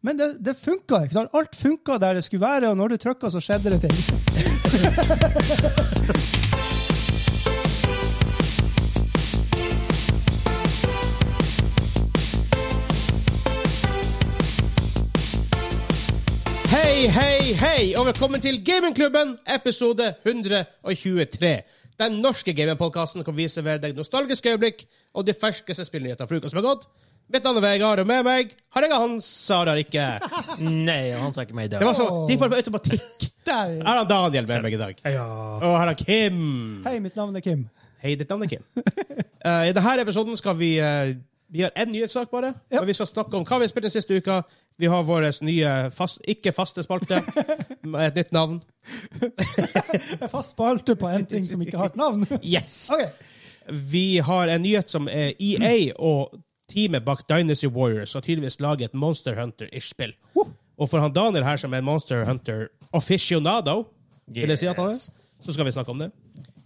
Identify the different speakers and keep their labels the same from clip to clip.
Speaker 1: Men det, det funka. ikke sant? Alt funka der det skulle være, og når du trykka, så skjedde det ting.
Speaker 2: Hei, hei, hei, og velkommen til Gamingklubben, episode 123. Den norske gamingpodkasten hvor vi serverer deg nostalgiske øyeblikk og de ferskeste spillnyhetene fra uka som er gått. Mitt navn er Vegard, og med meg har jeg Hans Sara Rikke.
Speaker 3: Nei, han sa ikke meg i dag.
Speaker 2: Det var så, de var på automatikk.
Speaker 1: Der.
Speaker 2: Her har Daniel med meg i dag.
Speaker 3: Ja.
Speaker 2: Og her har Kim.
Speaker 1: Hei, mitt navn er Kim.
Speaker 2: Hei, ditt navn er Kim. Eh, I denne episoden skal vi eh, Vi har én nyhetssak, bare.
Speaker 1: Ja.
Speaker 2: Og vi skal snakke om hva vi har spilt den siste uka. Vi har vår nye fast, ikke-faste spalte med et nytt navn.
Speaker 1: Jeg er fast spalte på en ting som ikke har et navn.
Speaker 2: Yes!
Speaker 1: Ok,
Speaker 2: Vi har en nyhet som er EA og teamet bak Dynasty Warriors har tydeligvis laget et Monster Hunter-ish spill.
Speaker 1: Woo.
Speaker 2: Og for han Daniel her, som er en Monster Hunter aficionado, vil jeg si at han er,
Speaker 3: Yes.
Speaker 2: så skal vi snakke om det.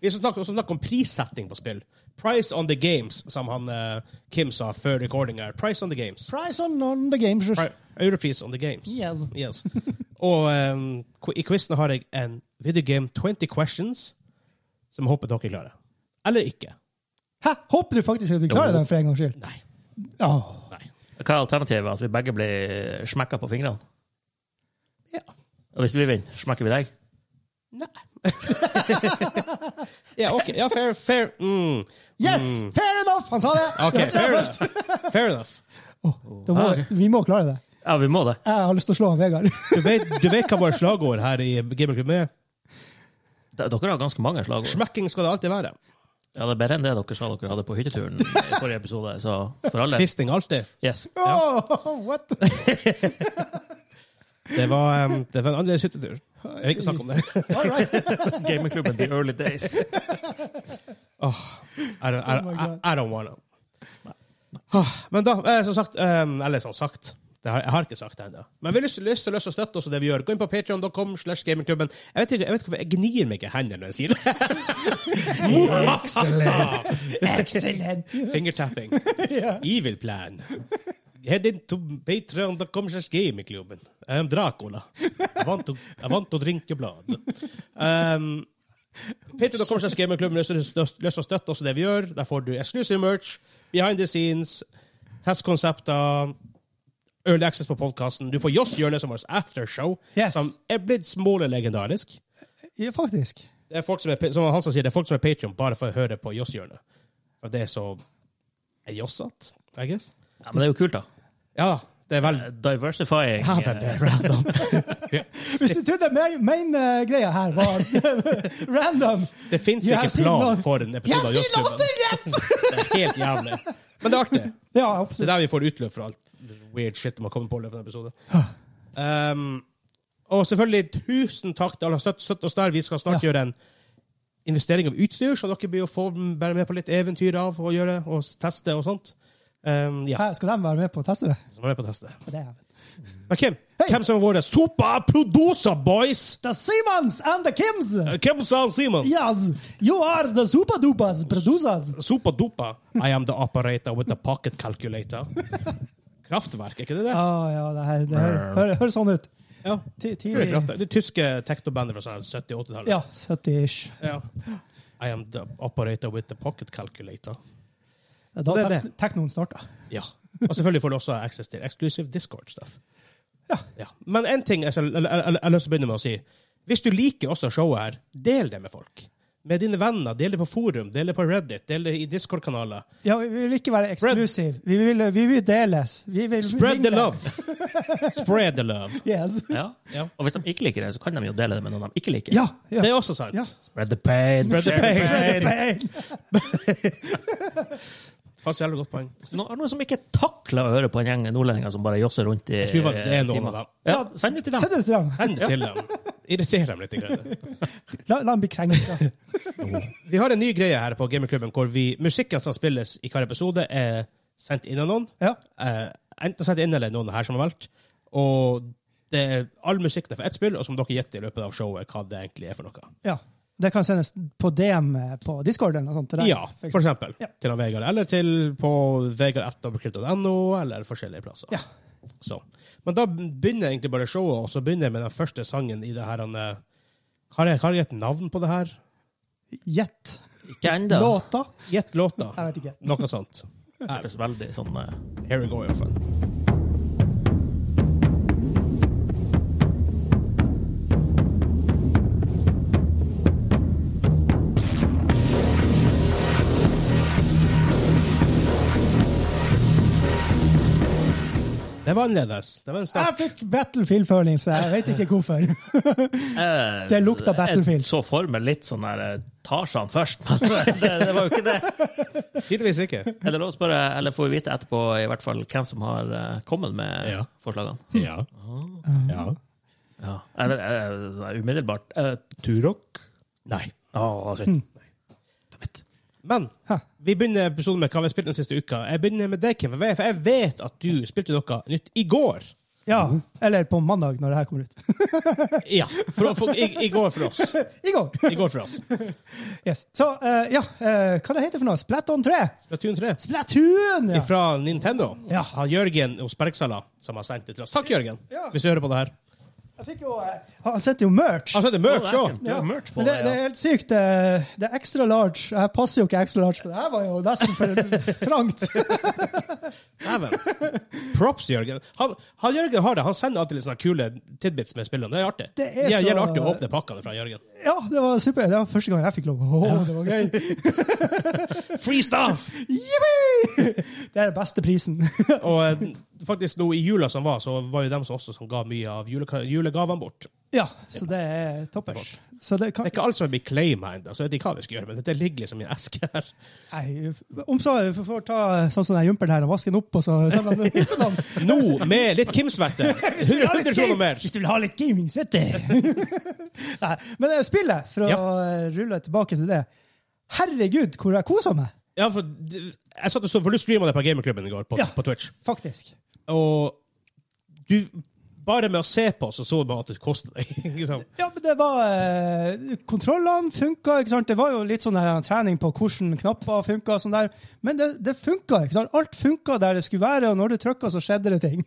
Speaker 2: Vi skal snakke, også snakke om prissetting på spill. Price on the games, som han eh, Kim sa før recording her. Price on the games.
Speaker 1: Price on, on the game. shush.
Speaker 2: Pri Europris on the games.
Speaker 1: Yes.
Speaker 2: Yes. og em, qu- i quizen har jeg en videogame 20 questions, som jeg håper dere klarer. Eller ikke.
Speaker 1: Hæ? Håper du faktisk at du klarer den for en gangs skyld?
Speaker 2: Nei.
Speaker 1: Åh.
Speaker 2: Nei.
Speaker 3: Hva er alternativet? Altså, vi begge blir smekka på fingrene.
Speaker 2: Ja.
Speaker 3: Og hvis vi vinner, smekker vi deg.
Speaker 2: Nei. ja, ok. Ja, fair, fair. Mm.
Speaker 1: Yes! Fair enough! Han sa det!
Speaker 2: Ok, fair enough. Fair enough.
Speaker 1: Da må, vi må klare det.
Speaker 3: Ja, vi må det.
Speaker 1: Jeg har lyst til å slå han Vegard.
Speaker 2: Du vet, du vet hva vårt slagord her i Gamerklubben er?
Speaker 3: D- Dere har ganske mange slagord.
Speaker 2: Smekking skal det alltid være.
Speaker 3: Ja, det er bedre enn det dere sa dere hadde på hytteturen i forrige episode. Så for alle.
Speaker 2: Fisting alltid.
Speaker 3: Yes. Ja.
Speaker 1: Åh, what?
Speaker 2: Det var, um, det var en annerledes hyttetur. Jeg vil ikke snakke om det.
Speaker 1: All right.
Speaker 3: Gamingklubben The Early Days.
Speaker 2: I don't, I,
Speaker 1: Oh my
Speaker 2: I,
Speaker 1: God.
Speaker 2: I don't wanna. Ah, Men da, eh, som sagt um, Eller som sagt. Det har, jeg har ikke sagt det ennå. Men vi har lyst, lyst til å løse og støtte oss i det vi gjør. Gå inn på patreon.com slash gamingklubben. Jeg vet ikke jeg vet ikke hvorfor jeg gnir meg ikke i hendene når jeg sier det.
Speaker 1: Excellent. Excellent.
Speaker 2: Fingertapping. Evil plan. Head into patreon.com slash gamingklubben. I am Dracula. I want to, I want to drink your blood. Um, patreon.com slash gamingklubben løs løs og støtt oss i det vi gjør. Der får du exclusive merch, behind the scenes, testkonsepter, early access på podkasten. Du får Joss Hjørne som vårt aftershow,
Speaker 1: Yes.
Speaker 2: som er blitt smålig legendarisk.
Speaker 1: Ja, faktisk.
Speaker 2: Det er folk som er, som han som sier, det er folk som er Patreon bare for å høre på Joss-hjørnet. For det er så er jossete, I guess.
Speaker 3: Ja, men det er jo kult, da.
Speaker 2: Ja, det er vel
Speaker 3: Diversifying.
Speaker 2: Ja, den er random.
Speaker 1: Hvis du trodde main, main eh, greia her var random
Speaker 2: Det fins
Speaker 1: You
Speaker 2: ikke
Speaker 1: have seen
Speaker 2: plan
Speaker 1: nothing.
Speaker 2: for en episode av Joss-klubben. Det er helt jævlig. Men det er artig.
Speaker 1: Ja,
Speaker 2: Det
Speaker 1: absolutt.
Speaker 2: er der vi får utløp for alt weird shit man kommer på i løpet av episoden. Um, og selvfølgelig tusen takk til alle som støtt- støtter oss der. Vi skal snart gjøre en investering av utstyr, så dere blir å få være med på litt eventyr av å gjøre og teste og sånt. Um, ja,
Speaker 1: Hæ, Skal de være med på å teste det?
Speaker 2: så vær med på å teste.
Speaker 1: For det er-
Speaker 2: Men Kim,
Speaker 1: Hei.
Speaker 2: hvem som er våre superproducer boys?
Speaker 1: The Simons and the Kims!
Speaker 2: Hvem sa Simons?
Speaker 1: Yes, you are the superdupas producers!
Speaker 2: Superdupa. I am the operator with the pocket calculator. Kraftverk, er ikke det det?
Speaker 1: Ja, ja, det, her, det hører, hører, hører sånn ut.
Speaker 2: Ja.
Speaker 1: Ti-
Speaker 2: Det,
Speaker 1: Tidlig
Speaker 2: er kraftverk. det er tyske teknobandet fra sånn 70-80-tallet.
Speaker 1: Ja, 70-ish.
Speaker 2: Ja. I am the operator with the pocket calculator.
Speaker 1: Det er da
Speaker 2: Det er
Speaker 1: tek-
Speaker 2: det.
Speaker 1: teknoen starta.
Speaker 2: Ja. Og selvfølgelig får du også access til exclusive Discord-stuff. Ja. Men én ting jeg skal- eller- eller- eller- jeg har lyst til å begynne med å si. Hvis du liker også showet her, del det med folk. Med dine venner. Del det på forum, del det på Reddit, del det i Discord-kanaler.
Speaker 1: Ja, vi vil ikke være eksklusiv. Vi vil, vi vil deles. Vi vil
Speaker 2: Spread the
Speaker 1: mingle.
Speaker 2: love! Spread the love.
Speaker 1: Yes.
Speaker 3: eh, Ja.
Speaker 2: Ja.
Speaker 3: Og hvis de ikke liker det, så kan de jo dele det med noen de ikke liker.
Speaker 1: Ja, ja.
Speaker 2: Det er også sant.
Speaker 1: Ja.
Speaker 3: Spread the pain.
Speaker 2: Spread the
Speaker 3: share
Speaker 1: Spread
Speaker 2: pain.
Speaker 1: the pain.
Speaker 2: Faktisk jævlig godt poeng.
Speaker 3: No, er det noen som ikke takler å høre på en gjeng nordlendinger som bare josser rundt i
Speaker 2: tror faktisk det er noen
Speaker 3: timer?
Speaker 2: av dem.
Speaker 3: Ja, send det til dem.
Speaker 1: Send det til dem.
Speaker 2: Send det til dem. Irriter dem litt. grann.
Speaker 1: La, la dem bli krenka.
Speaker 2: Vi har en ny greie her på Gamerklubben hvor vi, musikken som spilles i hver episode, er sendt inn av noen.
Speaker 1: Ja.
Speaker 2: Eh, enten sendt inn eller noen her som har valgt. Og det er all musikken er for ett spill, og som dere gjetter i løpet av showet hva det egentlig er for noe.
Speaker 1: ja. Det kan sendes på DM på Discord eller noe sånt. til deg.
Speaker 2: Ja, for eksempel.
Speaker 1: Ja.
Speaker 2: Til han Vegard. Eller til på vegard.no, eller forskjellige plasser.
Speaker 1: Ja.
Speaker 2: Så. Men da begynner egentlig bare showet, og så begynner jeg med den første sangen i det her han, eh, Har jeg, har jeg et navn på det her?
Speaker 1: Gjett.
Speaker 3: Ikke ennå.
Speaker 1: Låta?
Speaker 2: Gjett låta.
Speaker 1: Jeg vet ikke.
Speaker 2: Noe sånt.
Speaker 3: Det høres veldig sånn eh,
Speaker 2: Here we go, i hvert fall. Det var annerledes. Det var en
Speaker 1: Jeg
Speaker 2: start.
Speaker 1: fikk Battlefield-følelse. Jeg vet ikke hvorfor.
Speaker 3: eh,
Speaker 1: Det lukta Battlefield.
Speaker 3: Jeg så for meg litt sånn der eh, Tarzan først, men det, det var jo ikke det.
Speaker 2: Tidligvis ikke.
Speaker 3: Er det lov å spørre, eller får vi vite etterpå i hvert fall hvem som har eh, kommet med
Speaker 2: Ja.
Speaker 3: forslagene?
Speaker 2: Ja. ja.
Speaker 3: Ja. Er det, er det sånn umiddelbart eh, Turok?
Speaker 2: Nei.
Speaker 3: Å, shit. Dammit.
Speaker 2: Men vi begynner episoden med hva vi har spilt den siste uka. Jeg begynner med deg, Kim, for jeg- for jeg vet at du spilte noe nytt i går.
Speaker 1: Ja, Eller på mandag, når det her kommer ut.
Speaker 2: Ja. For, for, i, I går for oss.
Speaker 1: I går!
Speaker 2: I går for oss.
Speaker 1: Yes. Så eh, ja, eh, hva det heter for noe? Splaton 3?
Speaker 2: Splatoon 3.
Speaker 1: Splatoon! Ja.
Speaker 2: Fra Nintendo.
Speaker 1: Ja.
Speaker 2: Har Jørgen hos Bergsala som har sendt det til oss. Takk, Jørgen,
Speaker 1: Ja.
Speaker 2: hvis du hører på det her.
Speaker 1: Jeg fikk jo, eh, han sendte jo merch.
Speaker 2: Altså, det er merch
Speaker 3: Å,
Speaker 2: òg.
Speaker 3: det er- det er merch på
Speaker 1: Men det, det er helt sykt. eh, Det er extra large. Jeg passer jo ikke extra large, for det her var jo nesten for trangt.
Speaker 2: Dæven. Props, Jørgen. Han, han, Jørgen har det. Han sender alltid litt sånne kule tidbits med spillene. Det er artig.
Speaker 1: Det er
Speaker 2: ja,
Speaker 1: så-
Speaker 2: gjelder artig å åpne pakkene fra Jørgen.
Speaker 1: Ja, det var super. Det var første gang jeg fikk lov. Åh, det var gøy.
Speaker 2: Free stuff!
Speaker 1: Yippee! Det er den beste prisen.
Speaker 2: Og eh, faktisk nå i jula som var, så var jo dem som også som ga mye av juleka- julegavene bort.
Speaker 1: Ja, så det er toppers. Så det kan
Speaker 2: Det er ikke alt som blir claima ennå, så jeg vet ikke hva vi skal gjøre, men dette ligger liksom i en eske her.
Speaker 1: Nei, om så vi får ta sånn som den jumperen her og vaske den opp, og så sende den ut til ham.
Speaker 2: Nå med litt Kim-svette! 100 kroner mer!
Speaker 1: Hvis du vil ha litt gaming, så vet du. Nei, men eh, spillet, for å eh, rulle tilbake til det. Herregud, hvor jeg koser meg,
Speaker 2: Ja, for, d- jeg satt og så, for du streama det på Gamerklubben i går, på,
Speaker 1: Ja.
Speaker 2: på Twitch.
Speaker 1: faktisk.
Speaker 2: Og du Bare med å se på så så man at det koster deg. ikke sant?
Speaker 1: Ja, men det var eh, Kontrollene funka, ikke sant. Det var jo litt sånn der, eh, trening på hvordan knapper funka, og sånn der. Men det, det funka, ikke sant. Alt funka der det skulle være, og når du trykka, så skjedde det ting.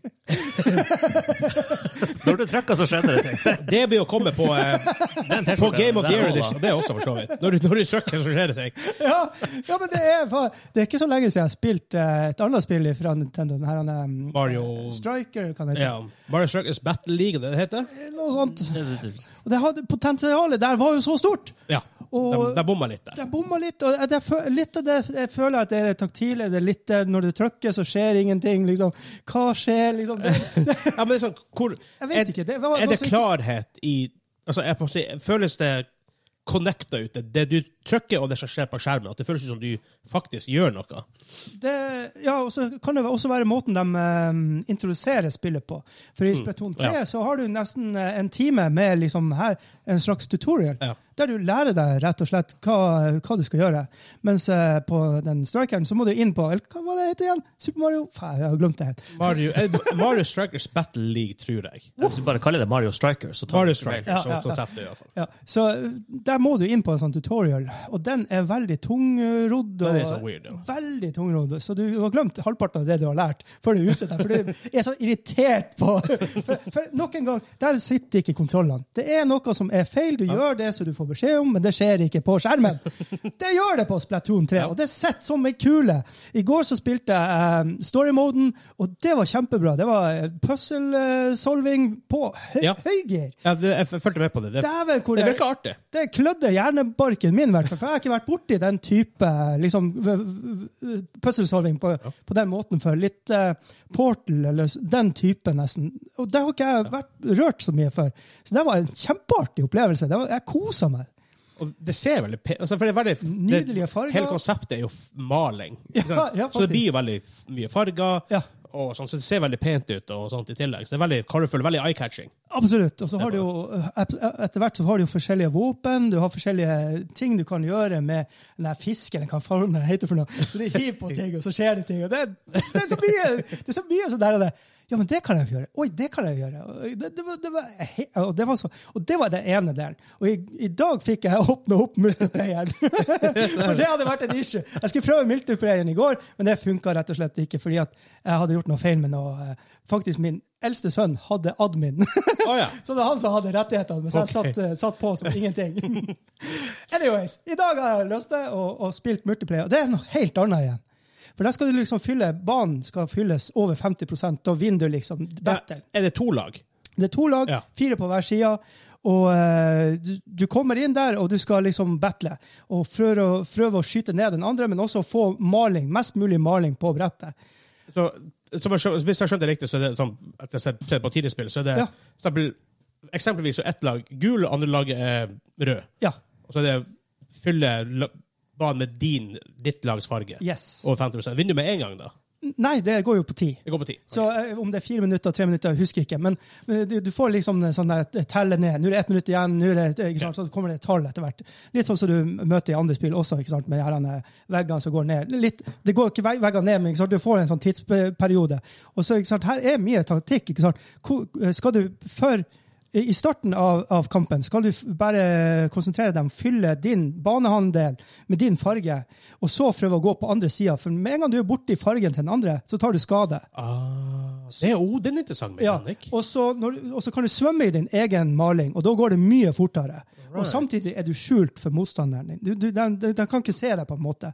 Speaker 3: Når du trykker, så skjedde det ting. Det
Speaker 2: Det blir å komme på, eh,
Speaker 3: er en
Speaker 2: på
Speaker 3: T-skjorte.
Speaker 2: Game of the
Speaker 3: Det er
Speaker 2: Year
Speaker 3: Ola.
Speaker 2: Edition. Det er også, for så vidt. Når du, når du trykker, så skjer det ting.
Speaker 1: ja, ja, men det er, fa- det er ikke så lenge siden jeg har spilt eh, et annet spill fra Nintendo. Den her, han, eh,
Speaker 2: Mario-
Speaker 1: Striker, kan det hete.
Speaker 2: Ja. Bare Strikers Battle League, det det heter?
Speaker 1: Noe sånt. Og det hadde, potensialet der var jo så stort!
Speaker 2: Ja. De,
Speaker 1: Og-
Speaker 2: de bomma litt der.
Speaker 1: Jeg bomma litt. og det, fø- litt av det jeg føler at det er taktile. det er litt der Når du trykker, så skjer ingenting. liksom. Hva skjer? liksom? Det, det,
Speaker 2: Ja, men liksom, hvor,
Speaker 1: Jeg vet ikke, det var-
Speaker 2: er
Speaker 1: var
Speaker 2: det
Speaker 1: så-
Speaker 2: klarhet i altså, jeg må si, Føles det connecta ut, det, det du trykker og det som skjer på skjermen? At det føles som du faktisk gjør noe?
Speaker 1: det, ja, og så kan det også være måten de eh, introduserer spillet på. For i Splatoon 3
Speaker 2: Mm. ja.
Speaker 1: så har du nesten eh, en time med liksom her, en slags tutorial.
Speaker 2: Ja.
Speaker 1: Der du lærer deg rett og slett hva, hva du skal gjøre. Mens eh, på den strikeren så må du inn på eller Hva var det heter igjen? Super Mario? Faen, jeg har glemt det helt.
Speaker 2: Mario, eh, Mario Strikers Battle League, tror jeg.
Speaker 3: Hvis du bare kaller det Mario Strikers, så tar
Speaker 2: Mario
Speaker 3: du feil.
Speaker 2: Strikers,
Speaker 1: Ja,
Speaker 2: så,
Speaker 1: ja, ja.
Speaker 2: så treffer du i hvert fall.
Speaker 1: Ja, så eh, der må du inn på en sånn tutorial, og den er veldig tungrodd.
Speaker 2: Den er
Speaker 1: og-
Speaker 2: så weird, ja.
Speaker 1: Veldig tungrodd. Så du har glemt halvparten av det du har lært før du er ute der. For du er så irritert på For, for nok en gang, der sitter ikke kontrollene. Det er noe som er feil. Du gjør det som du får beskjed om, men det skjer ikke på skjermen. Det gjør det på Splatoon 3, og det sitter som ei kule. I går så spilte jeg um, story-moden, og det var kjempebra. Det var eh, puzzle-solving på høy,
Speaker 2: Ja.
Speaker 1: høygir.
Speaker 2: Ja, det, jeg fulgte med på det. Det,
Speaker 1: Dæven, hvor
Speaker 2: det
Speaker 1: det-
Speaker 2: virker artig.
Speaker 1: det klødde hjernebarken min, i hvert fall. For jeg har ikke vært borti den type liksom, v- v- v- puzzle-solving på, på den måten før. Litt eh, Portal eller s- den type, nesten. Og det har ikke jeg vært rørt så mye før. Så det var en kjempeartig opplevelse. Det var, jeg kosa meg.
Speaker 2: Og det ser veldig pent altså, for det er veldig,
Speaker 1: Nydelige farger.
Speaker 2: Det, hele konseptet er jo f- maling. ikke
Speaker 1: Ja,
Speaker 2: sant?
Speaker 1: ja,
Speaker 2: så det
Speaker 1: faktisk.
Speaker 2: blir jo veldig f- mye farger,
Speaker 1: Ja.
Speaker 2: og sånn, så det ser veldig pent ut og sånt i tillegg. Så det er veldig colorful, veldig eye-catching.
Speaker 1: Absolutt. Og så har du jo, et- etter hvert så har du jo forskjellige våpen, du har forskjellige ting du kan gjøre med den der fisken, eller hva faen den heter for noe. Så du hiver på ting, og så skjer det ting. Og det, er- det er så mye det er så mye sånn der av det. Ja, men det kan jeg gjøre. Oi, det kan jeg gjøre. Og Det, det, var, det, var, he- og det, var, så, og det var den ene delen. Og i, i dag fikk jeg åpna opp multiplayeren. For det hadde vært en issue. Jeg skulle prøve multiplayeren i går, men det funka rett og slett ikke, fordi at jeg hadde gjort noe feil med noe. eh, Faktisk, min eldste sønn hadde admin.
Speaker 2: Å ja.
Speaker 1: Så det er han som hadde rettighetene, mens jeg
Speaker 2: Ok.
Speaker 1: satt, eh, satt på som ingenting. Anyways, I dag har jeg løst det og, og spilt multiplayer. Det er noe helt annet igjen. For der skal du liksom fylle, Banen skal fylles over 50 Da vinner du liksom battle.
Speaker 2: Er det to lag?
Speaker 1: Det er to lag,
Speaker 2: Ja.
Speaker 1: fire på hver side. Og eh, du, du kommer inn der, og du skal liksom battle. Og prøve, å- prøve å skyte ned den andre, men også få maling, mest mulig maling på brettet.
Speaker 2: Så, som jeg skjønner, hvis jeg skjønner det riktig, så er det sånn at jeg har sett- sett på tidligere spill, så er det
Speaker 1: Ja.
Speaker 2: for eksempel, eksempelvis så er ett lag gul, og andre laget er rød.
Speaker 1: Ja.
Speaker 2: Og så er det fylle la- banen med din, ditt lags farge.
Speaker 1: Yes.
Speaker 2: Over 50 Vinner du med en gang, da?
Speaker 1: Nei, det går jo på ti.
Speaker 2: Det går på ti.
Speaker 1: Så eh, om det er fire minutter, tre minutter, jeg husker ikke. Men eh, du, du får liksom en sånn der eh, telle ned. Nå er det ett minutt igjen, nå er det, eh, ikke sant? så kommer det et tall etter hvert. Litt sånn som du møter i andre spill også, ikke sant? med de her, eh, veggene som går ned. Litt, det går ikke veg- veggene ned, men ikke sant? du får en sånn tidsperiode. Og så, ikke sant, her er mye taktikk. ikke sant? Hvor, eh, skal du før i i starten av, av kampen skal du f- bare konsentrere deg om å fylle din banehandel med din farge, og så prøve å gå på andre sida. For med en gang du er borti fargen til den andre, så tar du skade.
Speaker 2: Ah, det er jo det er en interessant
Speaker 1: Ja,
Speaker 2: mekanikk.
Speaker 1: og så, når, og så kan du svømme i din egen maling, og da går det mye fortere. Og
Speaker 2: Alright.
Speaker 1: samtidig er du skjult for motstanderen din. Du, du, den, den den kan ikke se deg, på en måte.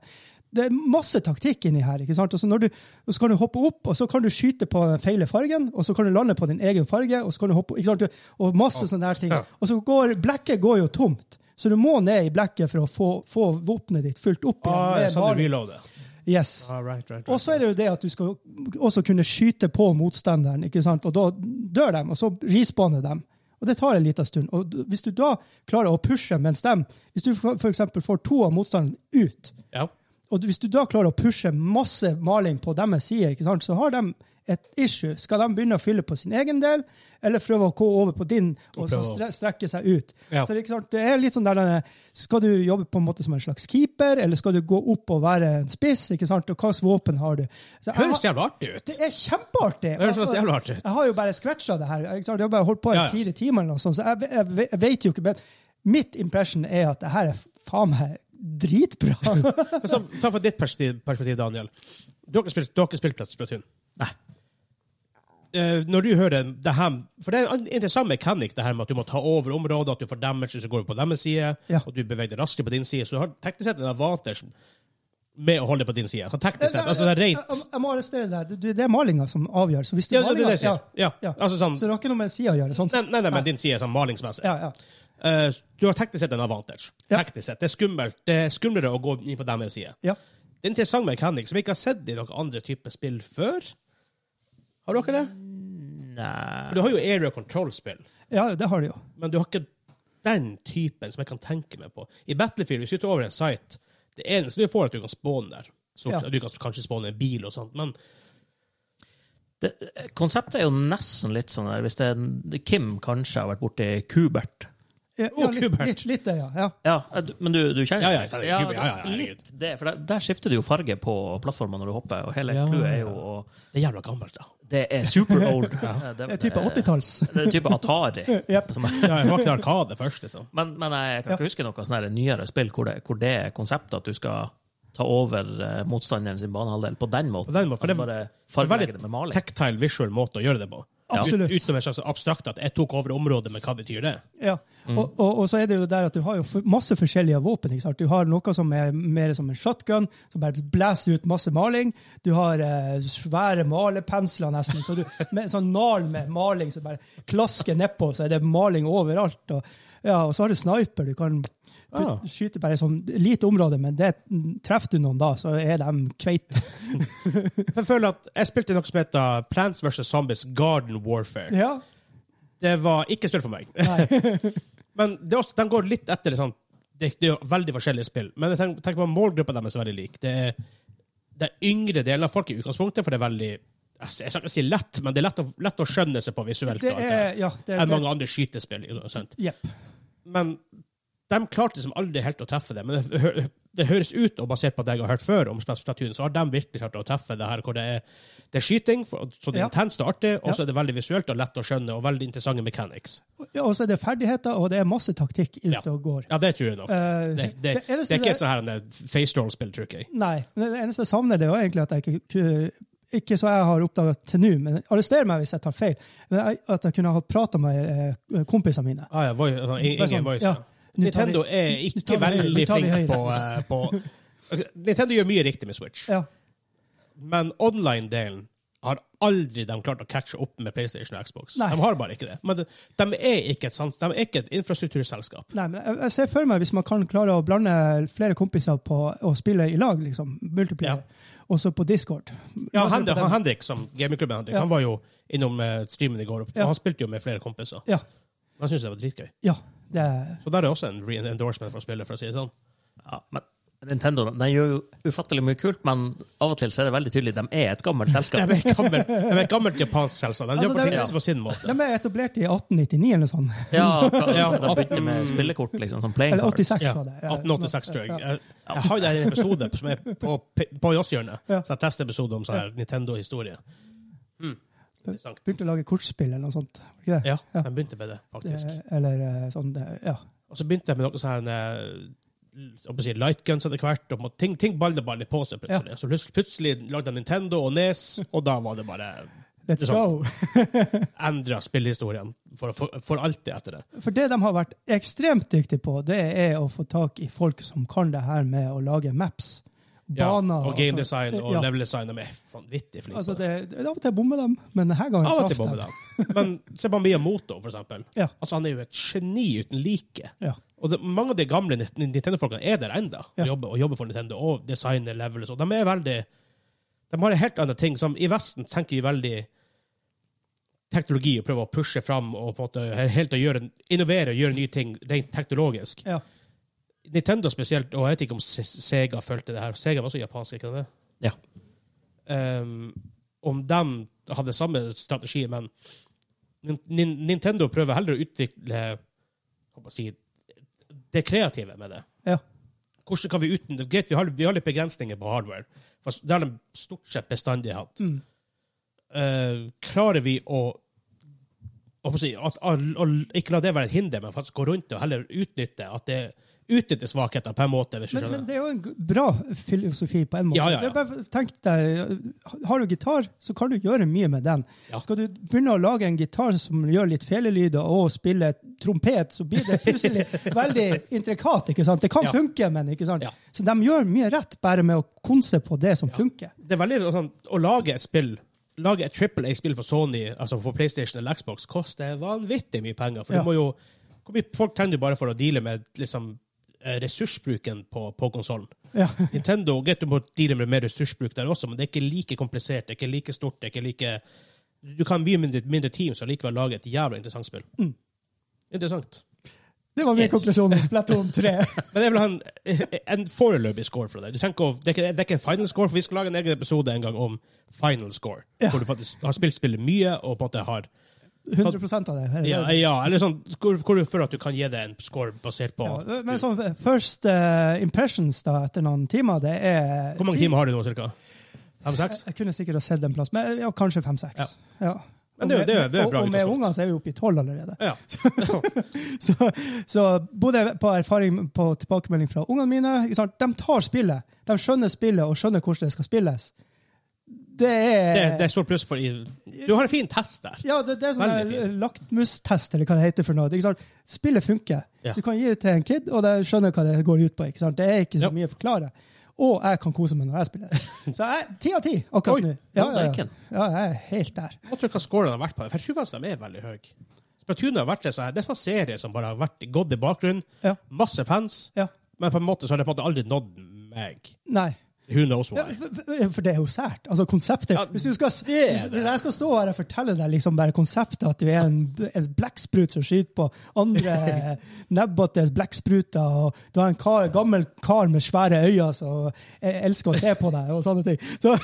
Speaker 1: Det er masse taktikk inni her. ikke sant? Og så, når du, og så kan du hoppe opp, og så kan du skyte på den feile fargen, og så kan du lande på din egen farge, og så kan du hoppe ikke sant? Og masse sånne der ting.
Speaker 2: Ja.
Speaker 1: Og så går blekket går jo tomt. Så du må ned i blekket for å få, få våpenet ditt fylt opp igjen.
Speaker 2: Ah,
Speaker 1: med
Speaker 2: sånn du
Speaker 1: maling.
Speaker 2: reloader.
Speaker 1: yes.
Speaker 2: Ah, right, right, right.
Speaker 1: Og så er det jo det at du skal også kunne skyte på motstanderen, ikke sant? og da dør de, og så respawner de. Og det tar en liten stund. Og d- hvis du da klarer å pushe mens dem Hvis du f.eks. får to av motstanderen ut,
Speaker 2: Ja.
Speaker 1: og du- hvis du da klarer å pushe masse maling på deres side, ikke sant? så har de et issue. Skal de begynne å fylle på sin egen del, eller prøve å gå over på din og,
Speaker 2: Og
Speaker 1: så
Speaker 2: prøve å-
Speaker 1: stre strekke seg ut?
Speaker 2: Ja.
Speaker 1: Så det, er ikke sant? det er litt sånn der eh, Skal du jobbe på en måte som en slags keeper, eller skal du gå opp og være en spiss? ikke sant? Og hva slags våpen har du? Så jeg har-
Speaker 2: Høres jævla artig ut.
Speaker 1: det er kjempeartig!
Speaker 2: Det høres så jævlig artig ut.
Speaker 1: Jeg har jo bare scratcha det her. Ikke sant? Jeg har bare holdt på i
Speaker 2: Ja, ja.
Speaker 1: fire timer, eller noe sånt, så jeg, ve- jeg, ve- jeg vet jo ikke. Men mitt impression er at det her er faen meg dritbra.
Speaker 2: Men så, ta fra ditt perspektiv, perspektiv Daniel. Du har ikke spilt, du har ikke spilt Splatoon.
Speaker 3: Nei.
Speaker 2: Eh, når du hører det her For det er en interessant mekanikk, det her med at du må ta over området, at du får damage som går på deres side,
Speaker 1: Ja.
Speaker 2: og du beveger deg raskere på din side. Så du har teknisk sett en advantage med å holde på din side. Så teknisk sett, altså det er
Speaker 1: Jeg- jeg-
Speaker 2: rent
Speaker 1: Jeg må arrestere deg. Det- Det er malinga som avgjør. Så hvis det er
Speaker 2: Ja, det er det jeg
Speaker 1: malinga-
Speaker 2: sier. Ja.
Speaker 1: ja.
Speaker 2: Altså sånn
Speaker 1: Så det har ikke noe med sida å gjøre. Sånn.
Speaker 2: Nei, nei, nei, men din side er sånn malingsmessig.
Speaker 1: Ja, ja.
Speaker 2: Eh, du har teknisk sett en advantage.
Speaker 1: Ja.
Speaker 2: Teknisk sett. Det er skummelt. Det er skumlere å gå inn på deres side.
Speaker 1: ja.
Speaker 2: Det er en interessant mekanikk som vi ikke har sett i noen andre typer spill før. Har dere det?
Speaker 3: Nei.
Speaker 2: Du har jo area control-spill,
Speaker 1: ja, det har du jo.
Speaker 2: men du har ikke den typen som jeg kan tenke meg på. I Battlefield, hvis du tar over en site, det eneste du får, er at du kan spåne der. Så,
Speaker 1: Ja.
Speaker 2: Du kan kanskje spåne en bil og sånt, men
Speaker 3: Det, konseptet er jo nesten litt sånn der, hvis det er Kim kanskje har vært borti Kubert.
Speaker 1: Ja,
Speaker 2: Å,
Speaker 1: litt,
Speaker 2: Kubert.
Speaker 1: litt, litt det, ja. ja.
Speaker 3: Ja, du- men du, du kjenner
Speaker 2: Ja, ja, jeg kjenner Kubert. Ja, ja, ja, herregud.
Speaker 3: litt det, for der, der skifter du jo farge på plattformen når du hopper, og hele
Speaker 2: Ja.
Speaker 3: clouet er jo å-
Speaker 2: det er jævla gammelt, da.
Speaker 3: Det er super old. Det
Speaker 1: Det er type 80-talls.
Speaker 3: Det er type Atari.
Speaker 1: Jep.
Speaker 3: som er-
Speaker 2: Ja, jeg var ikke arkade først, liksom.
Speaker 3: Men, men jeg kan ikke huske noe sånn her nyere spill hvor det, hvor det er konseptet at du skal ta over eh, motstanderen sin banehalvdel på den måten.
Speaker 2: På den måten, for det-
Speaker 3: altså bare
Speaker 2: Det er
Speaker 3: fargelegge det med
Speaker 2: veldig
Speaker 3: maling.
Speaker 2: tactile visual måte å gjøre det på.
Speaker 1: Ja.
Speaker 2: Ut-
Speaker 1: Absolutt.
Speaker 2: Utenom en slags abstrakt at jeg tok over området, men hva betyr det?
Speaker 1: Ja.
Speaker 2: Mm.
Speaker 1: Og, og, og så er det jo der at du har jo f- masse forskjellige våpen. Ikke sant? Du har noe som er mer som en shotgun, som bare blæser ut masse maling. Du har eh, svære malepensler, nesten, så du, med en sånn nal med maling som bare klasker nedpå, så er det maling overalt. Og, ja, og så har du sniper. Du kan put-
Speaker 2: Ah.
Speaker 1: skyte bare sånn lite område, men det treffer du noen da, så er de kveite.
Speaker 2: Jeg føler at jeg spilte noe som heter Plants vs. Zombies Garden Warfare.
Speaker 1: Ja.
Speaker 2: Det var ikke spill for meg. men det er også, de går litt etter det sånn det, det er jo veldig forskjellige spill. Men jeg tenker, tenker på målgruppa deres er veldig lik. Det er, det er yngre deler av folk i utgangspunktet, for det er veldig altså, Jeg skal ikke si lett, men det er lett å, lett å skjønne seg på visuelt.
Speaker 1: Det
Speaker 2: og alt det
Speaker 1: er
Speaker 2: her,
Speaker 1: ja, det,
Speaker 2: enn
Speaker 1: det,
Speaker 2: mange andre skytespill. ikke sant?
Speaker 1: Jepp.
Speaker 2: Men de klarte liksom aldri helt å treffe det. Men det hø- det høres ut, og basert på det jeg har hørt før om Splash Platoon, så har de virkelig klart å treffe det her hvor det er, det er skyting, for- så det er
Speaker 1: Ja.
Speaker 2: intenst og artig, og
Speaker 1: Ja.
Speaker 2: så er det veldig visuelt og lett å skjønne, og veldig interessante mechanics.
Speaker 1: Ja, og så er det ferdigheter, og det er masse taktikk ute
Speaker 2: Ja.
Speaker 1: og går.
Speaker 2: Ja, det tror jeg nok.
Speaker 1: Eh,
Speaker 2: Det,
Speaker 1: det
Speaker 2: det, det
Speaker 1: eneste
Speaker 2: er ikke
Speaker 1: det-
Speaker 2: et sånn her en face roll-spill, tror jeg.
Speaker 1: Nei. men Det eneste jeg savner, det var egentlig at jeg ikke ku- Ikke så jeg har oppdaga til nå, men arrester meg hvis jeg tar feil. Men jeg, at jeg kunne ha prata med eh, kompisene mine.
Speaker 2: Ah, ja, voi- sånn, ingen
Speaker 1: Bare sånn,
Speaker 2: voice.
Speaker 1: ja.
Speaker 2: ja.
Speaker 1: Nå tar vi-
Speaker 2: Nintendo er
Speaker 1: nå
Speaker 2: ikke
Speaker 1: tar vi høyre,
Speaker 2: veldig
Speaker 1: nå tar vi
Speaker 2: flink på,
Speaker 1: høyre.
Speaker 2: eh, på Ok, Nintendo gjør mye riktig med Switch,
Speaker 1: Ja.
Speaker 2: men online-delen har aldri de klart å catche opp med PlayStation og Xbox.
Speaker 1: Nei.
Speaker 2: De har bare ikke det. Men de, de, er, ikke et, sans- de er ikke et infrastrukturselskap.
Speaker 1: Nei, men jeg, jeg ser for meg hvis man kan klare å blande flere kompiser på å spille i lag, liksom, multiplayer, også på Discord.
Speaker 2: Ja,
Speaker 1: Basert på
Speaker 2: Henrik,
Speaker 1: den-
Speaker 2: han, Henrik som gamingklubben Henrik,
Speaker 1: Ja.
Speaker 2: han var jo innom eh, streamen i går, og
Speaker 1: Ja.
Speaker 2: han spilte jo med flere kompiser.
Speaker 1: Ja.
Speaker 2: Han syntes det var dritgøy.
Speaker 1: ja det er,
Speaker 2: Så der er også en re-endorsement for spillet, for å si det sånn.
Speaker 3: Ja, men Nintendo den gjør jo ufattelig mye kult, men av og til så er det veldig tydelig de er et gammelt
Speaker 2: De
Speaker 3: selskap.
Speaker 2: er et gammelt, de er et gammelt japansk selskap. De
Speaker 1: Altså,
Speaker 2: gjør
Speaker 1: det er-
Speaker 2: ting på sin måte.
Speaker 1: de er etablert i 1899 eller sånn.
Speaker 3: Ja,
Speaker 2: Ja,
Speaker 3: De bytter med spillekort, liksom, som playing
Speaker 1: Eller
Speaker 3: cards.
Speaker 1: 86
Speaker 2: Ja,
Speaker 1: var det.
Speaker 2: 1886, tror jeg.
Speaker 1: Ja.
Speaker 2: Jeg, jeg har jo en episode som er på, på Jåsshjørnet.
Speaker 1: Ja.
Speaker 2: Så jeg tester episode om sånn her Nintendo-historie. Hmm. Interessant.
Speaker 1: Begynte å lage kortspill eller noe sånt. var ikke det?
Speaker 2: Ja, jeg begynte med det, faktisk.
Speaker 1: Eh, Eller eh, sånn, eh, ja.
Speaker 2: Og så begynte jeg med noe sånn her eh, om å si, light guns etter hvert. Og på en måte ting, ting baller bare litt på seg plutselig. Så plutselig, plutselig lagde jeg Nintendo og Nes, og da var det bare
Speaker 1: Let's
Speaker 2: Det er sånn.
Speaker 1: go!
Speaker 2: endra spillehistorien for, for, for alltid etter det.
Speaker 1: For det de har vært ekstremt dyktige på, det er å få tak i folk som kan det her med å lage maps.
Speaker 2: Ja,
Speaker 1: Baner. altså, sånn.
Speaker 2: og game design og
Speaker 1: Ja.
Speaker 2: level design. De er vanvittig flinke.
Speaker 1: Altså,
Speaker 2: på det.
Speaker 1: det, det, av og til bommer dem, men denne gangen
Speaker 2: Av og
Speaker 1: traff
Speaker 2: til
Speaker 1: de.
Speaker 2: bommer de. Men se på Miyamoto, for eksempel.
Speaker 1: Ja.
Speaker 2: Altså, han er jo et geni uten like.
Speaker 1: Ja.
Speaker 2: Og det, mange av de gamle Nit- Nintendo-folkene er der ennå,
Speaker 1: Ja.
Speaker 2: og, jobber, og jobber for Nintendo og designer levels. Og de er veldig De har helt andre ting. som I Vesten tenker vi veldig teknologi og prøver å pushe fram og på en måte helt å gjøre, innovere og gjøre nye ting rent teknologisk.
Speaker 1: Ja.
Speaker 2: Nintendo spesielt, og jeg vet ikke om Se- Sega fulgte det her. Sega var også japansk, ikke det?
Speaker 3: Ja.
Speaker 2: Um, om de hadde samme strategi, men Nin- Nin- Nintendo prøver heller å utvikle hva man sier, det kreative med det.
Speaker 1: Ja.
Speaker 2: Hvordan kan vi uten, det er greit, vi har, vi har litt begrensninger på hardware, for det har de stort sett bestandig hatt.
Speaker 1: Mm.
Speaker 2: Eh, klarer vi å hva man sier, at, all- all- ikke la det være et hinder, men faktisk gå rundt og heller utnytte at det utnytte svakheter på en måte. hvis du
Speaker 1: Men,
Speaker 2: skjønner.
Speaker 1: men det er jo en g- bra filosofi på en måte.
Speaker 2: Ja, ja, ja.
Speaker 1: Det er bare, tenk deg, Har du gitar, så kan du gjøre mye med den.
Speaker 2: Ja.
Speaker 1: Skal du begynne å lage en gitar som gjør litt felelyder, og spille trompet, så blir det plutselig veldig intrikat. ikke sant? Det kan
Speaker 2: Ja.
Speaker 1: funke, men ikke sant?
Speaker 2: Ja.
Speaker 1: Så de gjør mye rett bare med å konse på det som funker.
Speaker 2: det er veldig sånn, Å lage et spill Lage et Triple A-spill for Sony, altså for PlayStation eller Xbox, koster vanvittig mye penger. For
Speaker 1: Ja.
Speaker 2: du må jo Hvor mye folk trenger du bare for å deale med liksom, eh, ressursbruken på, på konsollen?
Speaker 1: Ja.
Speaker 2: Nintendo greit, du må deale med mer ressursbruk der også, men det er ikke like komplisert, det er ikke like stort, det er ikke like Du kan ha mye mindre, mindre team, så likevel lage et jævla interessant spill. Interessant.
Speaker 1: Det var min
Speaker 3: Yes.
Speaker 1: konklusjon. Platon 3.
Speaker 2: Men jeg vil ha en, eh, en foreløpig score fra deg. Du trenger ikke å, det, er ikke, det er ikke en final score, for vi skal lage en egen episode en gang om final score. Hvor du faktisk har spilt spillet mye, og på en måte har
Speaker 1: 100 av det. Her,
Speaker 2: Ja, ja eller sånn hvor, hvor du føler at du kan gi det en score basert på
Speaker 1: Ja, men sånn, first eh, impressions da, etter noen timer, det er
Speaker 2: Hvor mange timer har du nå, cirka? Fem-seks?
Speaker 1: Jeg, jeg kunne sikkert ha sett en plass, men ja, kanskje fem-seks. Ja.
Speaker 2: Men det er jo- det er jo- det er jo
Speaker 1: Og-
Speaker 2: bra
Speaker 1: og med
Speaker 2: utgangspunkt.
Speaker 1: unger så er vi oppe i tolv allerede.
Speaker 2: Ja.
Speaker 1: Så, så både på erfaring på tilbakemelding fra ungene mine ikke sant? De tar spillet. De skjønner spillet og skjønner hvordan det skal spilles. Det er,
Speaker 2: Det, det er stort pluss for Du har en fin test der.
Speaker 1: Ja, det, det er sånn
Speaker 2: Veldig
Speaker 1: der
Speaker 2: fint.
Speaker 1: laktmustest, eller hva det heter for noe. Ikke sant? Spillet funker.
Speaker 2: Ja.
Speaker 1: Du kan gi det til en kid, og de skjønner hva det går ut på. Ikke sant? Det er ikke så
Speaker 2: Ja.
Speaker 1: mye å forklare. Og jeg kan kose meg når jeg spiller. Så jeg, ti av ti akkurat
Speaker 2: Oi,
Speaker 1: nå. Ja, ja, ja.
Speaker 3: deiken.
Speaker 1: ja, jeg er helt der.
Speaker 2: Jeg tror ikke hva scoren har vært på det, for jeg tror faktisk de er veldig høye. Splatoon har vært en sånn her- det er en sånn serie som bare har vært gått i bakgrunnen.
Speaker 1: Ja.
Speaker 2: Masse fans,
Speaker 1: Ja.
Speaker 2: men på en måte så har det på en måte aldri nådd meg.
Speaker 1: Nei.
Speaker 2: Who knows
Speaker 1: Ja,
Speaker 2: why?
Speaker 1: for- for- for det er jo sært. Altså, konseptet
Speaker 2: Ja,
Speaker 1: hvis, du skal,
Speaker 2: det er
Speaker 1: hvis,
Speaker 2: det.
Speaker 1: hvis jeg skal stå her og fortelle deg liksom bare konseptet, at du er en, en blekksprut som skyter på andre nebbete blekkspruter, og du har en kar, gammel kar med svære øyne som eh, elsker å se på deg, og sånne ting. Så,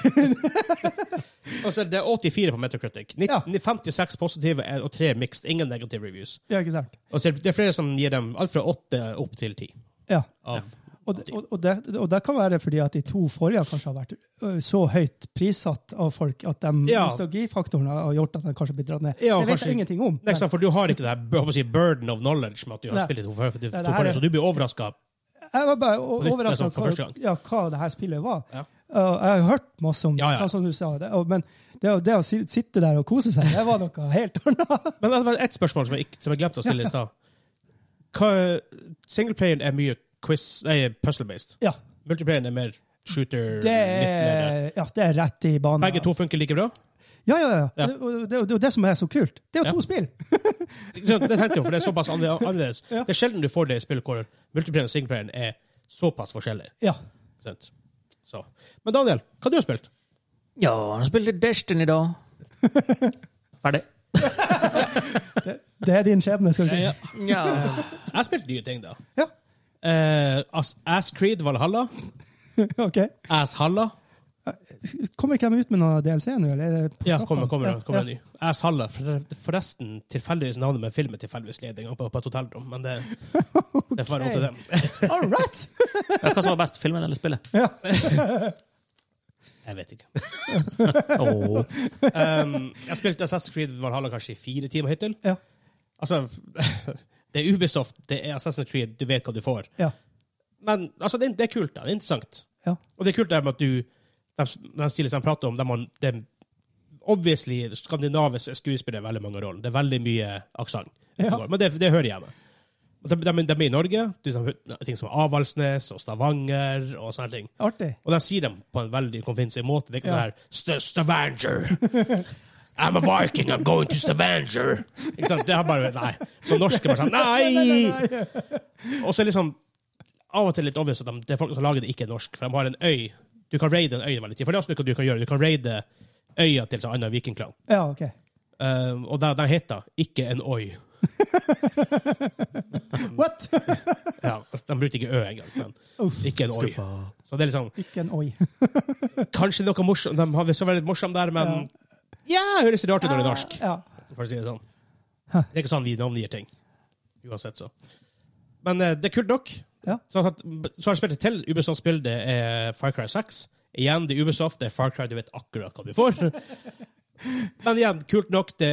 Speaker 2: Altså, det er 84 på Metacritic. Nitt-
Speaker 1: Ja.
Speaker 2: 56 positive og 3 mixed. Ingen negative reviews. Altså,
Speaker 1: ja, ikke sant?
Speaker 2: Og så er det- det er flere som gir dem alt fra 8 opp til 10.
Speaker 1: Ja.
Speaker 2: Av
Speaker 1: Og, det- og, og, det, og det kan være fordi at de to forrige kanskje har vært ø, så høyt prissatt av folk at de
Speaker 2: Ja.
Speaker 1: nostalgifaktoren har gjort at de kanskje blir dratt ned.
Speaker 2: Ja,
Speaker 1: det vet
Speaker 2: kanskje-
Speaker 1: jeg ingenting om.
Speaker 2: Nei, ikke sant, for du har ikke det her jeg håper å si, burden of knowledge med at du har
Speaker 1: Nei.
Speaker 2: spilt i to før- to
Speaker 1: det her
Speaker 2: forrige,
Speaker 1: er-
Speaker 2: så du blir overraska.
Speaker 1: Jeg var bare
Speaker 2: nytt,
Speaker 1: overraska
Speaker 2: liksom, for første
Speaker 1: hva,
Speaker 2: gang.
Speaker 1: ja, hva det her spillet var.
Speaker 2: Ja.
Speaker 1: Og jeg har hørt masse om det,
Speaker 2: Ja, ja.
Speaker 1: sånn som du sa. Det, og, men det, å- det å si- sitte der og kose seg, det var noe helt annet.
Speaker 2: Men det var ett spørsmål som jeg, ikke- som jeg glemte å stille i stad. Hva- Singleplayeren er mye quiz, nei, puzzle-based.
Speaker 1: Ja,
Speaker 2: Multiplayeren er mer shooter.
Speaker 1: det
Speaker 2: litt mer-
Speaker 1: er, ja, det er rett i banen.
Speaker 2: Begge to funker like bra?
Speaker 1: Ja, ja, ja.
Speaker 2: Ja.
Speaker 1: Det, og det, og det, er jo det som er så kult. Det er jo
Speaker 2: Ja.
Speaker 1: to spill.
Speaker 2: Ikke sant? Det tenkte jeg, for det er såpass annerle- annerledes. Det er sjelden du får det i spill hvor multiplayeren og singleplayeren er såpass forskjellig.
Speaker 1: Ja.
Speaker 2: Ikke sant? Så. Men Daniel, hva du har spilt?
Speaker 3: Ja, han spilte Destiny, da. Ferdig.
Speaker 1: Det er din skjebne, skal vi si.
Speaker 2: Jeg
Speaker 3: Ja.
Speaker 2: har spilt nye ting, da.
Speaker 1: Ja,
Speaker 2: Eh, As- Ass Creed Valhalla.
Speaker 1: ok.
Speaker 2: Ass Halla.
Speaker 1: Kommer ikke de ut med noe DLC nå, eller? er det på
Speaker 2: Ja,
Speaker 1: knappene?
Speaker 2: kommer, kommer,
Speaker 1: Ja,
Speaker 2: det, kommer
Speaker 1: ja.
Speaker 2: det ny. Ass Halla. For- Forresten, tilfeldigvis navnet med filmen tilfeldigvis led en gang på, på et hotellrom, men det, det får være opp til dem.
Speaker 1: All right!
Speaker 3: Hva som var best, filmen eller spillet?
Speaker 1: Ja.
Speaker 2: Jeg vet ikke.
Speaker 3: Åh.
Speaker 2: Um, jeg har spilt Assassin's Creed Valhalla kanskje i fire timer hittil.
Speaker 1: Ja.
Speaker 2: Altså, det er Ubisoft, det er Assassin's Creed, du vet hva du får.
Speaker 1: Ja.
Speaker 2: Men altså, det, er- det er kult, da. Det er interessant.
Speaker 1: Ja.
Speaker 2: Og det er kult det med at du De, de stillene som jeg prater om, de, har- de Obviously, skandinaviske skuespillere har veldig mange roller. Det er veldig mye aksent.
Speaker 1: Ja.
Speaker 2: Men det, det hører hjemme. Og De, de, de er i Norge. Du har ting som Avaldsnes og Stavanger og sånne ting.
Speaker 1: Artig.
Speaker 2: Og de sier dem på en veldig konvinsig måte. Det er ikke
Speaker 1: Ja.
Speaker 2: sånn her "St- Stavanger! I'm a viking, I'm going to Stavanger! Ikke sant? Det er bare Nei. Så norske bare sånn Nei! Og så er liksom av og til litt obvious at de, det er folk som lager det ikke er norsk, for de har en øy. Du kan raide en øy veldig tid. For det er også noe du kan gjøre. Du kan raide øya til en annen vikingklan.
Speaker 1: Ja, ok.
Speaker 2: Eh, og de, de heter ikke en øy.
Speaker 1: What?
Speaker 2: Ja, altså, de brukte ikke ø engang, men
Speaker 1: Uff,
Speaker 2: ikke en øy.
Speaker 3: Skuffa.
Speaker 2: Så det er liksom
Speaker 1: Ikke en oi.
Speaker 2: Kanskje noe morsomt. De har så veldig morsomt der, men ja, høres det rart ut når det er norsk.
Speaker 1: Ja.
Speaker 2: For å si det sånn. Det er ikke sånn vi navngir ting. Uansett, så. Men eh, det er kult nok.
Speaker 1: Ja.
Speaker 2: Så, har jeg hatt- så har jeg spilt et til Ubisoft-spill. Det er Far Cry 6. Igjen, det er Ubisoft. Det er Far Cry. Du vet akkurat hva du får. Men igjen, kult nok. Det,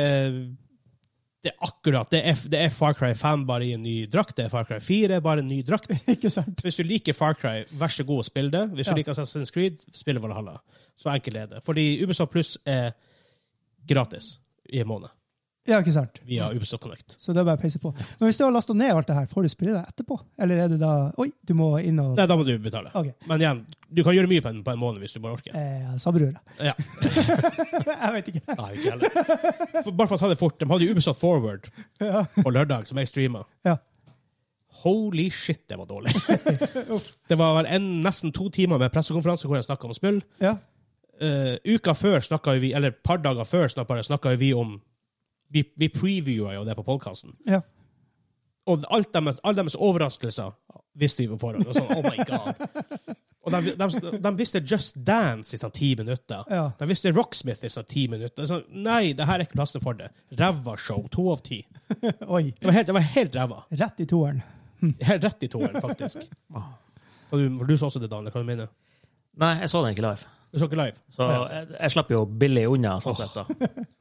Speaker 2: det er akkurat det er, det er Far Cry 5, bare i en ny drakt. Det er Far Cry 4, bare en ny drakt.
Speaker 1: Ikke sant?
Speaker 2: Hvis du liker Far Cry, vær så god og spill det. Hvis
Speaker 1: Ja.
Speaker 2: du liker Assassin's Creed, spill Valhalla. Så enkelt er det. Fordi Ubisoft Pluss er gratis i en måned
Speaker 1: Ja, ikke sant?
Speaker 2: via Ubisoft Connect.
Speaker 1: Så det er bare å peise på. Men hvis du har lasta ned alt det her, får du spille det etterpå? Eller er det da Oi, du må inn og
Speaker 2: Nei, da må du betale.
Speaker 1: Ok.
Speaker 2: Men igjen, du kan gjøre mye på en, på en måned hvis du bare orker.
Speaker 1: eh, Sabrura.
Speaker 2: Ja.
Speaker 1: Jeg vet ikke.
Speaker 2: Nei, ikke heller. For, bare for å ta det fort, de hadde jo Ubisoft Forward
Speaker 1: Ja.
Speaker 2: på lørdag, som jeg streama.
Speaker 1: Ja.
Speaker 2: Holy shit, det var dårlig. det var vel en, nesten to timer med pressekonferanse hvor jeg snakka om spill.
Speaker 1: ja.
Speaker 2: Eh, uka før snakka jo vi, eller et par dager før snakka vi om Vi, vi previewa jo det på podkasten.
Speaker 1: ja.
Speaker 2: Og alt deres, alle deres overraskelser visste vi på forhånd. Og sånn, oh my god. Og de, de, de visste Just Dance i sånn ti minutter.
Speaker 1: Ja.
Speaker 2: De visste Rocksmith i sånn ti minutter. Det er Sånn, nei, det her er ikke plassen for det. Ræva show. To av ti. Det
Speaker 1: Oi.
Speaker 2: var helt, det var helt ræva.
Speaker 1: Rett i toeren.
Speaker 2: Helt rett i toeren, faktisk. Og du, for du så også det, Daniel. Hva du mener
Speaker 3: Nei, jeg så den ikke live.
Speaker 2: Du så ikke live?
Speaker 3: Så
Speaker 2: Ja.
Speaker 3: jeg, jeg slapp jo billig unna. sånn sett da.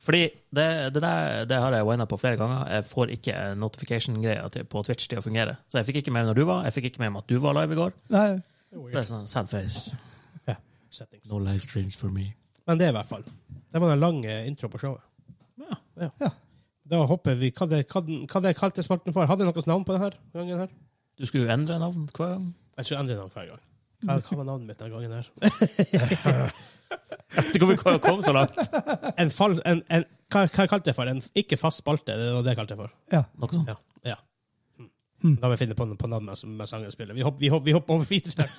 Speaker 3: Fordi det, det der det har jeg wina på flere ganger. Jeg får ikke notification-greia til- på Twitch til å fungere. Så jeg fikk ikke med meg når du var. Jeg fikk ikke med meg at du var live i går.
Speaker 1: Nei.
Speaker 3: Så det er sånn sad face.
Speaker 2: Ja, settings.
Speaker 3: No live streams for me.
Speaker 2: Men det er i hvert fall. Det var en lang eh, intro på showet.
Speaker 3: Ja.
Speaker 1: Ja.
Speaker 2: Da hopper vi. Hva det, hva, den- hva det kalte spalten for? Hadde det noe navn på denne gangen? her?
Speaker 3: Du skulle jo endre navn hver gang.
Speaker 2: Jeg skulle endre navn hver gang. Hva, hva var navnet mitt denne gangen? her?
Speaker 3: Det kommer ikke å komme så langt.
Speaker 2: En fall, en, en, hva, hva jeg kalte jeg det for? En ikke fast spalte? Det var det jeg kalte det for.
Speaker 1: Ja.
Speaker 3: Noe sånt.
Speaker 2: Ja. ja.
Speaker 1: Hm.
Speaker 2: Mm. Da må jeg finne på, på navnet som mens sangen spiller. Vi hopper, vi hopper, vi hopper over videre.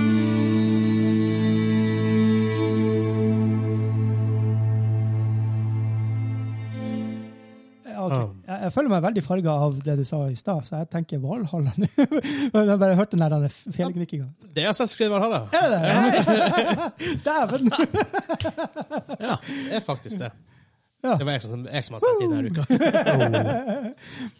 Speaker 1: Jeg ok.
Speaker 2: Ah.
Speaker 1: jeg, jeg føler meg veldig farga av det du sa i stad, så jeg tenker Valhalla nå. Men jeg bare hørte den der fjellgnikkinga.
Speaker 2: Det er Assassin's Creed Valhalla.
Speaker 1: Er det det? Dæven!
Speaker 3: Ja.
Speaker 2: Det er faktisk det.
Speaker 1: Ja.
Speaker 2: Det var jeg som, jeg som har sett det denne uka.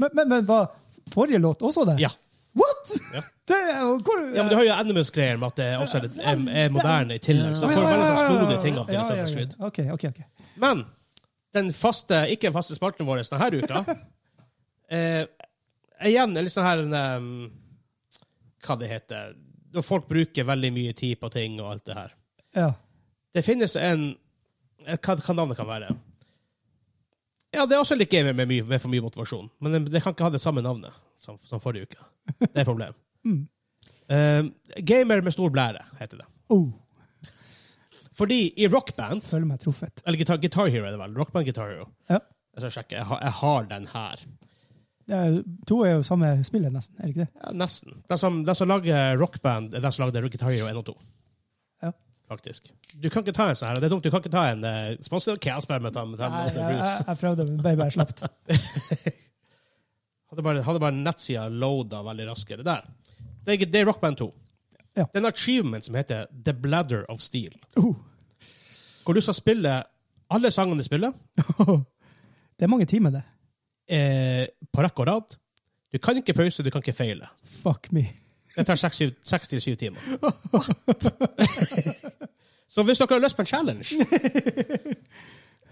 Speaker 1: Men, men, men var forrige låt også det?
Speaker 2: Ja.
Speaker 1: What?!
Speaker 2: Ja.
Speaker 1: Det er jo hvor,
Speaker 2: Ja, men Du har jo Animus-greier med at det også er, litt- er, er moderne i tillegg. Så
Speaker 1: Å,
Speaker 2: får
Speaker 1: ja,
Speaker 2: du
Speaker 1: ja,
Speaker 2: veldig
Speaker 1: ja,
Speaker 2: sånn
Speaker 1: ja,
Speaker 2: snodige ting av det.
Speaker 1: ja, ja, ja.
Speaker 2: Assassin's Creed.
Speaker 1: Ok, ok, ok.
Speaker 2: Men den faste, ikke faste spalten vår denne uka eh, Igjen er litt sånn her en, em, Hva det heter Når folk bruker veldig mye tid på ting og alt det her.
Speaker 1: Ja.
Speaker 2: Det finnes en eh, Hva, hva navnet kan være? Ja, det er også litt gamer med, mye, med for mye motivasjon, men det- det kan ikke ha det samme navnet som, som forrige uke. Det er et problem.
Speaker 1: Mm.
Speaker 2: Em, gamer med stor blære, heter det.
Speaker 1: Oh,
Speaker 2: Fordi i rockband
Speaker 1: føler meg truffet.
Speaker 2: Eller Guitar, Guitar Hero er det vel? Rockband Guitar Hero.
Speaker 1: Ja.
Speaker 2: Jeg skal sjekke. Jeg har, jeg har den her.
Speaker 1: Det er, to er jo samme spillet, nesten. er det ikke det?
Speaker 2: Ja, nesten. Den som, den som lager rockband, er den som lagde Guitar Hero 1 og 2.
Speaker 1: Ja.
Speaker 2: Faktisk. Du kan ikke ta en sånn her. Det er dumt. Du kan ikke ta en uh, sponsor. Ok, jeg spør med ta, med ta,
Speaker 1: Nei,
Speaker 2: med
Speaker 1: jeg,
Speaker 2: Bruce.
Speaker 1: jeg, jeg prøvde, men ble bare sluppet.
Speaker 2: Hadde bare, hadde bare nettsida loada veldig raskere. Der. Det er, det er Rockband 2.
Speaker 1: Ja.
Speaker 2: Det er en achievement som heter The Bladder of Steel.
Speaker 1: Oh.
Speaker 2: Hvor du skal spille alle sangene du spiller,
Speaker 1: Det er mange timer, det.
Speaker 2: eh, på rekke og rad. Du kan ikke pause, du kan ikke feile.
Speaker 1: Fuck me.
Speaker 2: Det tar seks syv- seks til syv timer. så hvis dere har lyst på en challenge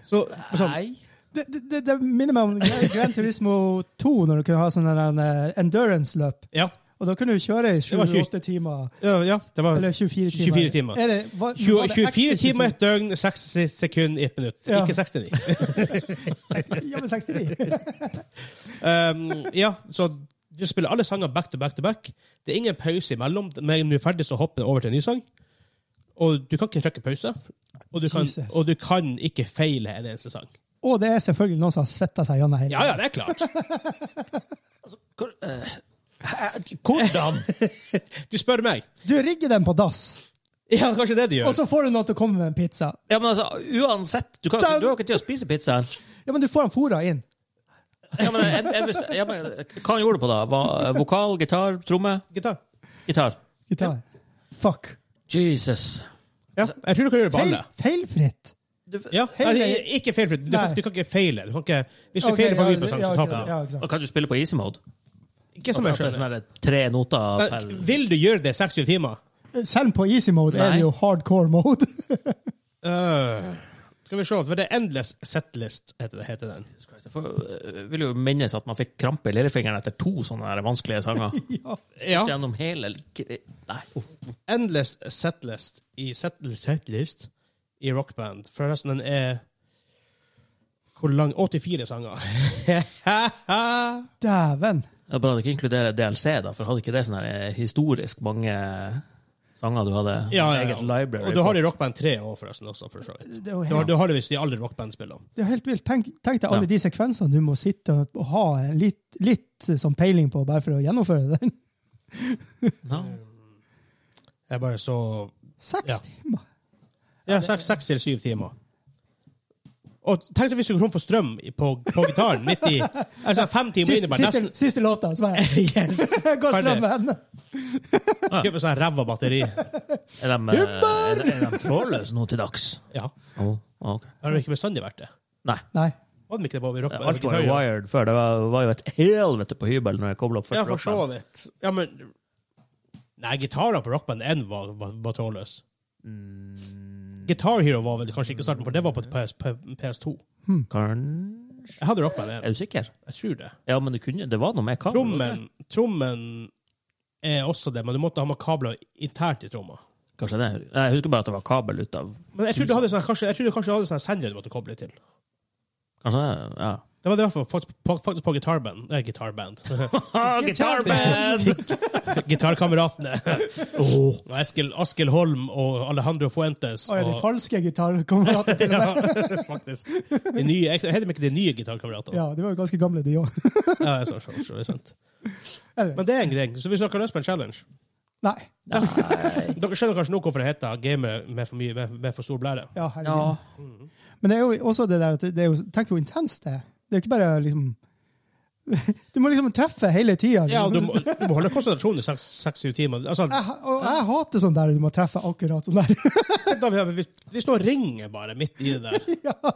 Speaker 2: så, sånn,
Speaker 3: Nei.
Speaker 1: Det, det, det, det minner meg om Gran- Gran Turismo 2, når du kunne ha sånn en, eh, endurance-løp.
Speaker 2: ja,
Speaker 1: Og da kunne du kjøre i
Speaker 2: var tjue-
Speaker 1: 28 timer.
Speaker 2: ja, ja, det var
Speaker 1: Eller 24 timer.
Speaker 2: 24 timer.
Speaker 1: Er det, hva,
Speaker 2: tjue-
Speaker 1: var det ekte
Speaker 2: 24 timer, et døgn, 60 sekunder, ett minutt.
Speaker 1: Ja.
Speaker 2: Ikke 69.
Speaker 1: Ja, men 69.
Speaker 2: Um, ja, så du spiller alle sanger back to back to back. Det er ingen pause imellom. Men du er ferdig, så hopper du over til en ny sang. Og du kan ikke trykke pause. Og du kan,
Speaker 1: Jesus.
Speaker 2: og du kan ikke feile en eneste sang.
Speaker 1: Og det er selvfølgelig noen som har svetta seg gjennom hele
Speaker 2: Ja, ja, det er klart.
Speaker 3: Hvor, eh, hæ? hvordan?
Speaker 2: Du spør meg.
Speaker 1: Du rigger den på dass,
Speaker 2: Ja, kanskje det de
Speaker 1: og
Speaker 2: gjør.
Speaker 1: så får du noen til å komme med en pizza.
Speaker 3: Ja, men altså, uansett, du, kan, du har ikke tid å spise pizzaen.
Speaker 1: Ja, men du får han fôra inn.
Speaker 3: Ja, men, jeg, jeg, visste- ja, men, hva han gjorde på da? Var, vokal, gitar, tromme?
Speaker 2: Gitar.
Speaker 3: Gitar.
Speaker 1: Gitar. Fuck.
Speaker 3: Jesus.
Speaker 2: Ja, jeg tror du kan gjøre det på
Speaker 1: Feil,
Speaker 2: alle.
Speaker 1: feilfritt.
Speaker 3: Du,
Speaker 2: Ja,
Speaker 1: Hele-
Speaker 2: nei, ikke feilfritt. Du, kan-
Speaker 1: Nei.
Speaker 2: du kan ikke feile. Du kan ikke, hvis du
Speaker 1: Ok,
Speaker 2: feiler for
Speaker 1: ja,
Speaker 2: mye på en sang, så
Speaker 1: ja,
Speaker 2: taper du.
Speaker 1: Ja, ikke sant.
Speaker 3: og kan du spille på easy mode?
Speaker 2: Ikke som
Speaker 3: Sånn
Speaker 2: jeg
Speaker 3: at det er sånn
Speaker 2: skjønner.
Speaker 3: her tre noter per
Speaker 2: Men Vil du gjøre det 60 timer?
Speaker 1: Selv på easy mode er det
Speaker 3: Nei.
Speaker 1: jo hardcore mode.
Speaker 2: Øh, skal vi se, for det er Endless Setlist, heter, det, heter den.
Speaker 3: Jeg får, eh, vil jo minnes at man fikk krampe i lillefingeren etter to sånne her vanskelige sanger.
Speaker 1: ja.
Speaker 2: Ja.
Speaker 3: Gjennom hele gre- Nei. oh.
Speaker 2: Endless Setlist i setl- Setlist i rockband. Forresten, den er Hvor lang? 84 sanger.
Speaker 1: Dæven.
Speaker 3: Det er bra det ikke inkluderer DLC, da, for hadde ikke det sånn her eh, historisk mange sanger du hadde? Eget library
Speaker 2: Og du har
Speaker 3: på?
Speaker 2: i rockband 3 år, forresten, også, for så vidt.
Speaker 1: Det er jo
Speaker 2: Du har,
Speaker 1: helt,
Speaker 2: du har det hvis de alle rockband spiller.
Speaker 1: det er helt vilt. Tenk, tenk deg alle
Speaker 3: Ja.
Speaker 1: de sekvensene du må sitte og ha litt, litt sånn peiling på bare for å gjennomføre den.
Speaker 3: Ja.
Speaker 2: Jeg bare så
Speaker 1: Seks
Speaker 2: Ja.
Speaker 1: timer.
Speaker 2: Ja, seks, seks til syv timer. Og tenk deg hvis du går tom for strøm i- på, på gitaren midt i altså fem timer inn
Speaker 1: Siste,
Speaker 2: i bare
Speaker 1: siste,
Speaker 2: nesten
Speaker 1: siste låta, så bare
Speaker 2: Yes!
Speaker 1: går
Speaker 2: Ferdig.
Speaker 1: strømmen.
Speaker 2: Kjøper sånn ræva batteri.
Speaker 3: Er de, eh, er de- er de trådløse nå til dags?
Speaker 2: Ja.
Speaker 3: Oh, ok.
Speaker 2: Har det ikke bestandig vært det?
Speaker 3: Nei.
Speaker 1: Nei.
Speaker 2: Var det ikke det på rock,
Speaker 3: Alt var jo
Speaker 2: gitarer?
Speaker 3: wired før. Det var, var jo et helvete på hybel når jeg kobla opp. første
Speaker 2: Ja, for så
Speaker 3: rockband.
Speaker 2: vidt. Ja, men Nei, gitarene på rockband 1 var, var, var trådløs.
Speaker 3: Mm,
Speaker 2: Guitar Hero var vel kanskje ikke starten, for det var på PS, PS2.
Speaker 3: Kan...
Speaker 2: Jeg hadde rockband
Speaker 3: Er
Speaker 2: 1.
Speaker 3: du sikker?
Speaker 2: Jeg tror det.
Speaker 3: Ja, men det, kunne, det var noe med kabel.
Speaker 2: Trommen, trommen er også det, men du måtte ha med kabler internt i tromma.
Speaker 3: Kanskje det. Nei, Jeg husker bare at det var kabel ut av
Speaker 2: Men jeg tror du hadde sånn, kanskje, jeg tror du kanskje hadde sånn sender du måtte koble til.
Speaker 3: Kanskje det, ja.
Speaker 2: Det var det i hvert fall faktisk på, faktisk på gitarband. Nei, gitarband.
Speaker 1: Gitarband!
Speaker 2: Gitarkameratene. Og Eskil, Askild Holm og Alejandro Fuentes.
Speaker 1: Å ja, de
Speaker 2: og,
Speaker 1: falske gitarkameratene til og med.
Speaker 2: ja, faktisk. De nye, jeg heter de ikke de nye gitarkameratene.
Speaker 1: Ja, de var jo ganske gamle, de òg.
Speaker 2: Ja, jeg sa- så- så det er sant. Men det er en greie. Så hvis dere har lyst på en challenge
Speaker 1: Nei.
Speaker 2: Dere skjønner kanskje nå hvorfor det heter 'gamer med for, mye, med, med for stor blære'.
Speaker 1: Ja, herregud.
Speaker 3: Ja.
Speaker 1: Men det er jo også det der at det er jo, tenk hvor intenst det er. Det er ikke bare liksom Du må liksom treffe hele tida.
Speaker 2: Ja, du må, du må holde konsentrasjonen i seks- seks-syv timer. Altså,
Speaker 1: Jeg, ha- og jeg hater sånn der du må treffe akkurat sånn der.
Speaker 2: da vi, hvis, hvis noen ringer bare midt i det der,
Speaker 1: ja.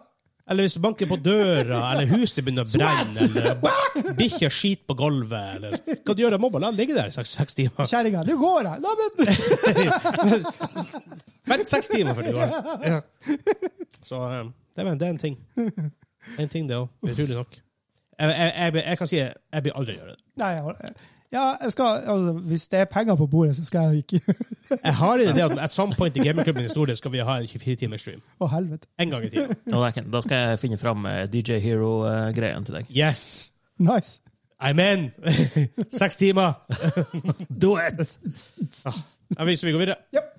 Speaker 2: eller hvis det banker på døra, eller huset begynner å brenne, eller bikkja skiter på gulvet, eller hva du gjør, jeg må bare la den ligge der i seks, seks timer.
Speaker 1: Kjerringa, nå går jeg! La meg
Speaker 2: Vent seks timer før du går. Ja. Så eh, det, er, det er en ting. En ting, det òg. Utrolig nok. Jeg, jeg, jeg, jeg kan si jeg, jeg blir aldri gjøre det.
Speaker 1: Nei, jeg- ja, jeg skal, altså, hvis det er penger på bordet, så skal jeg ikke Å,
Speaker 2: Jeg har en idé om at at some point i gamingklubben i Stordia skal vi ha en 24-timersstream.
Speaker 1: helvete.
Speaker 2: En gang i tiden.
Speaker 3: Nå, det er ikke- Da skal jeg finne fram eh, DJ Hero-greien til deg.
Speaker 2: Yes!
Speaker 1: Nice.
Speaker 2: I'm in! Seks timer!
Speaker 3: Do it!
Speaker 2: Ja, vi- så vi går videre.
Speaker 1: Yep.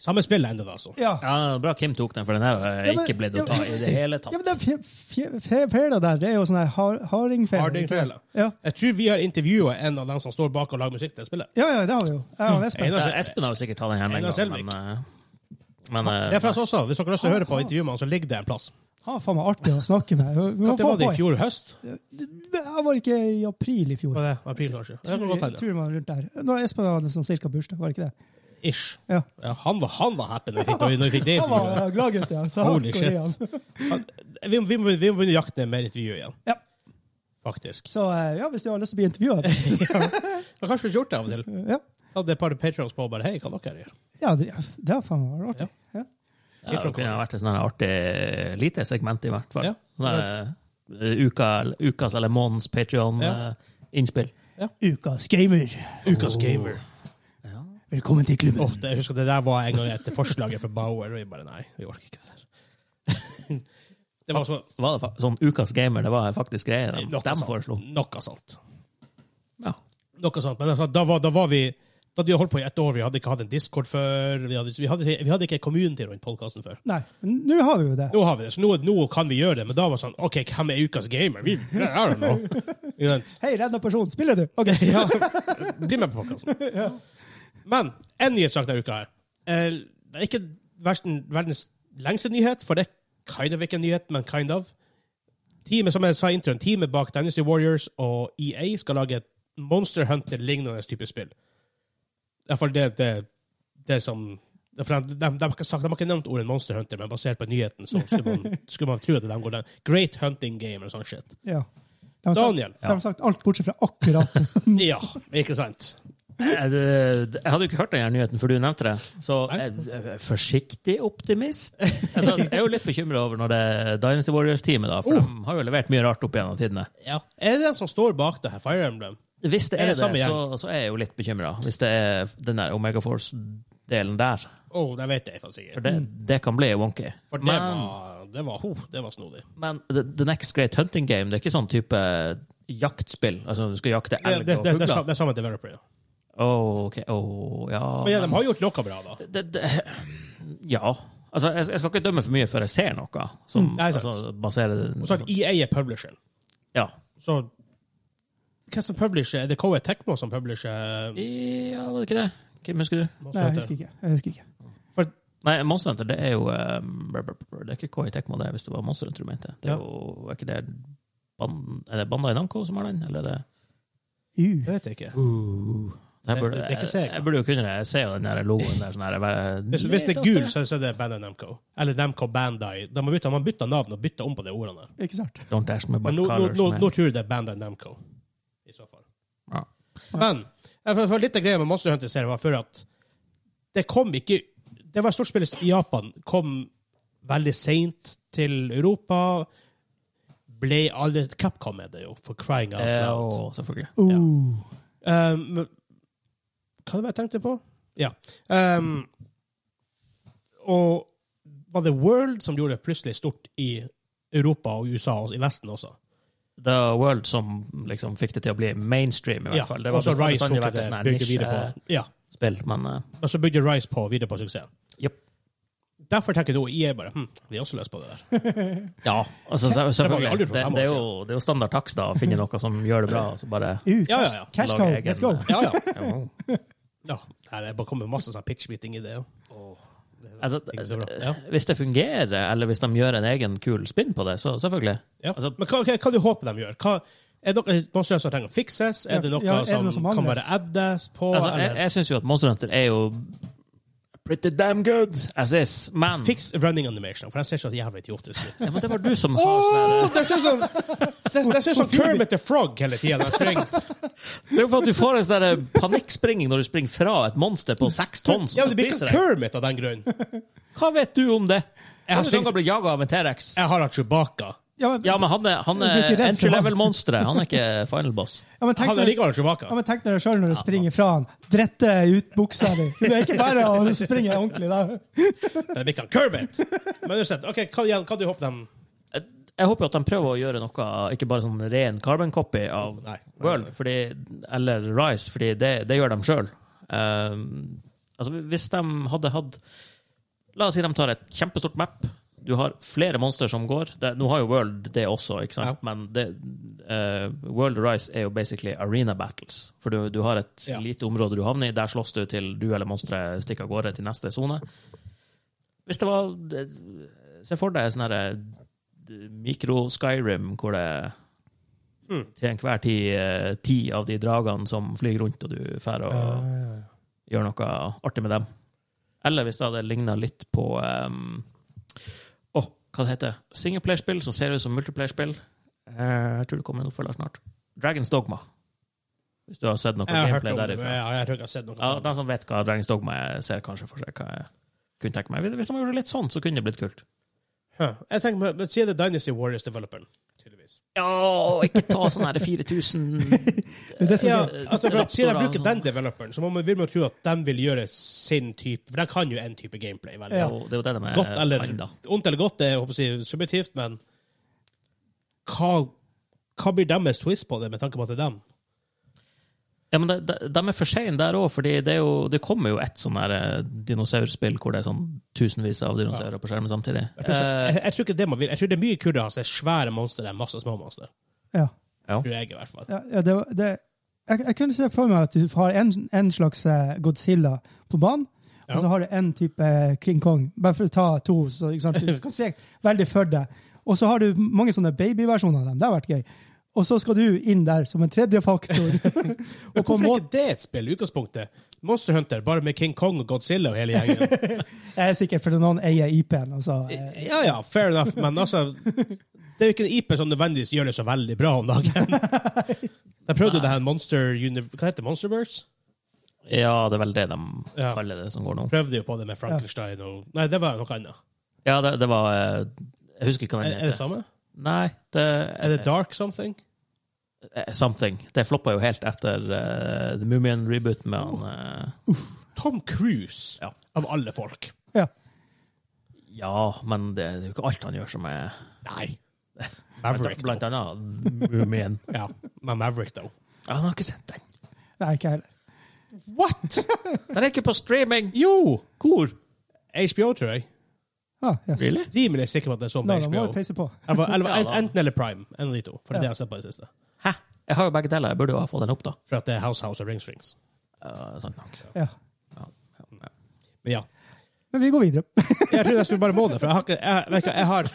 Speaker 2: Samme spill enda, da, altså.
Speaker 1: Ja.
Speaker 3: Ja, Bra Kim tok den, for den her har
Speaker 1: Ja,
Speaker 3: jeg
Speaker 1: men-
Speaker 3: ikke blitt å ta i det hele tatt.
Speaker 1: Ja, men den fe- fe- fe- fela der, det er jo sånn her har- hardingfela.
Speaker 2: Hardingfela.
Speaker 1: Ja.
Speaker 2: Jeg tror vi har intervjua en av dem som står bak og lager musikk til spillet.
Speaker 1: ja, ja, det har vi jo. Ja, det er spennende.
Speaker 3: Ja, Espen har jo sikkert tatt den her med
Speaker 2: Einar
Speaker 3: en gang, men, eh, men eh,
Speaker 2: Det er fra oss også. Hvis dere også hører på intervjuet med han, så ligger det en plass.
Speaker 1: Ah, faen meg artig å snakke med. Vi må få
Speaker 2: Når var det
Speaker 1: på-
Speaker 2: i fjor høst?
Speaker 1: Det her var ikke i april i fjor.
Speaker 2: Var det april, kanskje? Det kan godt
Speaker 1: Jeg
Speaker 2: hende.
Speaker 1: tror man rundt der. Når Espen hadde sånn cirka bursdag, var det ikke det?
Speaker 2: Ish.
Speaker 1: Ja.
Speaker 2: Ja, han, var, han var happy når vi fikk, når vi fikk det
Speaker 1: Han var
Speaker 2: intervjuet.
Speaker 1: ja, gladgutt, ja. Så
Speaker 2: Holy
Speaker 1: han går igjen.
Speaker 2: Han- Vi, vi, må, vi må begynne å jakte mer intervju igjen,
Speaker 1: Ja.
Speaker 2: faktisk.
Speaker 1: Så eh, ja, hvis du har lyst til å bli intervjuet
Speaker 2: Men kanskje vi skulle gjort det av og til.
Speaker 1: Ja,
Speaker 2: Hadde et par patrons på og bare Hei, hva dere gjør
Speaker 1: ja det, det har faen meg vært artig. Ja.
Speaker 3: ja, det kunne vært et sånn her artig eh, lite segment, i hvert fall.
Speaker 2: Ja,
Speaker 3: Sånn her, eh, uka, ukas eller månedens eh,
Speaker 2: Ja.
Speaker 3: Patrion-innspill.
Speaker 1: Ukas gamer,
Speaker 2: Ukas gamer.
Speaker 1: velkommen til klubben.
Speaker 2: Åh, det, jeg husker det der var en gang etter forslaget fra Bauer, og vi bare Nei, vi orker ikke det der. Det var sånn
Speaker 3: Var det fa- sånn Ukas gamer, det var faktisk greie de,
Speaker 2: noe
Speaker 3: de
Speaker 2: sånt.
Speaker 3: foreslo.
Speaker 2: Noe sånt.
Speaker 3: Ja.
Speaker 2: Noe sånt. Men altså, da, var, da var vi Da hadde vi holdt på i ett år, vi hadde ikke hatt en Discord før. Vi hadde, vi hadde, vi hadde ikke en community rundt podkasten før.
Speaker 1: Nei, men nå har vi jo det.
Speaker 2: Nå har vi det, så nå, nå kan vi gjøre det. Men da var det sånn OK, hvem er ukas gamer? Vi, I don't know. Ikke sant?
Speaker 1: Hei, redda person, spiller du? Ok,
Speaker 2: Ja. Bli med på podkasten. Men en nyhetssak denne uka her. Eh, Det er ikke verden, verdens lengste nyhet, for det er kind of ikke en nyhet, men kind of. Teamet som jeg sa i introen, teamet bak Dynasty Warriors og EA skal lage et Monster Hunter-lignende type spill. I hvert fall det, det, det som det er for de, de, de, har ikke sagt, de har ikke nevnt ordet Monster Hunter, men basert på nyheten så skulle man, skulle man tro at de går den Great Hunting Game eller sånn shit.
Speaker 1: Ja. De har, sagt,
Speaker 2: Daniel.
Speaker 1: de har sagt alt bortsett fra akkurat det.
Speaker 2: Ja, ikke sant?
Speaker 3: Jeg, jeg hadde jo ikke hørt den her nyheten før du nevnte det, så jeg, jeg er forsiktig optimist. Altså, jeg er jo litt bekymra over når det er Dynasty Warriors-teamet, da, for de har jo levert mye rart opp gjennom tidene.
Speaker 2: Ja. Er det den som står bak det her, Fire Emblem?
Speaker 3: Hvis det
Speaker 2: Er
Speaker 3: er,
Speaker 2: det samme
Speaker 3: det,
Speaker 2: gjeng?
Speaker 3: så, så er jeg jo litt bekymra. Hvis det er den der Omega Force-delen der.
Speaker 2: Å, det vet jeg faktisk ikke.
Speaker 3: For det, Mm. det kan bli wonky.
Speaker 2: For det
Speaker 3: Men,
Speaker 2: var, det var, ho, det var snodig.
Speaker 3: men the, the Next Great Hunting Game det er ikke sånn type jaktspill. Altså, du skal jakte
Speaker 2: Det, det,
Speaker 3: elg
Speaker 2: det,
Speaker 3: og
Speaker 2: det, er sa-
Speaker 3: fugler.
Speaker 2: det er samme developer, ja.
Speaker 3: Åh, ok. Åh, ja.
Speaker 2: Men ja, de har gjort noe bra, da.
Speaker 3: det, det, ja. Altså, jeg, jeg skal ikke dømme for mye før jeg ser noe som
Speaker 2: Mm, Nei, sant.
Speaker 3: altså, baserer
Speaker 2: Og så at EA er publisheren.
Speaker 3: ja.
Speaker 2: Så hvem som publisher? Er det KE Tekmo som publisher?
Speaker 3: ja, var det ikke det? Hvem husker du?
Speaker 1: Nei, jeg husker ikke. Jeg husker ikke.
Speaker 3: Nei, Monster Hunter, det er jo um, brr, brr, brr, Det er ikke KI Tekmo, det, hvis det var Monster Hunter du mente. Det
Speaker 2: Ja.
Speaker 3: er jo er ikke det Ban- Er det Bandai Namco som har den, eller er det
Speaker 1: Uh.
Speaker 2: Jeg vet ikke.
Speaker 3: Jeg
Speaker 2: Det- Uh,
Speaker 3: burde,
Speaker 2: det er ikke
Speaker 3: jeg,
Speaker 2: Sega.
Speaker 3: jeg burde jo kunne det. Jeg ser jo den der logoen der. Sånn her, jeg bare-
Speaker 2: Hvis, hvis det er gul, så så er det Bandai Namco. Eller Namco Bandai. De har bytta, man bytta navn og bytta om på de ordene.
Speaker 1: Ikke sant?
Speaker 3: Don't ask me about
Speaker 2: Men nå, nå,
Speaker 3: colors,
Speaker 2: nå,
Speaker 3: men-
Speaker 2: nå tror jeg det er Bandai Namco. I så fall.
Speaker 3: Ja.
Speaker 2: Men jeg får- får litt av greia med Monster Hunter-serien var før at det kom ikke Det var et stort spill i Japan. Kom veldig seint til Europa. Ble aldri Capcom er det jo, for crying out
Speaker 3: Eh,
Speaker 2: loud.
Speaker 3: å, selvfølgelig.
Speaker 1: Uh.
Speaker 2: Um, hva var det jeg tenkte på? Ja. Um, og var det World som gjorde det plutselig stort i Europa og USA, og i Vesten også?
Speaker 3: The World som liksom fikk det til å bli mainstream, i hvert fall. Det var
Speaker 2: og så
Speaker 3: det har
Speaker 2: Rise
Speaker 3: bestandig
Speaker 2: altså tok
Speaker 3: vært en
Speaker 2: det,
Speaker 3: sånn her
Speaker 2: bygde videre
Speaker 3: nisje-
Speaker 2: på. Ja.
Speaker 3: spill, men eh,
Speaker 2: Og så bygde Rise på videre på suksessen.
Speaker 3: Japp.
Speaker 2: Derfor tenker nå IA bare hm, vi har også lyst på det der.
Speaker 3: Ja, altså, selv-
Speaker 2: Det var jo aldri
Speaker 3: selvfølgelig.
Speaker 2: for
Speaker 3: Det,
Speaker 2: fem år
Speaker 3: det, er jo, det er jo standard takst da, å finne noe som gjør det bra. og Så bare
Speaker 1: Uh,
Speaker 2: Ja, ja, ja.
Speaker 1: Cash
Speaker 3: Lag
Speaker 1: cow,
Speaker 3: egen-
Speaker 1: let's go!
Speaker 2: Ja, ja.
Speaker 3: Jo.
Speaker 2: ja. Nei, Det bare kommer masse sånn pitch-meeting-ideer. Det er
Speaker 3: altså,
Speaker 2: ikke så bra. Ja.
Speaker 3: Hvis det fungerer, eller hvis de gjør en egen kul spinn på det, så selvfølgelig.
Speaker 2: Ja.
Speaker 3: Altså-
Speaker 2: Men hva, hva, hva du håper de gjør? Hva, er det noe noen som trenger å fikses? Er det noe,
Speaker 1: Ja, er det noe
Speaker 2: som,
Speaker 1: som
Speaker 2: kan
Speaker 1: mangles?
Speaker 2: være addes på?
Speaker 3: Altså, jeg
Speaker 2: eller?
Speaker 3: jeg syns jo at Monster Hunter er jo pretty damn good as is, men
Speaker 2: Fix running animation, for den ser så jævlig idiotisk ut.
Speaker 3: ja, men det var du som har sånn her-
Speaker 2: Åh, det ser ut som Det ser ut som Kermit the Frog hele tida.
Speaker 3: Det er jo for at du får en sånn der panikkspringing når du springer fra et monster på seks tonn. som
Speaker 2: Ja, men det blir
Speaker 3: spiser
Speaker 2: ikke
Speaker 3: deg.
Speaker 2: Kermit av den grunn.
Speaker 3: Hva vet du om det?
Speaker 2: Jeg har
Speaker 3: Kanskje
Speaker 2: springt-
Speaker 3: noen blir jaga av en T-rex.
Speaker 2: Jeg har hatt Chewbacca.
Speaker 1: Ja, men,
Speaker 3: Ja, men han er,
Speaker 1: Du
Speaker 3: han
Speaker 1: er ikke redd
Speaker 3: er
Speaker 1: for
Speaker 3: entry
Speaker 1: han.
Speaker 3: level-monsteret. Han er ikke final boss.
Speaker 1: ja, men tenk
Speaker 2: Han
Speaker 1: når-
Speaker 2: er likevel Chewbacca.
Speaker 1: Ja, men tenk deg sjøl når du springer fra han. Drette ut buksa di. Det er ikke bare å springe ordentlig der.
Speaker 2: Men det blir ikke han Eh, Kermit. Men uansett, ok, hva, igjen, hva du håper de
Speaker 3: Jeg jeg håper jo at de prøver å gjøre noe, ikke bare sånn ren carbon copy av
Speaker 2: Nei.
Speaker 3: World fordi, eller Rise, fordi det, det gjør de sjøl. altså, hvis de hadde hatt La oss si de tar et kjempestort map. Du har flere monster som går. Det, nå har jo World det også, ikke sant? men det, eh, World og Rise er jo basically arena battles. For du, du har et
Speaker 2: Ja.
Speaker 3: lite område du havner i, der slåss du til du eller monsteret stikker av gårde til neste sone. Hvis det var det, Se for deg sånn herre mikro-Skyrim, hvor det
Speaker 2: Mm.
Speaker 3: til enhver tid eh, ti av de dragene som flyr rundt, og du drar og gjør noe artig med dem. Eller hvis det hadde ligna litt på um, Å, hva det heter det? Singleplayerspill som ser ut som multiplayerspill. Eh, jeg tror det kommer en oppfølger snart. Dragons Dogma. Hvis du har sett noe
Speaker 2: Jeg har hørt
Speaker 3: gameplay
Speaker 2: om det, men
Speaker 3: derifra.
Speaker 2: jeg, jeg tror ikke jeg har sett noe
Speaker 3: Ja,
Speaker 2: sånt.
Speaker 3: De som vet hva Dragons Dogma er, ser kanskje for seg hva jeg kunne tenke meg. Hvis de gjorde det litt sånn, så kunne det blitt kult.
Speaker 2: Huh. Jeg tenker, men- men Sier det Dynasty Warriors-developeren, tydeligvis.
Speaker 3: Ja, og ikke ta sånn her 4000
Speaker 1: Det er det som er
Speaker 2: Ja,
Speaker 1: gøy.
Speaker 2: altså, for, sier de
Speaker 3: Raptorer og
Speaker 2: bruker den
Speaker 3: sånn.
Speaker 2: developeren, så må man, vil man tro at de vil gjøre sin type For de kan jo en type gameplay. veldig
Speaker 3: Det
Speaker 1: Ja.
Speaker 3: er jo det er jo det de er
Speaker 2: Godt eller
Speaker 3: enda.
Speaker 2: Ondt eller godt det er jeg håper å si, subjektivt, men hva, hva blir deres twist på det, med tanke på at det er dem?
Speaker 3: Ja, men de, de, de er for sene der òg, for det, er jo- det kommer jo et sånn der, eh, dinosaurspill hvor det er sånn tusenvis av dinosaurer på skjermen samtidig.
Speaker 2: Jeg tror,
Speaker 3: Eh,
Speaker 2: jeg, jeg tror ikke det man vil. Jeg tror det er mye kulere å ha seg svære monstre enn masse små monstre.
Speaker 1: Ja.
Speaker 2: Tror jeg, i hvert fall.
Speaker 1: Ja, ja, det, var- det, jeg, jeg kunne se for meg at du har en, en slags eh, Godzilla på banen,
Speaker 2: Ja.
Speaker 1: og så har du en type eh, King Kong. Bare for å ta to, så ikke sant? du skal se veldig for deg. Og så har du mange sånne babyversjoner av dem. Det har vært gøy. Og så skal du inn der som en tredje faktor. og på en
Speaker 2: Hvorfor er
Speaker 1: måte,
Speaker 2: ikke det et spill i utgangspunktet? Monster Hunter, bare med King Kong og Godzilla og hele gjengen.
Speaker 1: jeg er sikkert fordi noen eier IP-en. Altså, eh,
Speaker 2: Ja ja, fair enough, men altså Det er jo ikke en IP som nødvendigvis gjør det så veldig bra om dagen. Jeg prøvde det her Monster Univ... Hva heter det? Monsterverse?
Speaker 3: Eh, ja, det er vel det de
Speaker 2: Ja.
Speaker 3: kaller det som går nå.
Speaker 2: Prøvde jo på det med Frankenstein og Nei, det var noe annet.
Speaker 3: Ja, det, det var eh, Jeg husker ikke hva
Speaker 2: Er,
Speaker 3: den
Speaker 2: er det
Speaker 3: heter.
Speaker 2: samme?
Speaker 3: Nei, det
Speaker 2: Er det Dark Something?
Speaker 3: eh, Something. Det floppa jo helt etter eh, The Mumien-rebooten med han eh,
Speaker 2: Tom Cruise,
Speaker 3: Ja.
Speaker 2: av alle folk.
Speaker 1: ja.
Speaker 3: Ja, men det, det er jo ikke alt han gjør som er
Speaker 2: Nei. Maverick,
Speaker 3: Blant
Speaker 2: da.
Speaker 3: annet Mumien.
Speaker 2: Ja, men Maverick, da.
Speaker 3: Ja, han har ikke sett den.
Speaker 1: Nei, ikke heller.
Speaker 2: What?!
Speaker 3: Den er ikke på streaming!
Speaker 2: Jo!
Speaker 3: Hvor?
Speaker 2: HBO, tror jeg.
Speaker 1: Ah, yes.
Speaker 3: Really?
Speaker 2: Rimelig sikker på at det er sånn
Speaker 1: Nå,
Speaker 2: på
Speaker 1: da må
Speaker 2: HBO.
Speaker 1: vi peise på.
Speaker 2: Eller, eller,
Speaker 3: Ja, da.
Speaker 2: enten eller Prime. En av de to. For det er det jeg har sett på i det siste.
Speaker 3: Hæ? Jeg har jo begge deler. Jeg burde jo ha fått den opp, da.
Speaker 2: For at det er House House og Rings Rings.
Speaker 3: Eh, sant nok.
Speaker 1: Ja.
Speaker 2: Men ja.
Speaker 1: Men vi går videre.
Speaker 2: Jeg tror jeg skulle bare må det, for jeg har, ikke, jeg, vet ikke, jeg har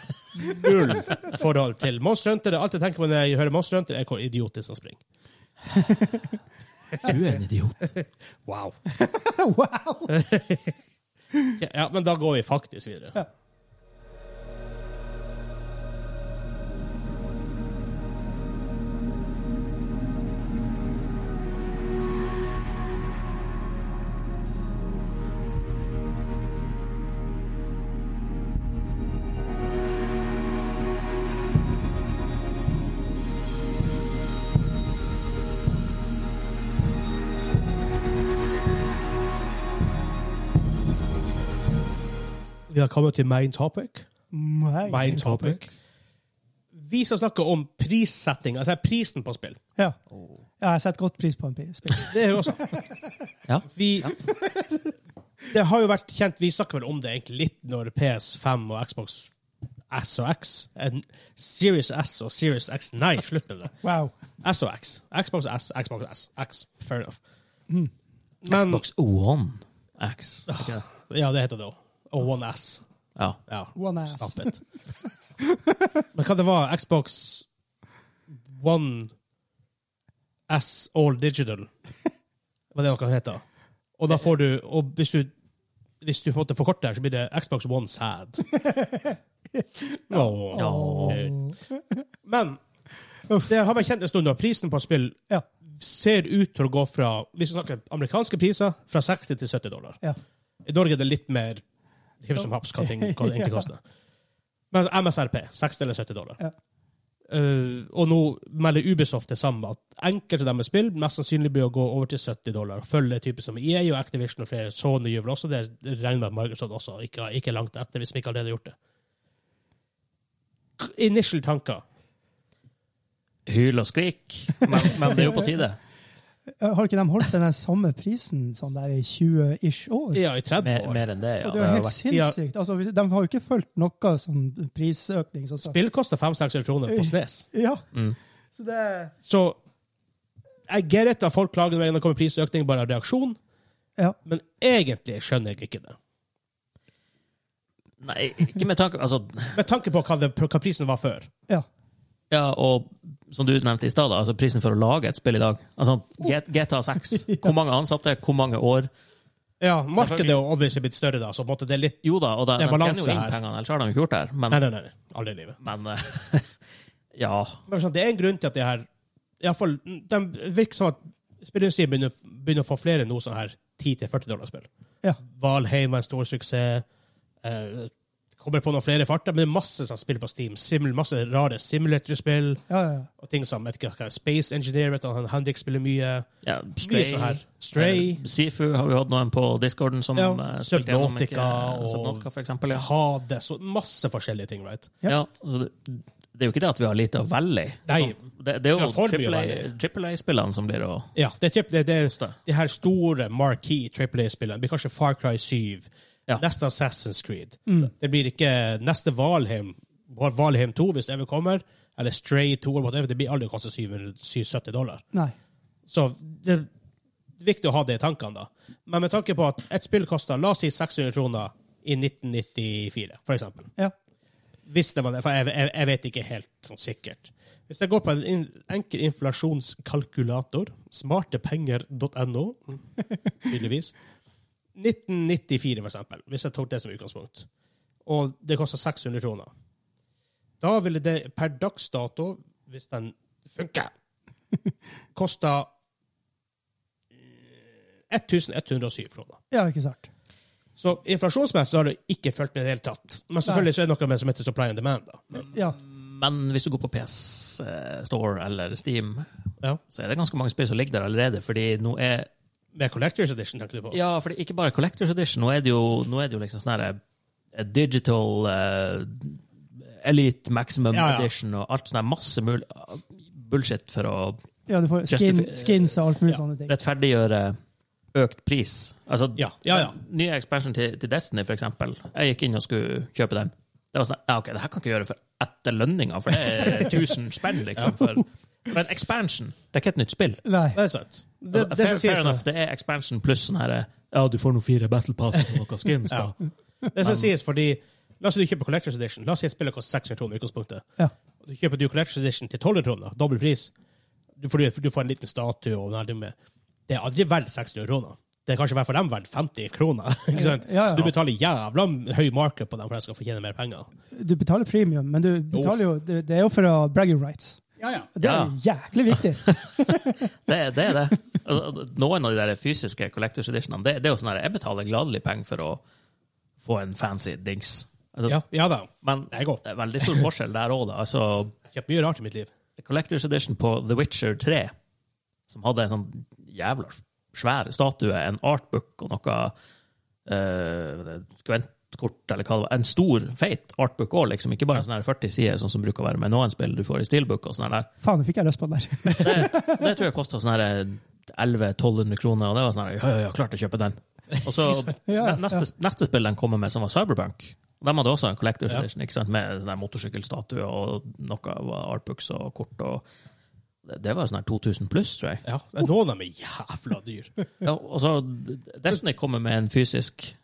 Speaker 2: null forhold til Monster Hunter. Alt jeg tenker på når jeg hører Monster Hunter, er hvor idiotisk han springer.
Speaker 3: Du er en idiot.
Speaker 2: Wow.
Speaker 1: wow!
Speaker 2: Ja, men da går vi faktisk videre.
Speaker 1: Ja.
Speaker 2: Vi har kommet til main topic.
Speaker 1: Nei.
Speaker 2: Main topic. Vi skal snakke om prissetting, altså prisen på spill.
Speaker 1: Ja. Ja, jeg setter godt pris på en pi- spill.
Speaker 2: Det er jo også.
Speaker 3: Ja.
Speaker 2: Vi, det har jo vært kjent, vi snakker vel om det egentlig litt når PS5 og Xbox S og X, en Series S og Series X, nei, slutt med det.
Speaker 1: Wow.
Speaker 2: S og X. Xbox S, Xbox S, X. Fair enough. Men,
Speaker 3: Mm. Xbox One X. ikke det?
Speaker 2: Ja, det heter det òg. Og One S.
Speaker 3: Ja.
Speaker 2: Ja.
Speaker 1: One ass.
Speaker 2: Stop it. Men hva det var? Xbox One S All Digital. Var det noe det heter? Og da får du Og hvis du, hvis du på en måte forkorter her, så blir det Xbox One Sad. Åh.
Speaker 3: Ja.
Speaker 2: Men det har vært kjent en stund at prisen på spill
Speaker 1: Ja.
Speaker 2: ser ut til å gå fra hvis vi snakker amerikanske priser, fra 60 til 70 dollar.
Speaker 1: Ja.
Speaker 2: I Norge er det litt mer hiv som haps hva ting hva det egentlig
Speaker 1: Ja.
Speaker 2: koster. Men altså, MSRP 60 eller 70 dollar.
Speaker 1: Ja.
Speaker 2: Eh, og nå melder Ubisoft det samme, at enkelte av deres spill mest sannsynlig blir å gå over til 70 dollar. Følge typer som EA og Activision og flere. Sony gjør vel også det. Jeg Regner med at Microsoft også ikke, ikke er langt etter, hvis de ikke allerede har gjort det. K- Initial tanker.
Speaker 3: Hyl og skrik. Men, men det er jo på tide.
Speaker 1: Har ikke de holdt den der samme prisen sånn der i 20-ish år?
Speaker 2: Ja, E i 30
Speaker 3: Mer,
Speaker 2: år.
Speaker 3: mer enn det, ja.
Speaker 1: Og det er jo helt
Speaker 3: vært-
Speaker 1: sinnssykt. Altså, hvis- de har jo ikke fulgt noe som prisøkning. Sånn, så.
Speaker 2: Spill koster 500-600 kroner på Snes.
Speaker 1: Ja.
Speaker 3: Mm.
Speaker 1: Så det er
Speaker 2: Så jeg get it at folk klager når det kommer prisøkning, bare av reaksjon,
Speaker 1: Ja.
Speaker 2: men egentlig skjønner jeg ikke det.
Speaker 3: Nei, ikke med tanke Altså,
Speaker 2: Med tanke på hva, det, hva prisen var før.
Speaker 1: ja.
Speaker 3: ja, og som du nevnte i stad, da, altså prisen for å lage et spill i dag. Altså, G- GTA 6. Hvor mange ansatte, hvor mange år?
Speaker 2: Ja, Markedet er jo obviously blitt større, da, så på en måte det er litt
Speaker 3: Jo da, og de,
Speaker 2: Det er
Speaker 3: de tjener
Speaker 2: balanse
Speaker 3: jo inn
Speaker 2: her.
Speaker 3: pengene, ellers har de jo ikke gjort det her. Men,
Speaker 2: Nei, nei, nei. nei. Aldri i livet.
Speaker 3: men eh, ja.
Speaker 2: Men sånn, det er en grunn til at det her i alle fall, De virker som at spillindustrien begynner, begynner å få flere nå sånn her 10-40 dollar-spill.
Speaker 1: Ja.
Speaker 2: Valheim var en stor suksess. Eh, kommer på noen flere farter, men det er masse sånn spill på Steam. Simul, masse rare simulatorspill.
Speaker 1: ja, ja, ja.
Speaker 2: og ting som jeg vet ikke, hva er Space Engineer, vet du, han Henrik spiller mye.
Speaker 3: ja
Speaker 2: Mye sånn her. Stray,
Speaker 3: Eh, Sifu har vi hatt noen på discorden som
Speaker 2: Ja,
Speaker 3: eh, spilte gjennom, ikke-
Speaker 2: Subnautica og-
Speaker 3: Subnautica, for eksempel. Ja.
Speaker 2: Hades, og masse forskjellige ting, right?
Speaker 1: Ja.
Speaker 3: Ja. altså, det, det er jo ikke det at vi har lite å velge i. Altså,
Speaker 2: Nei.
Speaker 3: Det, det er
Speaker 2: Ja, for mye å
Speaker 3: jo
Speaker 2: velge
Speaker 3: trippel A-spillene som blir å
Speaker 2: Ja, det er, typ- det, det, er de her store marquee AAA-spillene. Det blir kanskje Far Cry 7,
Speaker 3: Ja.
Speaker 2: neste Assassin's Creed. Det blir ikke neste Valheim, Valheim 2, hvis det ever kommer, eller Stray 2, eller whatever. Det blir aldri å koste 700 770 dollar.
Speaker 1: Nei.
Speaker 2: Så det er viktig å ha det i tankene, da. Men med tanke på at et spill koster, la oss si 600 kroner i 1994, for eksempel.
Speaker 1: Ja.
Speaker 2: Hvis det var det, for jeg, jeg, jeg vet ikke helt sånn sikkert. Hvis jeg går på en in, enkel inflasjonskalkulator, smartepenger.no, tydeligvis 1994, for eksempel, hvis jeg tok det som utgangspunkt, og det kosta 600 kroner, da ville det per dags dato, hvis den funker, kosta eh, 1107 kroner.
Speaker 1: ja, ikke sant.
Speaker 2: Så inflasjonsmessig har det ikke fulgt med i det hele tatt. Men selvfølgelig så er det noe med som heter supply and demand. da. Men,
Speaker 1: Ja.
Speaker 3: Men hvis du går på PS eh, Store eller Steam,
Speaker 2: ja.
Speaker 3: så er det ganske mange spill som ligger der allerede. fordi nå er
Speaker 2: Med Collectors Edition, tenker du på?
Speaker 3: Ja, fordi ikke bare Collectors Edition. Nå er det jo, nå er det jo liksom sånn her eh, Digital eh, Elite Maximum
Speaker 2: Ja, ja.
Speaker 3: Edition og alt sånn her masse mul bullshit for å
Speaker 1: ja, du får skin,
Speaker 3: Justif-
Speaker 1: skins og alt mulig
Speaker 2: Ja.
Speaker 1: sånne ting.
Speaker 3: rettferdiggjøre økt pris. Altså,
Speaker 2: Ja, ja, ja.
Speaker 3: den Nye expansion til, til Destiny, for eksempel. Jeg gikk inn og skulle kjøpe den. Det var sånn, ja, ok, det her kan jeg ikke gjøre for etter lønninga, for det er 1000 spenn, liksom. For, for en expansion, det er ikke et nytt spill.
Speaker 1: Nei.
Speaker 2: Det er sant. Det,
Speaker 3: Altså,
Speaker 2: det,
Speaker 3: fair,
Speaker 2: som
Speaker 3: fair
Speaker 2: sies-
Speaker 3: enough, det er expansion pluss sånn herre Ja, du får nå fire battle passes og noe skins, da.
Speaker 2: det som sies fordi La oss si du kjøper Collectors Edition. La oss si spillet koster 600 kroner i utgangspunktet.
Speaker 1: Ja.
Speaker 2: Og Du kjøper du Collectors Edition til 1200 kroner, dobbel pris. Du får, du får en liten statue og den her du med. Det er aldri verdt 600 kroner. Det er kanskje hver for dem verdt 50 kroner. ikke sant?
Speaker 1: Ja, ja.
Speaker 2: Du betaler jævla høy markup på dem for at de skal få tjene mer penger.
Speaker 1: Du betaler premium, men du betaler jo, det, det er jo for å ha bragging rights. Det er jo jæklig viktig.
Speaker 3: Det, det er det. Altså, Noen av de der fysiske collectors editionene, det, det er jo sånn her, jeg betaler gladelig penger for å få en fancy dings. Altså,
Speaker 2: Ja, ja da.
Speaker 3: Men
Speaker 2: Det er godt.
Speaker 3: det er veldig stor forskjell der òg, da. Altså,
Speaker 2: Jeg kjøper mye rart i mitt liv.
Speaker 3: Collectors Edition på The Witcher 3, som hadde en sånn jævla svær statue, en artbook og noe uh, kort, eller hva det var, en stor, feit artbook òg, liksom. Ikke bare en sånn her 40 sider, sånn som bruker å være med noen spill du får i steelbook. og sånn her.
Speaker 1: Faen, nå fikk jeg lyst på den der.
Speaker 3: Det, det tror jeg kosta sånn her 1100-1200 kroner, og det var sånn her, ja, ja, ja, klart jeg kjøper den. Og så
Speaker 1: Ja, ja.
Speaker 3: neste, neste spill den kommer med, som var Cyberpunk, de hadde også en collector's edition, ikke sant? med den der motorsykkelstatue og noe av artbooks og kort. og det- det var sånn her 2000 pluss, tror jeg.
Speaker 2: Ja, Noen av dem er jævla dyr.
Speaker 3: Ja, og så Destiny kommer med en fysisk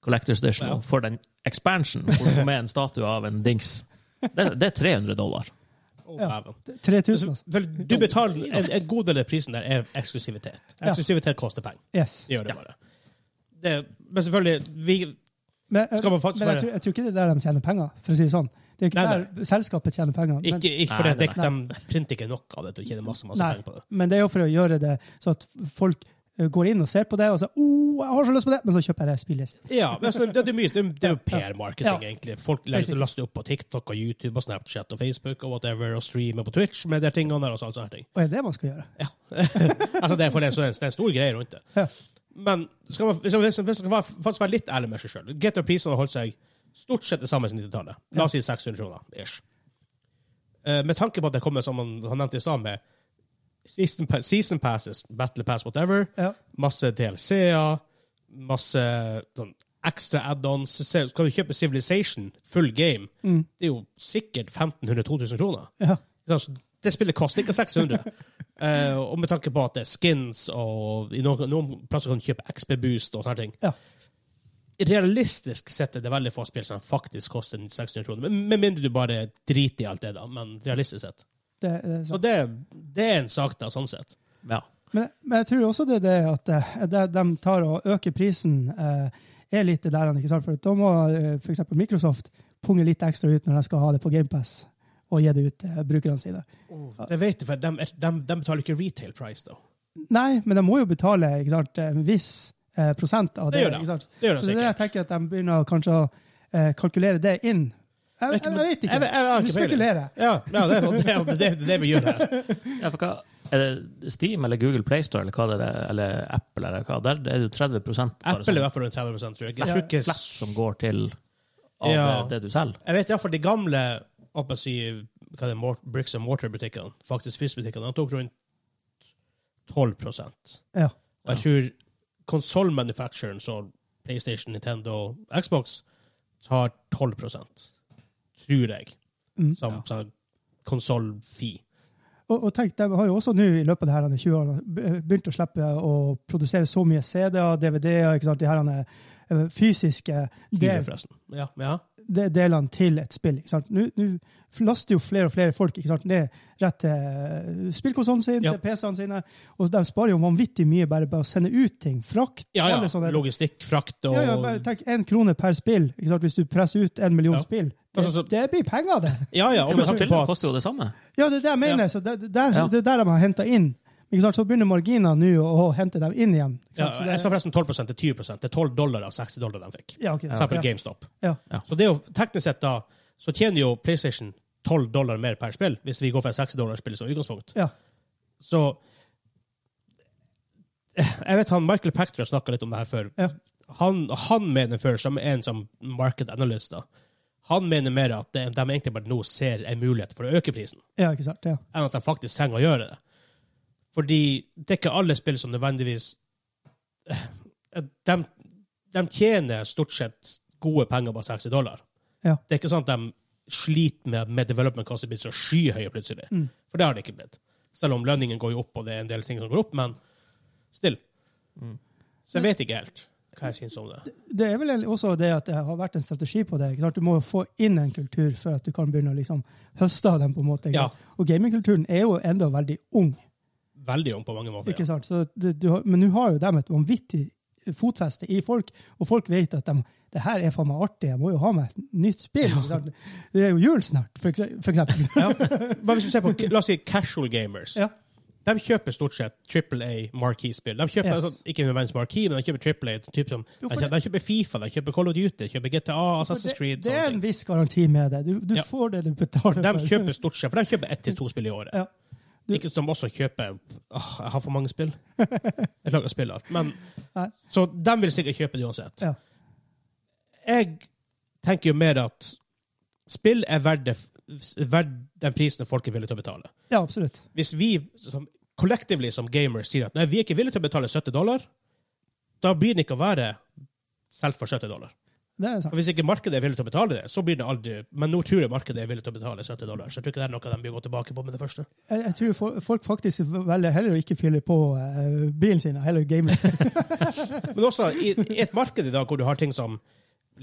Speaker 3: Collectors Edition
Speaker 2: Ja.
Speaker 3: for den expansion, hvor du får med en statue av en dings. Det, det er 300 dollar.
Speaker 2: Å,
Speaker 1: Ja.
Speaker 2: dæven.
Speaker 1: 3000, altså.
Speaker 2: For du betaler en, en god del av prisen der er eksklusivitet.
Speaker 1: Ja.
Speaker 2: Eksklusivitet koster penger.
Speaker 1: Yes.
Speaker 2: Det gjør det bare. Det, men selvfølgelig vi,
Speaker 1: Men, eh,
Speaker 2: Skal man faktisk
Speaker 1: men jeg,
Speaker 2: være-
Speaker 1: tror, jeg tror ikke det er der de tjener penger, for å si det sånn. Det er jo ikke
Speaker 2: Nei,
Speaker 1: der selskapet tjener penger. Men,
Speaker 2: Ikke, ikke
Speaker 3: Nei,
Speaker 2: fordi at
Speaker 3: nei,
Speaker 2: det- de printer ikke nok av det til å tjene masse masse
Speaker 1: Nei.
Speaker 2: penger på det.
Speaker 1: men det er jo for å gjøre det så at folk eh, går inn og ser på det, og så oh, jeg har så lyst på det, men så kjøper jeg det spillet. i stedet.
Speaker 2: Ja, men altså, det, det er mye, det, er- det er jo
Speaker 1: Ja.
Speaker 2: PR-marketing, egentlig. Folk legger- laster opp på TikTok og YouTube og Snapchat og Facebook og whatever, og streamer på Twitch med de tingene der og sånn, sånne sånne ting.
Speaker 1: Og er det det man skal gjøre?
Speaker 2: Ja. altså, det, er for det, så det, er en, det er en stor greie rundt det.
Speaker 1: Ja.
Speaker 2: Men skal man, hvis man, hvis man skal være, faktisk være litt ærlig med seg sjøl GTA-prisene har holdt seg stort sett det samme som 90-tallet. La oss si 600 kroner. ish. Eh, med tanke på at det kommer, som han, han nevnte i stad, med season, pa season passes, battle pass, whatever,
Speaker 1: Ja.
Speaker 2: masse DLC-er, masse sånn, ekstra add-ons Se- Skal du kjøpe Civilization, full game,
Speaker 1: Mm.
Speaker 2: det er jo sikkert 1500-2000 kroner.
Speaker 1: Ja.
Speaker 2: Altså, det spillet koster ikke 600. Eh, og med tanke på at det er skins, og i noen, noen plasser kan du kjøpe XP Boost og sånne ting.
Speaker 1: Ja.
Speaker 2: Realistisk sett er det veldig få spill som faktisk koster 600 kroner. Men- Med mindre du bare driter i alt det, da. Men realistisk sett.
Speaker 1: Det, det er
Speaker 2: Så
Speaker 1: sant.
Speaker 2: det, det er en sak, da, sånn sett.
Speaker 3: Ja.
Speaker 1: Men, men jeg tror også det er det at eh, det, de tar og øker prisen, eh, er litt det der, ikke sant? For da må f.eks. Microsoft punge litt ekstra ut når de skal ha det på GamePass og gi det ut til brukerne sine.
Speaker 2: Det vet jeg, for de, de, de betaler ikke retail price, da.
Speaker 1: Nei, men de må jo betale ikke sant, en viss eh, prosent av
Speaker 2: Det
Speaker 1: det.
Speaker 2: gjør de.
Speaker 1: ikke sant?
Speaker 2: Det gjør de
Speaker 1: så det er det jeg
Speaker 2: sikkert.
Speaker 1: tenker at de begynner å kanskje å eh, kalkulere det inn. Jeg, jeg, jeg vet
Speaker 2: Jeg, jeg,
Speaker 1: ikke.
Speaker 2: jeg, har
Speaker 1: Du
Speaker 2: ikke peiling.
Speaker 1: spekulerer.
Speaker 2: Ja, ja det, er, sånn, det, er, det er det vi gjør her.
Speaker 3: ja for hva, er det Steam eller Google Playstore eller, hva det er, eller Apple eller hva? Der er det jo 30 bare
Speaker 2: Apple er i
Speaker 3: sånn
Speaker 2: hvert fall rundt 30 tror jeg. Jeg, tror
Speaker 3: flatt,
Speaker 2: ikke,
Speaker 3: flatt som går til av eh,
Speaker 2: Ja.
Speaker 3: det du selger.
Speaker 2: jeg vet iallfall de gamle hva jeg sier, hva det er, mor- bricks and mortar-butikkene, faktisk fyrstbutikkene, de tok rundt 12 Og
Speaker 1: Ja.
Speaker 2: jeg tror konsollmanufactureren, så PlayStation, Nintendo, Xbox, tar 12 tror jeg,
Speaker 1: Mm.
Speaker 2: som, sånn som konsoll-fee.
Speaker 1: Og, og tenk, De har jo også nå i løpet av de her andre 20 årene be- begynt å slippe å produsere så mye CD-er, DVD-er, ikke sant, de her andre, eh, fysiske
Speaker 2: Hyre,
Speaker 1: del,
Speaker 2: forresten. Ja, ja.
Speaker 1: de, delene til et spill. ikke sant? Nå, nå laster jo flere og flere folk ikke sant? ned rett til spillkonsollen sin,
Speaker 2: Ja.
Speaker 1: til PC-ene sine, og de sparer jo vanvittig mye bare på å sende ut ting. Frakt.
Speaker 2: ja,
Speaker 1: alle
Speaker 2: ja.
Speaker 1: sånne-
Speaker 2: Logistikk, frakt og
Speaker 1: sånn Ja, ja, bare tenk én krone per spill. Ikke sant? Hvis du presser ut en million
Speaker 2: Ja.
Speaker 1: spill. Det,
Speaker 2: Altså, så-
Speaker 1: det blir penger, det!
Speaker 2: Ja, ja. Og
Speaker 3: Men
Speaker 2: med tanke på
Speaker 3: spillene
Speaker 2: at
Speaker 3: koster jo det samme.
Speaker 1: Ja, det er det jeg mener. Så det, det, der,
Speaker 3: Ja.
Speaker 1: det er der de har henta inn. Ikke sant? Så begynner marginene nå å, å hente dem inn igjen. Ikke
Speaker 2: ja,
Speaker 1: sant?
Speaker 2: Jeg
Speaker 1: så
Speaker 2: sa
Speaker 1: det,
Speaker 2: forresten 12 til 20 Det er 12 dollar av 60 dollar de fikk.
Speaker 1: ja, ok,
Speaker 2: For eksempel
Speaker 1: ja,
Speaker 2: GameStop.
Speaker 1: ja.
Speaker 2: Så det er jo teknisk sett da, så tjener jo PlayStation 12 dollar mer per spill, hvis vi går for et 60 dollar spill som utgangspunkt.
Speaker 1: Ja.
Speaker 2: Så Jeg vet han Michael Pachter har snakka litt om det her før.
Speaker 1: Ja.
Speaker 2: Han, han mener før, som en som market analyst, da, han mener mer at de, de egentlig bare nå ser en mulighet for å øke prisen,
Speaker 1: ja, ikke sant. Ja.
Speaker 2: enn at de faktisk trenger å gjøre det. Fordi det er ikke alle spill som nødvendigvis eh, De, de tjener stort sett gode penger på 60 dollar.
Speaker 1: Ja.
Speaker 2: Det er ikke sånn at de sliter med, med development cost, det blir så skyhøye plutselig.
Speaker 1: Mm.
Speaker 2: For det har det ikke blitt. Selv om lønningen går jo opp, og det er en del ting som går opp, men still.
Speaker 3: Mm.
Speaker 2: Så jeg vet ikke helt hva jeg syns om det.
Speaker 1: Det er vel også det at det har vært en strategi på det. Ikke sant? Du må jo få inn en kultur for at du kan begynne å liksom høste av dem. på en måte. Ikke
Speaker 2: Ja.
Speaker 1: sant? Og gamingkulturen er jo enda veldig ung.
Speaker 2: Veldig ung på mange måter.
Speaker 1: Ikke
Speaker 2: Ja.
Speaker 1: sant? Så det, du har, men nå har jo de et vanvittig fotfeste i folk, og folk vet at de, det her er faen meg artig, jeg må jo ha meg et nytt spill. ikke sant? Det er jo jul snart, for ekse- for eksempel.
Speaker 2: Ja. Men hvis du ser på, La oss si casual gamers.
Speaker 1: Ja.
Speaker 2: De kjøper stort sett Triple A marquee-spill. De
Speaker 1: Yes.
Speaker 2: kjøper altså, Ikke nødvendigvis marquee, men de kjøper Triple A. Typ som,
Speaker 1: Jo,
Speaker 2: de,
Speaker 1: for
Speaker 2: kjøper, de kjøper Fifa, de kjøper Call of Duty, de kjøper GTA, Assassin's
Speaker 1: Det-
Speaker 2: Creed
Speaker 1: Det er en
Speaker 2: sånne ting.
Speaker 1: viss garanti med det. Du, du
Speaker 2: Ja.
Speaker 1: får det du betaler
Speaker 2: De kjøper stort sett, for de kjøper ett til to spill i året.
Speaker 1: Ja. Du-
Speaker 2: Ikke som også kjøper Åh, jeg har for mange spill. Jeg altså. klarer ikke å spille alt. Men,
Speaker 1: Nei.
Speaker 2: så de vil sikkert kjøpe det uansett.
Speaker 1: Ja.
Speaker 2: Jeg tenker jo mer at spill er verdt det- verdt den prisen folk er villige til å betale.
Speaker 1: Ja, absolutt.
Speaker 2: Hvis vi som, collectively som gamers sier at nei, vi er ikke villige til å betale 70 dollar, da blir den ikke å være selv for 70 dollar.
Speaker 1: Det er
Speaker 2: Og
Speaker 1: sant.
Speaker 2: hvis ikke markedet er villig til å betale det, så blir det aldri Men nå tror jeg markedet er villig til å betale 70 dollar, så jeg tror ikke det er noe de vil gå tilbake på med det første.
Speaker 1: Jeg, jeg tror fo- folk faktisk velger heller å ikke fylle på eh, bilen sin, heller gamer.
Speaker 2: Men også i, i et marked i dag hvor du har ting som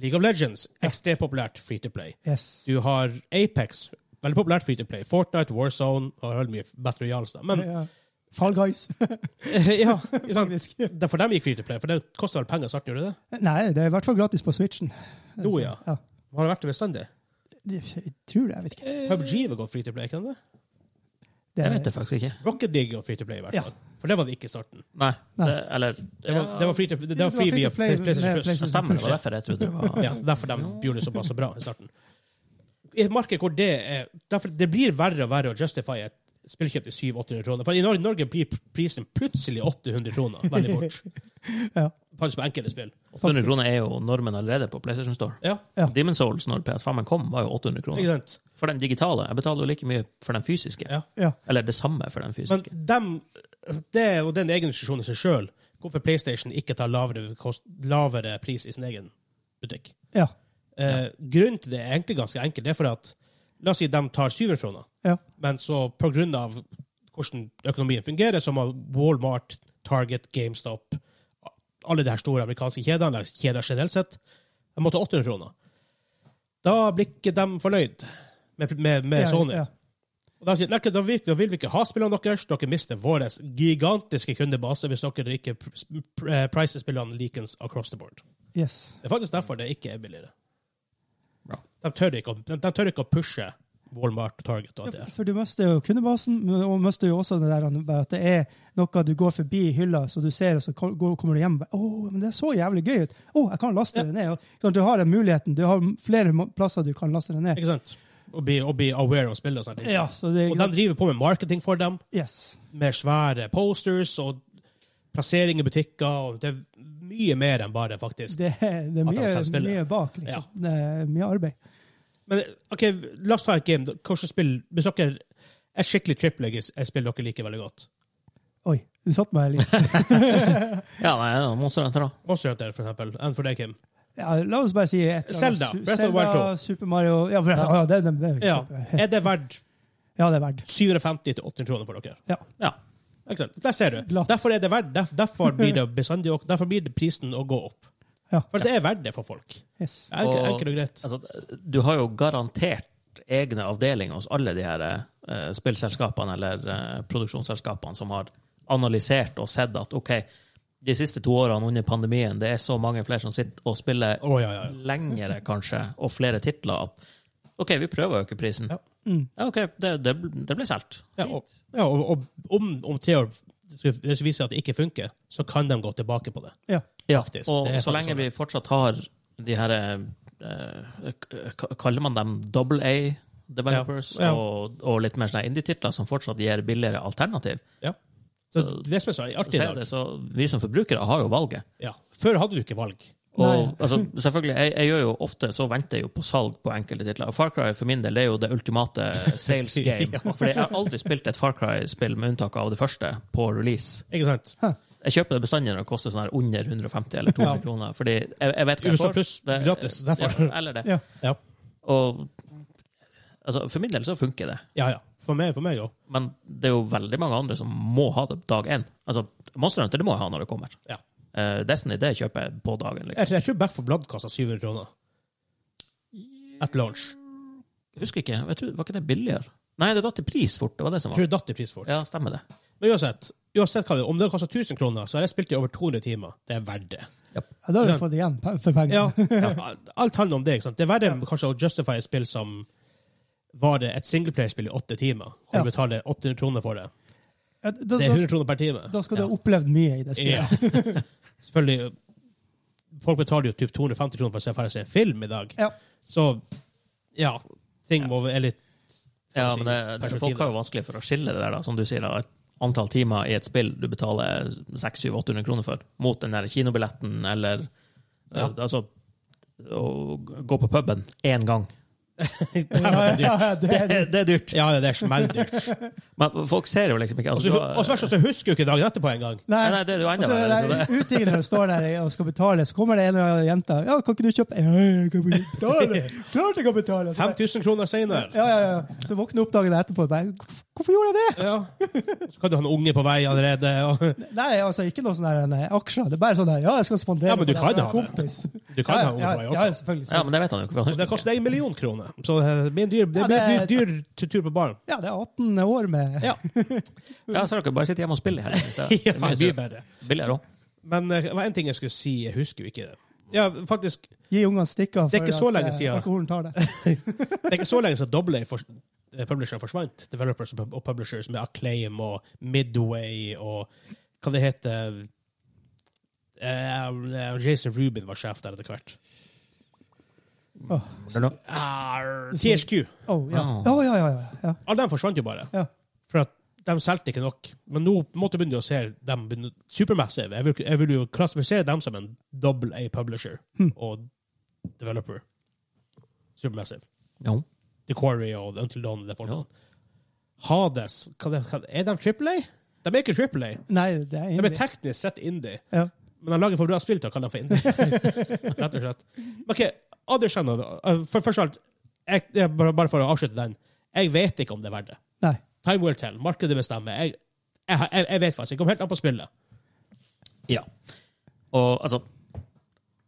Speaker 2: League of Legends, ekstremt populært free to play.
Speaker 1: Yes.
Speaker 2: Du har Apex, veldig populært free to play. Fortnite, Warzone og veldig mye Battle Royals. Da. Men
Speaker 1: Ja. Fall Guys.
Speaker 2: ja, ikke sant? Derfor de gikk free to play, for det kosta vel penger i starten, gjorde det det?
Speaker 1: Nei, det er i hvert fall gratis på Switchen.
Speaker 2: Jo, ja.
Speaker 1: Ja.
Speaker 2: Har det vært det bestandig?
Speaker 1: Jeg tror det, jeg vet ikke.
Speaker 2: PubG har gått free to play, kan det?
Speaker 1: Det
Speaker 3: Jeg
Speaker 1: er,
Speaker 3: vet det faktisk ikke.
Speaker 2: Rocket League og free to play, i hvert
Speaker 1: Ja.
Speaker 2: fall. For det var det ikke i starten.
Speaker 3: Nei.
Speaker 1: Nei.
Speaker 3: Det, eller
Speaker 2: Det var, det var free to det var free via
Speaker 1: free to play
Speaker 2: PlayStation
Speaker 1: med
Speaker 2: Plus.
Speaker 3: Ja, Stemmer, det var derfor jeg trodde det var
Speaker 2: Ja, derfor de gjorde det såpass bra i starten. I et marked hvor det er derfor Det blir verre og verre å justify et spillkjøp til 700-800 kroner. For i Nor- Norge blir p- prisen plutselig 800 kroner veldig fort.
Speaker 1: Ja.
Speaker 2: Faktisk på enkelte spill.
Speaker 3: 800 kroner er jo normen allerede på PlayStation Store.
Speaker 2: Ja,
Speaker 1: Ja.
Speaker 3: Demon's Souls når PS5 kom, var jo 800
Speaker 2: ikke
Speaker 3: kroner.
Speaker 2: sant?
Speaker 3: For den digitale. Jeg betaler jo like mye for den fysiske.
Speaker 2: Ja.
Speaker 1: Ja.
Speaker 3: Eller det samme for den
Speaker 2: Men
Speaker 3: fysiske.
Speaker 2: dem, det er jo den egen diskusjonen i seg sjøl. Hvorfor PlayStation ikke tar lavere, kost, lavere pris i sin egen butikk.
Speaker 1: Ja.
Speaker 2: Eh, Grunnen til det er egentlig ganske enkelt. Det er for at La oss si de tar 700 kroner.
Speaker 1: Ja.
Speaker 2: Men så på grunn av hvordan økonomien fungerer, så må Walmart, Target, GameStop, alle de her store amerikanske kjedene, eller kjeder generelt sett, de må ta 800 kroner. Da blir ikke de fornøyd med, med, med
Speaker 1: Ja,
Speaker 2: Sony.
Speaker 1: ja.
Speaker 2: Og de sier nei, da vil, da vil vi ikke ha spillene deres, dere mister vår gigantiske kundebase hvis dere ikke pr- pr- eh, priser spillene likens across the board.
Speaker 1: Yes.
Speaker 2: Det er faktisk derfor det ikke er billigere.
Speaker 3: Bra.
Speaker 2: De tør ikke, å- de, de tør ikke å pushe Walmart og Target og alt det
Speaker 1: Ja,
Speaker 2: der.
Speaker 1: For du mister jo kundebasen, men- og mister jo også det der at det er noe du går forbi hylla, så du ser, og så ko- går- kommer du hjem og bare, «Åh, men det så jævlig gøy ut. Å, jeg kan laste det ned. Og, ikke sant, du har den muligheten. Du har flere må- plasser du kan laste det ned.
Speaker 2: Ikke sant? Og bli, og bli aware av spillet og sånne ting.
Speaker 1: Ja, så det
Speaker 2: Og de driver på med marketing for dem,
Speaker 1: Yes.
Speaker 2: med svære posters og plassering i butikker. og Det er mye mer enn bare, faktisk.
Speaker 1: Det, er- det er
Speaker 2: At de selv
Speaker 1: mye,
Speaker 2: spiller.
Speaker 1: mye bak, liksom. Det er mye arbeid.
Speaker 2: Men ok, la oss ta et game. Hvilket spill Hvis dere et skikkelig triple er et spill dere liker veldig godt.
Speaker 1: Oi, du satt meg litt.
Speaker 3: Ja, nei, det var Monster Hunter, da.
Speaker 2: Monster Hunter, for eksempel. Enn for deg, Kim.
Speaker 1: Ja, la oss bare si et eller annet.
Speaker 2: Zelda, Breath of the Wild
Speaker 1: Zelda,
Speaker 2: 2.
Speaker 1: Super Mario Ja, Breath- ja, det, det, det,
Speaker 2: Ja. Er det verdt
Speaker 1: ja, det er verdt.
Speaker 2: 750-800 kroner for dere?
Speaker 1: Ja.
Speaker 3: Ja.
Speaker 2: Ikke sant? Der ser du.
Speaker 1: Glatt.
Speaker 2: Derfor er det verdt derf- derfor blir det bestandig å- Derfor blir det prisen å gå opp.
Speaker 1: Ja.
Speaker 2: For det er verdt det for folk.
Speaker 1: Yes.
Speaker 2: Enkelt,
Speaker 3: Og-
Speaker 2: enkelt og greit.
Speaker 3: Altså, du har jo garantert egne avdelinger hos alle de her eh, spillselskapene eller eh, produksjonsselskapene som har analysert og sett at OK, de siste to årene under pandemien, det er så mange flere som sitter og spiller
Speaker 2: Å, ja, ja.
Speaker 3: lengre, kanskje, og flere titler, at OK, vi prøver å øke prisen.
Speaker 2: Ja. Mm.
Speaker 3: Ja, OK, det, det, det ble solgt.
Speaker 2: Ja, og, ja, og, og om, om tre år hvis det viser seg at det ikke funker, så kan de gå tilbake på det.
Speaker 1: Ja.
Speaker 3: Ja,
Speaker 2: Faktisk,
Speaker 3: og
Speaker 2: det er
Speaker 3: så
Speaker 2: faktisk
Speaker 3: lenge
Speaker 2: sånn.
Speaker 3: vi fortsatt har de her eh, k- k- Kaller man dem double A developers
Speaker 2: Ja, ja.
Speaker 3: Og, og litt mer sånne indie-titler som fortsatt gir billigere alternativ,
Speaker 2: Ja. Så det er det som er så artig i
Speaker 3: så, er
Speaker 2: dag.
Speaker 3: det, så vi som forbrukere har jo valget.
Speaker 2: Ja. Før hadde du ikke valg.
Speaker 3: Og
Speaker 1: Nei.
Speaker 3: altså, selvfølgelig, jeg, jeg gjør jo ofte så venter jeg jo på salg på enkelte titler. Og Far Cry for min del det er jo det ultimate sales game. For jeg har aldri spilt et Far Cry-spill med unntak av det første på release.
Speaker 2: Ikke sant?
Speaker 3: Jeg kjøper det bestandig når det koster sånn her under 150 eller 200 kroner. Fordi jeg, jeg vet hva jeg
Speaker 2: USA
Speaker 3: får.
Speaker 2: Pluss gratis. Derfor.
Speaker 3: Ja, eller det.
Speaker 1: Ja.
Speaker 2: Ja.
Speaker 3: Og altså, for min del så funker det.
Speaker 2: ja, ja. For meg for meg òg.
Speaker 3: Men det er jo veldig mange andre som må ha det dag én. Altså, Monster Hunter det må jeg ha når det kommer.
Speaker 2: Ja.
Speaker 3: Eh, Destiny det kjøper jeg på dagen.
Speaker 2: Jeg,
Speaker 3: liksom.
Speaker 2: tror- jeg tror Back for Blood kosta 700 kroner. At launch.
Speaker 3: Jeg husker ikke. Jeg tror, var ikke det billigere? Nei, det datt i pris fort. det var det som
Speaker 2: Jeg
Speaker 3: var.
Speaker 2: tror det datt i pris for det.
Speaker 3: Ja, stemmer det.
Speaker 2: Men uansett, uansett hva det, om det koster 1000 kroner, så har jeg spilt i over 200 timer. Det er verdt det.
Speaker 1: Ja, da har du fått igjen pe- for pengene.
Speaker 2: Ja, alt handler om det. ikke sant? Det er verre kanskje å justify et spill som var det et singleplayerspill i åtte timer, og
Speaker 1: Ja.
Speaker 2: du betaler 800 kroner for det.
Speaker 1: Ja, da,
Speaker 2: Det er
Speaker 1: da-
Speaker 2: 100 kroner per time.
Speaker 1: Da skal du
Speaker 3: Ja.
Speaker 1: ha opplevd mye i det
Speaker 2: Ja.
Speaker 1: spillet.
Speaker 2: Selvfølgelig. Folk betaler jo typ 250 kroner for å se ferdig en film i dag.
Speaker 1: Ja.
Speaker 2: Så ja, ting må være litt
Speaker 3: Ja,
Speaker 2: si,
Speaker 3: men det, det,
Speaker 2: perspektivet.
Speaker 3: Folk har jo vanskelig for å skille det der, da, som du sier. da, et Antall timer i et spill du betaler 600-800 kroner for, mot den der kinobilletten eller eh,
Speaker 2: Ja.
Speaker 3: altså, å gå på puben én gang.
Speaker 1: Ja, ja, det
Speaker 3: Det,
Speaker 1: er
Speaker 3: det er dyrt.
Speaker 2: Ja, det er smelldyrt.
Speaker 3: Men folk ser jo liksom ikke
Speaker 2: Og
Speaker 3: altså, du har-
Speaker 2: så verst så husker du ikke dagen etterpå engang.
Speaker 3: Nei, nei, det er jo enda
Speaker 1: Og så
Speaker 3: verre,
Speaker 1: der
Speaker 3: så
Speaker 1: Uteliggerne står der og skal betale, så kommer det en eller annen jente. Ja, kan ikke du kjøpe Ja, jeg kan ikke betale! Klart jeg kan betale! Så, bare-
Speaker 2: 5000 kroner senere.
Speaker 1: ja, ja, ja. så våkner opp dagen etterpå og bare Hvorfor gjorde jeg det?
Speaker 2: Ja. Så kan du ha en unge på vei allerede. Og
Speaker 1: Nei, altså ikke noe sånn der nei, aksjer. Det er bare sånn der Ja, jeg skal spandere
Speaker 2: Ja, men du
Speaker 1: på
Speaker 2: kan
Speaker 1: deg,
Speaker 2: ha
Speaker 1: for jeg er
Speaker 2: det.
Speaker 1: kompis.
Speaker 2: du kan
Speaker 1: ja,
Speaker 2: ha unge
Speaker 1: ja,
Speaker 2: på vei
Speaker 1: ja,
Speaker 2: også.
Speaker 1: selvfølgelig.
Speaker 3: ja, men det vet han jo ikke. for han
Speaker 2: Og det
Speaker 3: husker ikke.
Speaker 2: koster en million kroner. Så det blir en dyr, det
Speaker 1: Ja,
Speaker 2: blir
Speaker 1: det-
Speaker 2: en dyr, dyr tur på baren.
Speaker 1: Ja, det er 18 år med
Speaker 2: Ja.
Speaker 3: Ja, så har dere bare sitter hjemme og spiller her. Så det
Speaker 2: ja,
Speaker 3: er mye
Speaker 2: mye
Speaker 3: bedre.
Speaker 2: bedre.
Speaker 3: Billigere også.
Speaker 2: Men eh, det var en ting jeg skulle si, jeg husker jo ikke det. Ja, faktisk,
Speaker 1: Gi ungene stikker.
Speaker 2: Det er
Speaker 1: for
Speaker 2: ikke så
Speaker 1: at,
Speaker 2: lenge
Speaker 1: eh,
Speaker 2: siden.
Speaker 1: Alkoholen tar det.
Speaker 2: det er ikke så lenge siden Double A for, eh, Publisher forsvant. Developers og pub- og publishers med Acclaim og Midway og hva det heter eh, Jason Rubin var sjef der etter hvert.
Speaker 1: Åh,
Speaker 3: Eller noe.
Speaker 2: Arr, THQ.
Speaker 1: åh, ja.
Speaker 3: Ah.
Speaker 1: Åh, ja, ja, ja, ja.
Speaker 2: Alle dem forsvant jo bare.
Speaker 1: Ja.
Speaker 2: For at de solgte ikke nok. Men nå måtte begynne å se dem begynne- supermassive. Jeg vil, jeg vil jo klassifisere dem som en double A publisher og developer. Supermassive.
Speaker 3: Jo.
Speaker 2: The Quarry og Until Dawn. Det
Speaker 3: Ja.
Speaker 2: folkene. Hades hva det, hva, Er de Triple A? De er ikke Triple A.
Speaker 1: Nei, det er
Speaker 2: De er
Speaker 1: egentlig
Speaker 2: teknisk sett indie.
Speaker 1: ja.
Speaker 2: Men de lager for bra spill til å kalle dem for indie. Rett og slett. Men OK, anerkjenn det. Uh, For først av alt, jeg, det er bare, bare for å avslutte den, jeg vet ikke om det er verdt det.
Speaker 1: Nei.
Speaker 2: Time will tell. Markedet bestemmer. Jeg, jeg, har- jeg, jeg vet faktisk. Jeg kommer helt an på spillet.
Speaker 3: Ja. Og altså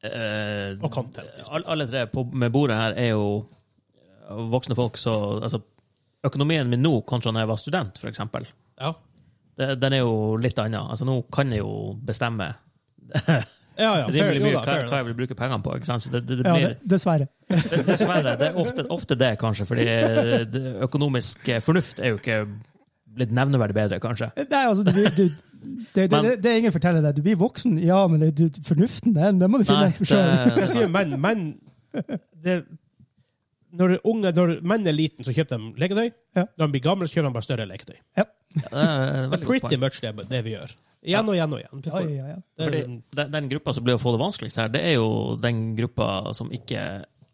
Speaker 3: eh,
Speaker 2: Og content.
Speaker 3: Alle- alle tre på, med bordet her er jo eh, voksne folk, så altså, Økonomien min nå kontra da jeg var student, for eksempel,
Speaker 2: Ja.
Speaker 3: det- den er jo litt annen. Altså, nå kan jeg jo bestemme
Speaker 2: Ja, ja. Fair,
Speaker 3: rimelig
Speaker 2: jo,
Speaker 3: mye
Speaker 2: da,
Speaker 3: hva,
Speaker 2: fair
Speaker 3: hva jeg
Speaker 2: enough.
Speaker 3: vil bruke pengene på. Ikke sant? Så det, det, det
Speaker 1: Ja,
Speaker 3: blir,
Speaker 1: det, dessverre.
Speaker 3: det, dessverre. Det er ofte, ofte det, kanskje. Fordi eh, det, økonomisk eh, fornuft er jo ikke blitt nevneverdig bedre, kanskje.
Speaker 1: Nei, altså, du, blir- du, det, det,
Speaker 3: Men-
Speaker 1: det, det er ingen forteller deg. Du blir voksen, ja, men det, du, fornuften, den, den må du finne
Speaker 3: Nei,
Speaker 1: deg for
Speaker 3: det,
Speaker 1: sjøl.
Speaker 2: Jeg sier jo menn, menn det, når, unge, når menn er liten, så kjøper de leketøy.
Speaker 1: Ja.
Speaker 2: Når de blir gamle, så kjøper de bare større leketøy.
Speaker 3: det er et veldig godt
Speaker 2: Pretty
Speaker 3: poeng.
Speaker 2: much det, det vi gjør. Igjen og igjen og igjen.
Speaker 1: Ja, ja, ja.
Speaker 2: Det er,
Speaker 3: Fordi den, den gruppa som blir å få det vanskeligst her, det er jo den gruppa som ikke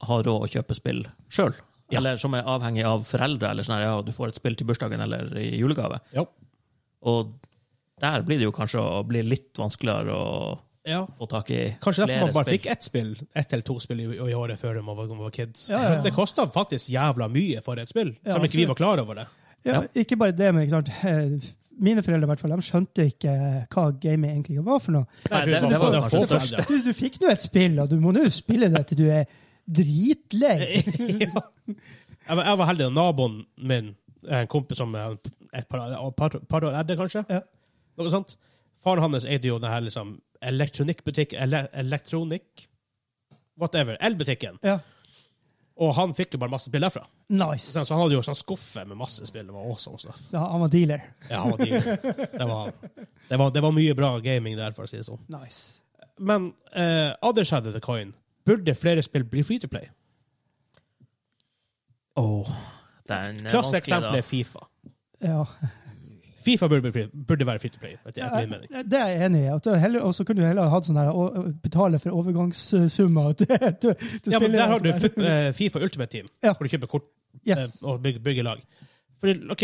Speaker 3: har råd å kjøpe spill sjøl.
Speaker 2: Ja.
Speaker 3: Eller som er avhengig av foreldre, eller sånn her, ja, du får et spill til bursdagen eller i julegave.
Speaker 2: ja.
Speaker 3: Og der blir det jo kanskje å bli litt vanskeligere å
Speaker 2: Ja.
Speaker 3: få tak i
Speaker 2: Kanskje derfor
Speaker 3: flere
Speaker 2: man bare
Speaker 3: spill.
Speaker 2: fikk ett spill, ett eller to spill i, i året før man var, man var kids.
Speaker 1: Ja, ja, ja.
Speaker 2: Det kosta faktisk jævla mye for et spill,
Speaker 1: Ja,
Speaker 2: som ikke vi var klar over det.
Speaker 1: Ja, ikke bare det, men ikke sant. eh, Mine foreldre i hvert fall, de skjønte ikke eh, hva gaming egentlig var for noe.
Speaker 3: Nei, det-
Speaker 2: for
Speaker 3: det var
Speaker 2: for-
Speaker 3: kanskje
Speaker 2: for
Speaker 3: det
Speaker 2: foreldre.
Speaker 3: største.
Speaker 1: Du, du fikk nå et spill, og du må nå spille det til du er dritlei.
Speaker 2: ja. jeg, var, jeg var heldig da naboen min, en kompis som er et par, et par, par år eldre, kanskje.
Speaker 1: Ja.
Speaker 2: Noe sånt. Faren hans eide jo denne liksom, elektronikkbutikk, ele, elektronikk Whatever. Elbutikken.
Speaker 1: Ja.
Speaker 2: Og han fikk jo bare masse spill derfra. Så
Speaker 1: Nice.
Speaker 2: han hadde jo sånn skuffe med masse spill. Det var awesome stuff.
Speaker 1: Så han var dealer.
Speaker 2: Ja, han var dyr. det, var, det, var, det var mye bra gaming der, for å si det sånn.
Speaker 1: Nice.
Speaker 2: Men eh, other side of the coin, burde flere spill bli free to play?
Speaker 3: Åh, den er
Speaker 2: Klasse
Speaker 3: vanskelig,
Speaker 2: eksempel
Speaker 3: da.
Speaker 2: er Fifa.
Speaker 1: Ja.
Speaker 2: Fifa burde, bli free- burde være free to play, etter, etter min mening.
Speaker 1: Det er jeg enig i. at det er heller- Og så kunne du heller hatt sånn her, å- å betale for overgangssummer. til- til- til
Speaker 2: Ja, men der har du
Speaker 1: spillere som er-
Speaker 2: fu- eh, Fifa Ultimate Team,
Speaker 1: Ja.
Speaker 2: hvor du kjøper kort eh,
Speaker 1: sånn Yes.
Speaker 2: og bygger, bygger lag. Fordi, ok,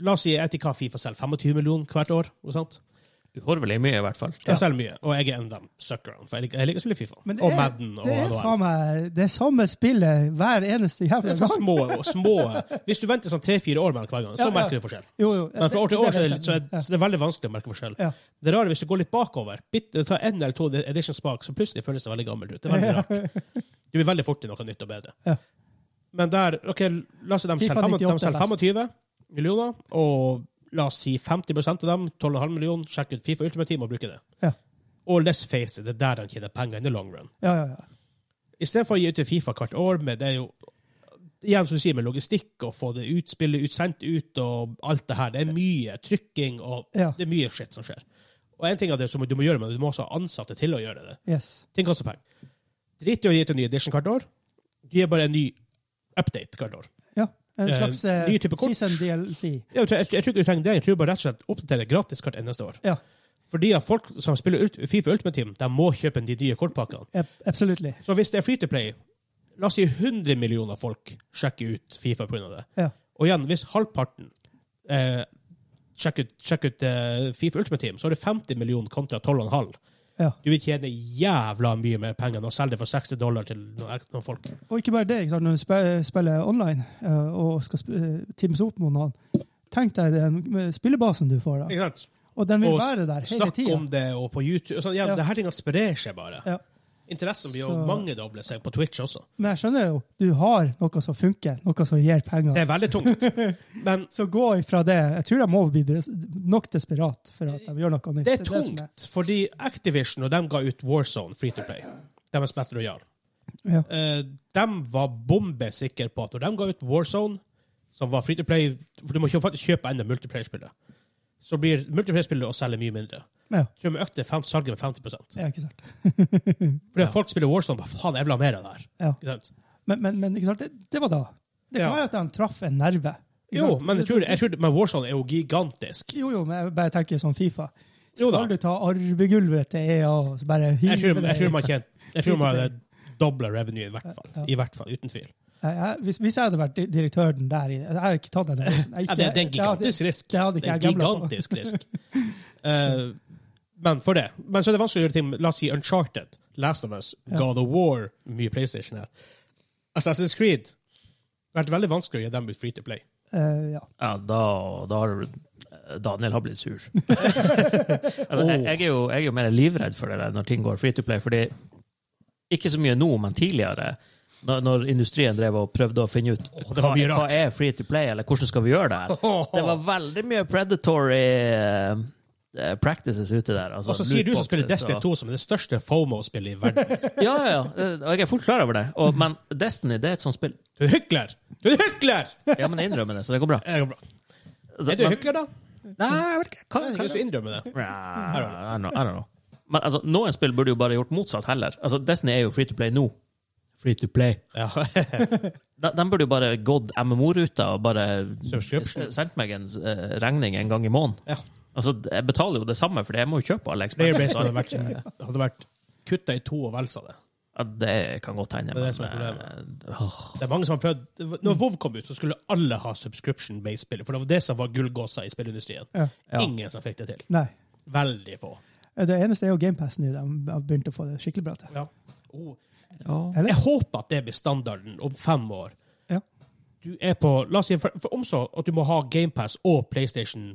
Speaker 2: La oss si jeg vet ikke hva Fifa selger. 25 millioner hvert år? Noe sånt.
Speaker 3: Uhorvelig mye, i hvert fall.
Speaker 2: De selger mye, og jeg er en av dem. Suckerne. For jeg liker, jeg liker å spille Fifa.
Speaker 1: Men det
Speaker 2: Og
Speaker 1: er-
Speaker 2: Madden og
Speaker 1: Det er
Speaker 2: NHL.
Speaker 1: faen meg det samme spillet hver eneste
Speaker 2: Det
Speaker 1: jævla
Speaker 2: er sånn
Speaker 1: gang.
Speaker 2: små, og små Hvis du venter sånn tre-fire år mellom hver gang, så
Speaker 1: Ja, ja.
Speaker 2: merker du forskjell.
Speaker 1: Jo, jo.
Speaker 2: Men fra år til år så er det, litt- sånn- så er,
Speaker 1: Ja.
Speaker 2: så det er veldig vanskelig å merke forskjell.
Speaker 1: Ja.
Speaker 2: Det rare er hvis du går litt bakover, bitte, ta en eller to editions bak, så plutselig føles det veldig gammelt ut. Det er veldig rart. Du blir veldig fort til noe nytt og bedre.
Speaker 1: Ja.
Speaker 2: Men der, ok, la oss si de
Speaker 1: FIFA
Speaker 2: selger fem-
Speaker 1: 98
Speaker 2: de
Speaker 1: er
Speaker 2: selger
Speaker 1: best.
Speaker 2: 25 millioner, og la oss si 50 av dem, 12,5 millioner, sjekk ut Fifa Ultimate Team og bruke det.
Speaker 1: Ja.
Speaker 2: Og let's face it, det er der de tjener penger in the long run.
Speaker 1: Ja, ja, ja.
Speaker 2: Istedenfor å gi ut til Fifa hvert år, med det er jo Igjen som du sier, med logistikk og få det ut, spillet ut, sendt ut og alt det her. Det er mye trykking og
Speaker 1: Ja.
Speaker 2: det er mye shit som skjer. Og en ting av det som du må gjøre, men du må også ha ansatte til å gjøre det.
Speaker 1: Yes.
Speaker 2: Ting koster penger. Drit i å gi ut en ny edition hvert år. Du gir bare en ny update hvert år.
Speaker 1: Ja. En
Speaker 2: Eh,
Speaker 1: slags eh,
Speaker 2: ny type kort.
Speaker 1: season DLC.
Speaker 2: Jeg tror, jeg, tror ikke du trenger det. Jeg tror bare rett og slett oppdatere gratis hvert eneste år.
Speaker 1: Ja.
Speaker 2: Fordi at folk som spiller Ult- Fifa Ultimate Team, de må kjøpe de nye kortpakkene.
Speaker 1: Ab- Absolutely.
Speaker 2: Så hvis det er free to play, la oss si 100 millioner folk sjekker ut Fifa pga. det.
Speaker 1: Ja.
Speaker 2: Og igjen, hvis halvparten eh, sjekker ut, sjekker ut eh, Fifa Ultimate Team, så er det 50 millioner kontra 12,5.
Speaker 1: Ja.
Speaker 2: Du vil tjene jævla mye mer penger enn å selge det for 60 dollar til noen, ek- noen folk.
Speaker 1: Og ikke bare det, ikke sant? når du spe- spiller online eh, og skal sp- eh, teams opp mot noen, tenk deg den eh, spillebasen du får da.
Speaker 2: Ikke sant?
Speaker 1: Og den vil
Speaker 2: Og
Speaker 1: være der hele
Speaker 2: Snakk
Speaker 1: tida.
Speaker 2: om det, og på YouTube. og Sånn, ja,
Speaker 1: Ja.
Speaker 2: Det her tinga sprer seg bare.
Speaker 1: Ja.
Speaker 2: Interessen blir jo
Speaker 1: Så-
Speaker 2: mangedoble seg på Twitch også.
Speaker 1: Men jeg skjønner jo, du har noe som funker, noe som gir
Speaker 2: Det
Speaker 1: penger.
Speaker 2: er veldig tungt. Men
Speaker 1: Så gå ifra det. Jeg tror de må bli des nok desperat for at de gjør noe nytt.
Speaker 2: det er
Speaker 1: som er-
Speaker 2: tungt, fordi Activision, når de ga ut Warzone Free to Play, de er Splatter Royal,
Speaker 1: Ja.
Speaker 2: eh, de var bombesikre på at når de ga ut Warzone, som var Free to Play For du må kjø- faktisk kjøpe enda multiplayer-spillet. Så blir multiplayer-spillet å selge mye mindre.
Speaker 1: Ja.
Speaker 2: Jeg tror de økte fem, salget med 50 Fordi
Speaker 1: Ja, ikke sant.
Speaker 2: at folk spiller Warzone bare faen, jeg vil ha mer av det her.
Speaker 1: Ja.
Speaker 2: Ikke sant?
Speaker 1: Men, men, men ikke sant? Det, det var da. Det kan
Speaker 2: Ja.
Speaker 1: være at de traff en nerve. ikke
Speaker 2: Jo,
Speaker 1: sant?
Speaker 2: men, jeg tror, jeg tror, men Warzone er jo gigantisk.
Speaker 1: Jo, jo, men jeg bare tenker sånn Fifa.
Speaker 2: Jo da.
Speaker 1: Skal du ta arvegulvet til EA og så bare hive
Speaker 2: Jeg tror, jeg
Speaker 1: det-
Speaker 2: tror man tjener Jeg tror man
Speaker 1: Free to
Speaker 2: hadde dobla revenue, i hvert fall.
Speaker 1: Ja.
Speaker 2: I hvert fall, Uten tvil.
Speaker 1: Nei, jeg, hvis, hvis jeg hadde vært di- direktøren der i- Jeg hadde ikke tatt den. der. Jeg
Speaker 2: Ja,
Speaker 1: ikke-
Speaker 2: det, det er en
Speaker 1: jeg hadde-
Speaker 2: gigantisk risk.
Speaker 1: det hadde ikke
Speaker 2: Det er en
Speaker 1: jeg gamblet på.
Speaker 2: gigantisk risk. Eh, men for det. Men så er det vanskelig å gjøre ting La oss si Uncharted, Last of Us, God of War Mye PlayStation her. Assassin's Creed. Det har vært veldig vanskelig å gjøre dem ut free to play.
Speaker 1: Eh, ja.
Speaker 3: Ja, da, da har Daniel har blitt sur. altså, jeg, jeg, er jo, jeg er jo mer livredd for det der når ting går free to play, fordi ikke så mye nå, men tidligere, når, når industrien drev og prøvde å finne ut
Speaker 2: det var
Speaker 3: hva,
Speaker 2: mye
Speaker 3: hva
Speaker 2: rart.
Speaker 3: er free to play, eller hvordan skal vi gjøre det her. Det var veldig mye predatory eh, practices ute der. Altså,
Speaker 2: Og så sier du som spiller
Speaker 3: lootboxes og-
Speaker 2: Destiny 2 som er det største FOMO-spillet i verden.
Speaker 3: Ja, ja, ja. Eh, Og jeg er fullt klar over det. Og, men Destiny det er et sånt spill.
Speaker 2: Du er hykler! Du er hykler!
Speaker 3: Ja, men jeg innrømmer det, så det går bra.
Speaker 2: Det går bra.
Speaker 3: Altså,
Speaker 2: Er du
Speaker 3: men-
Speaker 2: hykler, da?
Speaker 3: Nei, jeg vet ikke. Hva,
Speaker 2: Jeg
Speaker 3: hva,
Speaker 2: kan ikke innrømme det.
Speaker 3: Nah, I don't know, I don't know. Men altså, noen spill burde jo bare gjort motsatt heller. Altså, Destiny er jo free to play nå. Free to play.
Speaker 2: Ja.
Speaker 3: De, de burde jo bare gått MMO-ruta og bare
Speaker 2: Subscription.
Speaker 3: s- sendt meg en eh, regning en gang i måneden.
Speaker 2: Ja.
Speaker 3: Altså, jeg betaler jo det samme, for jeg må jo kjøpe alle
Speaker 2: Playerbase
Speaker 3: ekspertene.
Speaker 2: hadde vært, hadde vært kutta i to og vel sa det.
Speaker 3: Ja, det kan godt hende,
Speaker 2: er
Speaker 3: men
Speaker 2: det som er
Speaker 3: eh, åh.
Speaker 2: Det er mange som har prøvd, det var- Når WoW kom ut, så skulle alle ha subscription-based spill. For det var det som var gullgåsa i spillindustrien.
Speaker 1: Ja.
Speaker 3: Ja.
Speaker 2: Ingen som fikk det til.
Speaker 1: Nei.
Speaker 2: Veldig få.
Speaker 1: Det eneste er jo GamePass nå. De har begynt å få det skikkelig bra til.
Speaker 2: Oh.
Speaker 3: Ja.
Speaker 1: Eller?
Speaker 2: Jeg håper at det blir standarden om fem år.
Speaker 1: Ja.
Speaker 2: Du er på, la oss si, for, for om så at du må ha GamePass og PlayStation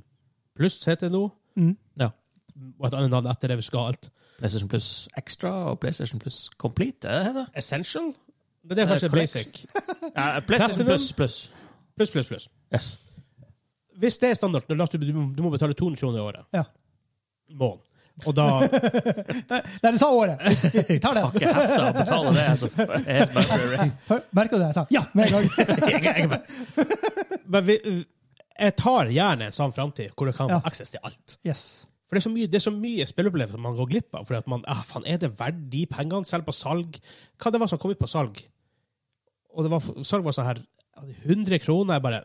Speaker 2: Pluss, heter det nå.
Speaker 1: Mm.
Speaker 3: ja.
Speaker 2: Og et annet navn etter det vi skal ha alt.
Speaker 3: PlayStation Plus Extra og PlayStation Plus Complete. Er det det?
Speaker 2: Essential? Det er kanskje
Speaker 3: Eh,
Speaker 2: basic.
Speaker 3: Ja, PlayStation
Speaker 2: Platinum?
Speaker 3: Plus Plus.
Speaker 2: Pluss, pluss, pluss.
Speaker 3: Yes.
Speaker 2: Hvis det er standarden, la oss si du, du må betale 200 kroner i året.
Speaker 1: Ja.
Speaker 2: Måneden. Og da
Speaker 1: Nei, du sa året! Vi tar det.
Speaker 3: Pakke hefter og betale det. Altså, helt bare-
Speaker 1: Hør, Merker du det jeg sa? Ja, med en gang!
Speaker 2: Men vi, jeg tar gjerne en sånn framtid hvor det kan
Speaker 1: Ja.
Speaker 2: få aksess til alt.
Speaker 1: Yes.
Speaker 2: For det er så mye, det er så mye spilleopplevelser man går glipp av. Fordi at man, ah, faen, Er det verdt de pengene, selv på salg? Hva det var som kom ut på salg? Og det var, salg var sånn her 100 kroner. jeg bare,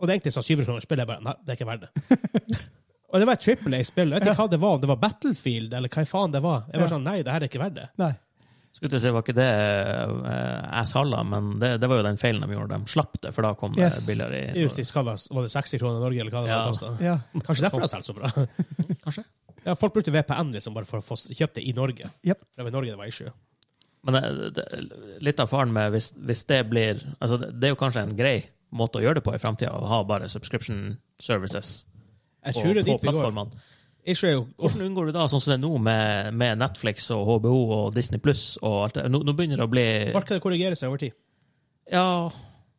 Speaker 2: Og det er egentlig sånn 700 kroner spill. Jeg bare Nei, det er ikke verdt det. og det var et Triple A-spill. Jeg vet ikke hva det var, om det var Battlefield eller hva faen det var. Jeg var
Speaker 1: Ja.
Speaker 2: sånn, Nei, det her er ikke verdt det.
Speaker 1: Nei.
Speaker 3: Skulle til å si, var ikke det eh, asshalla, men det, det var jo den feilen de gjorde. De slapp det, for da kom
Speaker 1: Yes.
Speaker 3: det billigere i
Speaker 2: Ut i skal det- var det 60 kroner i Norge, eller hva det
Speaker 3: Ja.
Speaker 2: var. det kostet.
Speaker 1: Ja.
Speaker 2: Kanskje derfor det har solgt så bra.
Speaker 3: Kanskje.
Speaker 2: Ja, folk brukte VPN liksom bare for å få kjøpt det i Norge.
Speaker 1: Yep.
Speaker 2: Det var i Norge det var issue.
Speaker 3: Men det, det, litt av faren med hvis, hvis det blir altså det, det er jo kanskje en grei måte å gjøre det på i framtida, å ha bare subscription services
Speaker 2: Jeg
Speaker 3: på,
Speaker 2: tror det er
Speaker 3: på
Speaker 2: dit vi går.
Speaker 3: plattformene.
Speaker 2: Issue er jo og-
Speaker 3: Hvordan unngår du da sånn som det er nå, med, med Netflix og HBO og Disney Pluss og alt det? Nå, nå begynner det å bli
Speaker 2: Markedet korrigerer seg over tid.
Speaker 3: Ja,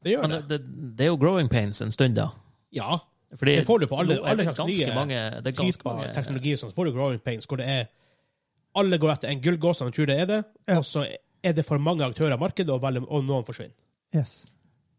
Speaker 2: Det gjør
Speaker 3: men det,
Speaker 2: det.
Speaker 3: det, det er jo growing pains en stund, da.
Speaker 2: Ja.
Speaker 3: Fordi
Speaker 2: Det får du på alle-
Speaker 3: nå er
Speaker 2: alle
Speaker 3: det
Speaker 2: slags
Speaker 3: ganske
Speaker 2: nye
Speaker 3: mange, det er ganske
Speaker 2: Typer
Speaker 3: mange
Speaker 2: teknologi som får du growing pains, hvor det er Alle går etter en gullgås som tror det er det,
Speaker 1: Ja.
Speaker 2: og så er det for mange aktører i markedet, og, veldig, og noen forsvinner.
Speaker 1: Yes.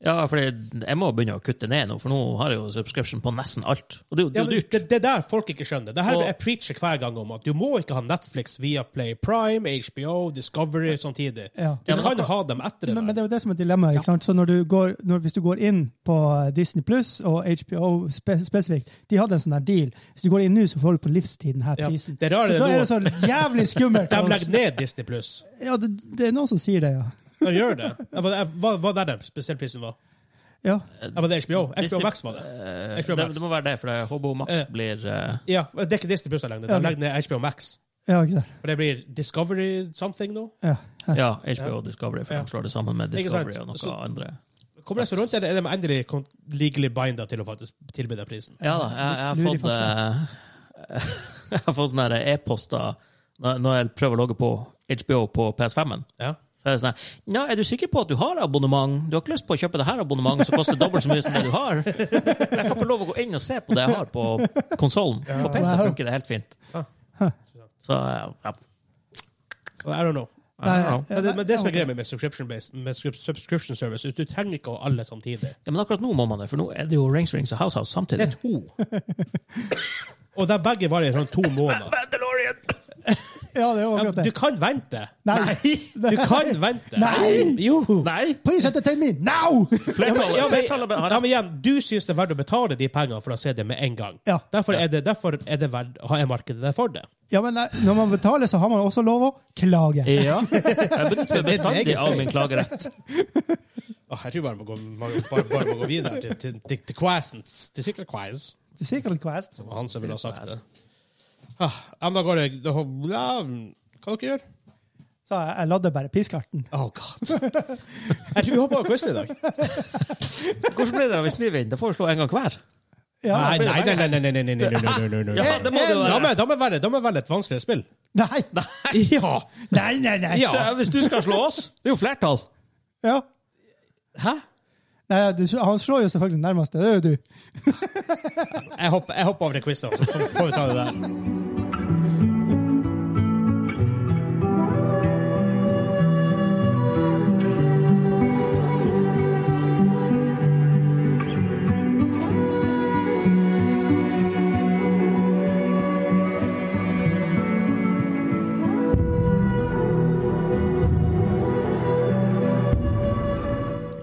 Speaker 3: Ja, for jeg må begynne å kutte ned nå, for nå har jeg jo subscription på nesten alt. Og det er jo det
Speaker 2: Ja,
Speaker 3: er
Speaker 2: men
Speaker 3: jo
Speaker 2: det
Speaker 3: dyrt.
Speaker 2: det er der folk ikke skjønner. Det her
Speaker 3: Og-
Speaker 2: jeg preacher hver gang om at du må ikke ha Netflix, Viaplay, Prime, HBO, Discovery samtidig.
Speaker 1: Ja.
Speaker 2: Du
Speaker 3: Ja, men
Speaker 2: kan
Speaker 3: akkurat-
Speaker 2: ha dem etter det.
Speaker 1: Men, men
Speaker 2: der.
Speaker 1: det er jo det som er dilemmaet. ikke sant? Så når du går, når, Hvis du går inn på eh, Disney Pluss og HBO spe, spesifikt De hadde en sånn her deal. Hvis du går inn nå, så får du på livstid denne
Speaker 2: Ja,
Speaker 1: prisen.
Speaker 2: det er rare
Speaker 1: så da
Speaker 2: det
Speaker 1: er
Speaker 2: nå.
Speaker 1: det sånn så jævlig skummelt.
Speaker 2: De legger ned Disney Pluss.
Speaker 1: ja, det, det er noen som sier det, ja.
Speaker 2: De gjør det. Jeg var, jeg, hva hva der den spesielle prisen var?
Speaker 1: ja.
Speaker 2: Jeg var det HBO.
Speaker 3: Eh, Disney-
Speaker 2: HBO Max var det.
Speaker 3: Eh,
Speaker 2: HBO
Speaker 3: det,
Speaker 2: Max.
Speaker 3: det må være det, for det- HBO Max
Speaker 2: Eh.
Speaker 3: blir eh,
Speaker 2: Ja, det er ikke Disney Pluss lenger.
Speaker 1: Ja,
Speaker 2: De
Speaker 1: men-
Speaker 2: legger ned HBO Max.
Speaker 1: Ja, ikke sant?
Speaker 2: For det blir Discovery something nå.
Speaker 1: Ja.
Speaker 3: Ja, HBO Discovery, for
Speaker 2: Ja.
Speaker 3: de slår det sammen med
Speaker 2: Ikke sant?
Speaker 3: Discovery og noe
Speaker 2: Så-
Speaker 3: andre.
Speaker 2: Kommer det så rundt, eller er de endelig kon- legally binda til å faktisk tilby den prisen?
Speaker 3: Ja da, jeg, jeg har
Speaker 1: Lurer
Speaker 3: fått eh, Jeg har fått sånne her e-poster når når jeg prøver å logge på HBO på PS5-en.
Speaker 2: Ja.
Speaker 3: Så er det sånn her, Nja, er du sikker på at du har abonnement? Du har ikke lyst på å kjøpe det her abonnementet som koster dobbelt så mye som det du har? Jeg får ikke lov å gå inn og se på det jeg har på konsollen. På PC
Speaker 1: Wow.
Speaker 3: funker det helt fint. Så ja.
Speaker 2: Så I don't know.
Speaker 3: I don't know.
Speaker 2: Så det, men det som er greia med subscription, base, med subscrip- subscription service, du trenger ikke å ha alle samtidig.
Speaker 3: ja, Men akkurat nå må man det, for nå er det jo Rings Rings og House House
Speaker 2: Det
Speaker 3: samtidig.
Speaker 2: er to. Og de begge varer i sånn to måneder.
Speaker 3: Mandalorian!
Speaker 1: ja, det er jo
Speaker 2: Ja,
Speaker 1: akkurat
Speaker 2: men du
Speaker 1: det.
Speaker 2: kan vente.
Speaker 1: Nei!
Speaker 2: Du kan vente.
Speaker 1: Nei!
Speaker 2: Jo.
Speaker 3: Nei!
Speaker 1: Please entertain me now!
Speaker 2: Ja, men, ja, men,
Speaker 3: Flertallet har
Speaker 2: ja, men igjen, du syns det er verdt å betale de pengene for å se det med en gang.
Speaker 1: Ja.
Speaker 2: Derfor er det, derfor er det verdt å ha en marked der for det.
Speaker 1: Ja, men nei, Når man betaler, så har man også lov å klage.
Speaker 3: Ja. Jeg benytter meg bestandig av min klagerett.
Speaker 2: Å, jeg tror bare man må gå, man- bare, bare må gå videre til, til, til, til Quasens. Til Secret Quas.
Speaker 1: Secret Quest.
Speaker 2: Det var han som ville ha sagt det. Ah, ja, men da går det da, ja, Hva dere gjør
Speaker 1: Så jeg, jeg ladde bare piskarten.
Speaker 2: Oh god. Jeg tror vi hopper over quizen i dag.
Speaker 3: Hvordan blir det da hvis vi vinner? Da får vi slå en gang hver.
Speaker 1: Ja,
Speaker 2: Nei, nei, nei, nei, nei, nei, nei, nei, nei, nei, nei, nei, nei,
Speaker 3: Ja,
Speaker 2: nei.
Speaker 3: det må det jo
Speaker 2: Da må
Speaker 3: være.
Speaker 2: jeg- Da må jeg velge- da må jeg velge et vanskeligere spill.
Speaker 1: Nei,
Speaker 2: Ja!
Speaker 1: nei, nei! nei.
Speaker 2: Ja.
Speaker 3: Da, Hvis du skal slå oss, det er jo flertall.
Speaker 1: Ja.
Speaker 2: Hæ?
Speaker 1: Nei, du, han slår jo selvfølgelig nærmest. Det er jo du.
Speaker 2: Jeg hopper, jeg hopper over til quizen, så får vi ta det der.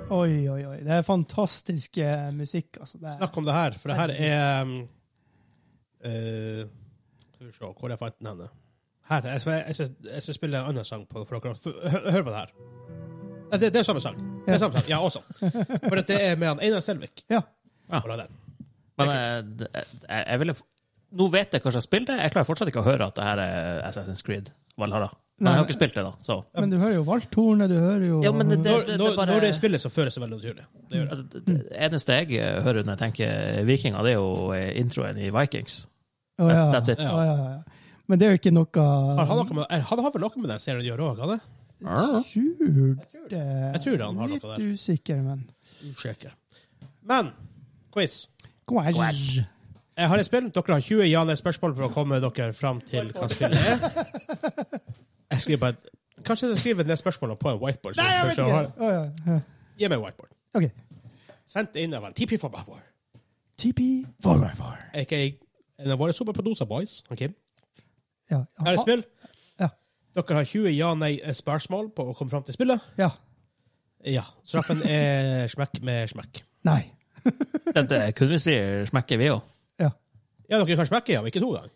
Speaker 1: Oi, oi, oi. Det er fantastisk eh, musikk. Altså. Det er,
Speaker 2: Snakk om det her, for det her er um, eh, Skal vi se hvor jeg fant den henne. Her. Jeg skal, jeg skal, jeg skal spille en annen sang på for dere. F- Hør, hør på det her. Nei, Det, det er samme sang. Det er samme sang, Ja, også. For at det er med han Einar Selvik.
Speaker 1: Ja.
Speaker 3: Ja.
Speaker 2: Og da den.
Speaker 3: Men eh, jeg, jeg, jeg ville f- Nå vet jeg kanskje jeg spiller det. Jeg klarer fortsatt ikke å høre at det her er Assassin's Creed Valhalla. Men
Speaker 1: Nei,
Speaker 3: jeg har
Speaker 1: men-
Speaker 3: ikke spilt det, da. Så.
Speaker 1: Men du hører jo valthornet, du hører jo
Speaker 3: Ja, men det, det,
Speaker 2: Når,
Speaker 3: det,
Speaker 2: når,
Speaker 3: er bare
Speaker 2: når det spilles, så føles det veldig naturlig. Det gjør det.
Speaker 3: Altså, det- det eneste jeg eh, hører når jeg tenker vikinger, det er jo eh, introen i Vikings.
Speaker 1: Å, ja.
Speaker 3: That's it.
Speaker 1: Å, ja, ja, ja. Men det er jo ikke noe
Speaker 2: Har han, noe med, er- han har vel noe med den serien å gjøre òg? Ah,
Speaker 3: Ja.
Speaker 1: Skjult Jeg
Speaker 2: tror han har noe
Speaker 1: Litt
Speaker 2: der.
Speaker 1: usikker, men
Speaker 2: Usikker. Men quiz.
Speaker 1: Quash.
Speaker 3: Quash.
Speaker 2: Jeg har et spill. Dere har 20 ja-nei-spørsmål for å komme dere fram til hva spillet er. Jeg skriver bare et Kanskje jeg skal skrive ned spørsmålene på en whiteboard. så-
Speaker 1: Nei, jeg vet
Speaker 2: så
Speaker 1: ikke!
Speaker 2: har-
Speaker 1: Å, ja, ja.
Speaker 2: Gi meg en whiteboard.
Speaker 1: OK.
Speaker 2: Sendt inn av en TP for meg for.
Speaker 1: TP Forward.
Speaker 2: A.k.a. en av våre superproducer boys. han Kim.
Speaker 1: Ja.
Speaker 2: Her er et spill.
Speaker 1: Ja.
Speaker 2: Dere har 20 ja-nei-spørsmål på å komme fram til spillet.
Speaker 1: ja.
Speaker 2: Ja. Straffen er smekk med smekk.
Speaker 1: Nei.
Speaker 3: Dette kunne hvis vi eh, smekker, vi òg.
Speaker 1: Ja.
Speaker 2: Ja, dere kan smekke, ja, men ikke to ganger.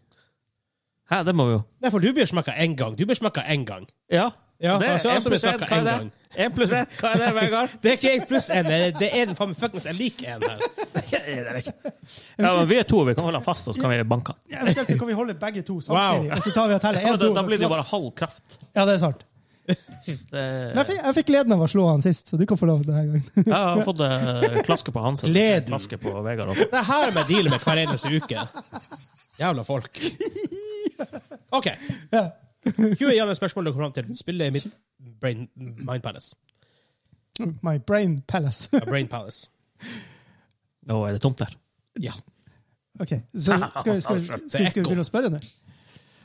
Speaker 3: Hæ, det må vi jo.
Speaker 2: Nei, for du blir smekka én gang. Du blir smekka én gang.
Speaker 3: Ja.
Speaker 2: Ja,
Speaker 3: det
Speaker 2: altså, altså,
Speaker 3: er en
Speaker 2: vi
Speaker 3: pluss en,
Speaker 2: snakker
Speaker 3: hva
Speaker 2: en
Speaker 3: er det?
Speaker 2: gang.
Speaker 3: En pluss en, hva er det, Vegard?
Speaker 2: Det er ikke én pluss én, det er- det er en faen meg fuckings en lik en her.
Speaker 3: Ja, det er riktig. Ja, men vi er to, vi kan holde han fast, og så kan vi banke han.
Speaker 1: Ja, Eventuelt så kan vi holde begge to samtidig, og så tar vi og teller.
Speaker 3: Ja,
Speaker 1: En,
Speaker 3: da,
Speaker 1: to,
Speaker 3: da
Speaker 1: og så
Speaker 3: blir det jo
Speaker 1: klaff.
Speaker 3: bare halv kraft.
Speaker 1: Ja, det er sant.
Speaker 3: Det,
Speaker 1: Men jeg fikk, jeg fikk gleden av å slå han sist, så du kan få lov denne gangen.
Speaker 3: jeg har fått eh, klaske på Hansen.
Speaker 2: Gleden.
Speaker 3: Klaske på Vegard også.
Speaker 2: Det er her vi dealer med hver eneste uke. Jævla folk. OK.
Speaker 1: Ja.
Speaker 2: 20 gjerne spørsmål dere kommer fram til. Spillet er mitt brain, Mind Palace.
Speaker 1: My brain palace.
Speaker 2: Ja, Brain Palace.
Speaker 3: Nå er det tomt der.
Speaker 2: Ja.
Speaker 1: OK, så skal, skal, skal, skal, skal vi begynne å spørre nå?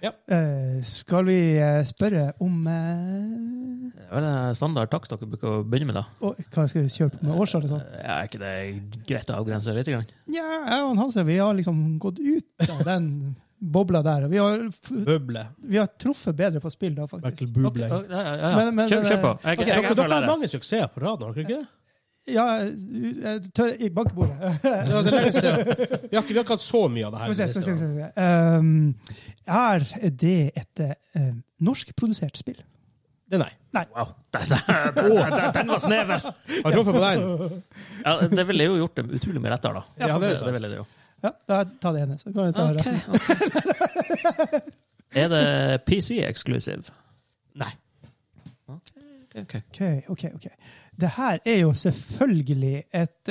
Speaker 2: Ja.
Speaker 1: Eh, skal vi eh, spørre om eh,
Speaker 3: Det er vel en standard takst dere bruker å begynne med, da.
Speaker 1: å, Hva skal vi kjøre på med årstall og sånn?
Speaker 3: Ja, er ikke det greit å avgrense litt? Grann?
Speaker 1: Ja, jeg og Hanse vi har liksom gått ut av den bobla der. og Vi har, f-
Speaker 2: Buble.
Speaker 1: vi har truffet bedre på spill da, faktisk.
Speaker 2: Michael
Speaker 3: Ok,
Speaker 2: Buble.
Speaker 3: ja, ja, ja.
Speaker 1: Men- men-
Speaker 3: kjør, kjør på. Jeg,
Speaker 2: Ok,
Speaker 3: jeg, jeg,
Speaker 2: dere,
Speaker 3: jeg,
Speaker 2: dere
Speaker 3: føler
Speaker 2: har
Speaker 3: det.
Speaker 2: mange suksesser på rad nå, har dere ikke det?
Speaker 1: Ja, jeg jeg tør i bankebordet.
Speaker 2: Ja, det er lenge siden. Vi har ikke, vi har ikke hatt så mye av det
Speaker 1: Skal vi
Speaker 2: her.
Speaker 1: se, skal vi se. Skal vi se. Ehm, er det et eh, norskprodusert spill?
Speaker 2: Det, nei.
Speaker 3: Wow, den, den, den, den, den var snever!
Speaker 2: Har du truffet på den?
Speaker 3: Ja, det ville jo gjort dem utrolig mye lettere, da.
Speaker 2: Ja, det er
Speaker 3: det ville det jo.
Speaker 1: Ja, da ta det ene. Så kan vi ta
Speaker 3: Ok,
Speaker 1: resten.
Speaker 3: ok. Er det PC-eksklusiv?
Speaker 2: Nei.
Speaker 3: Okay.
Speaker 1: Ok, ok, ok. Det her er jo selvfølgelig et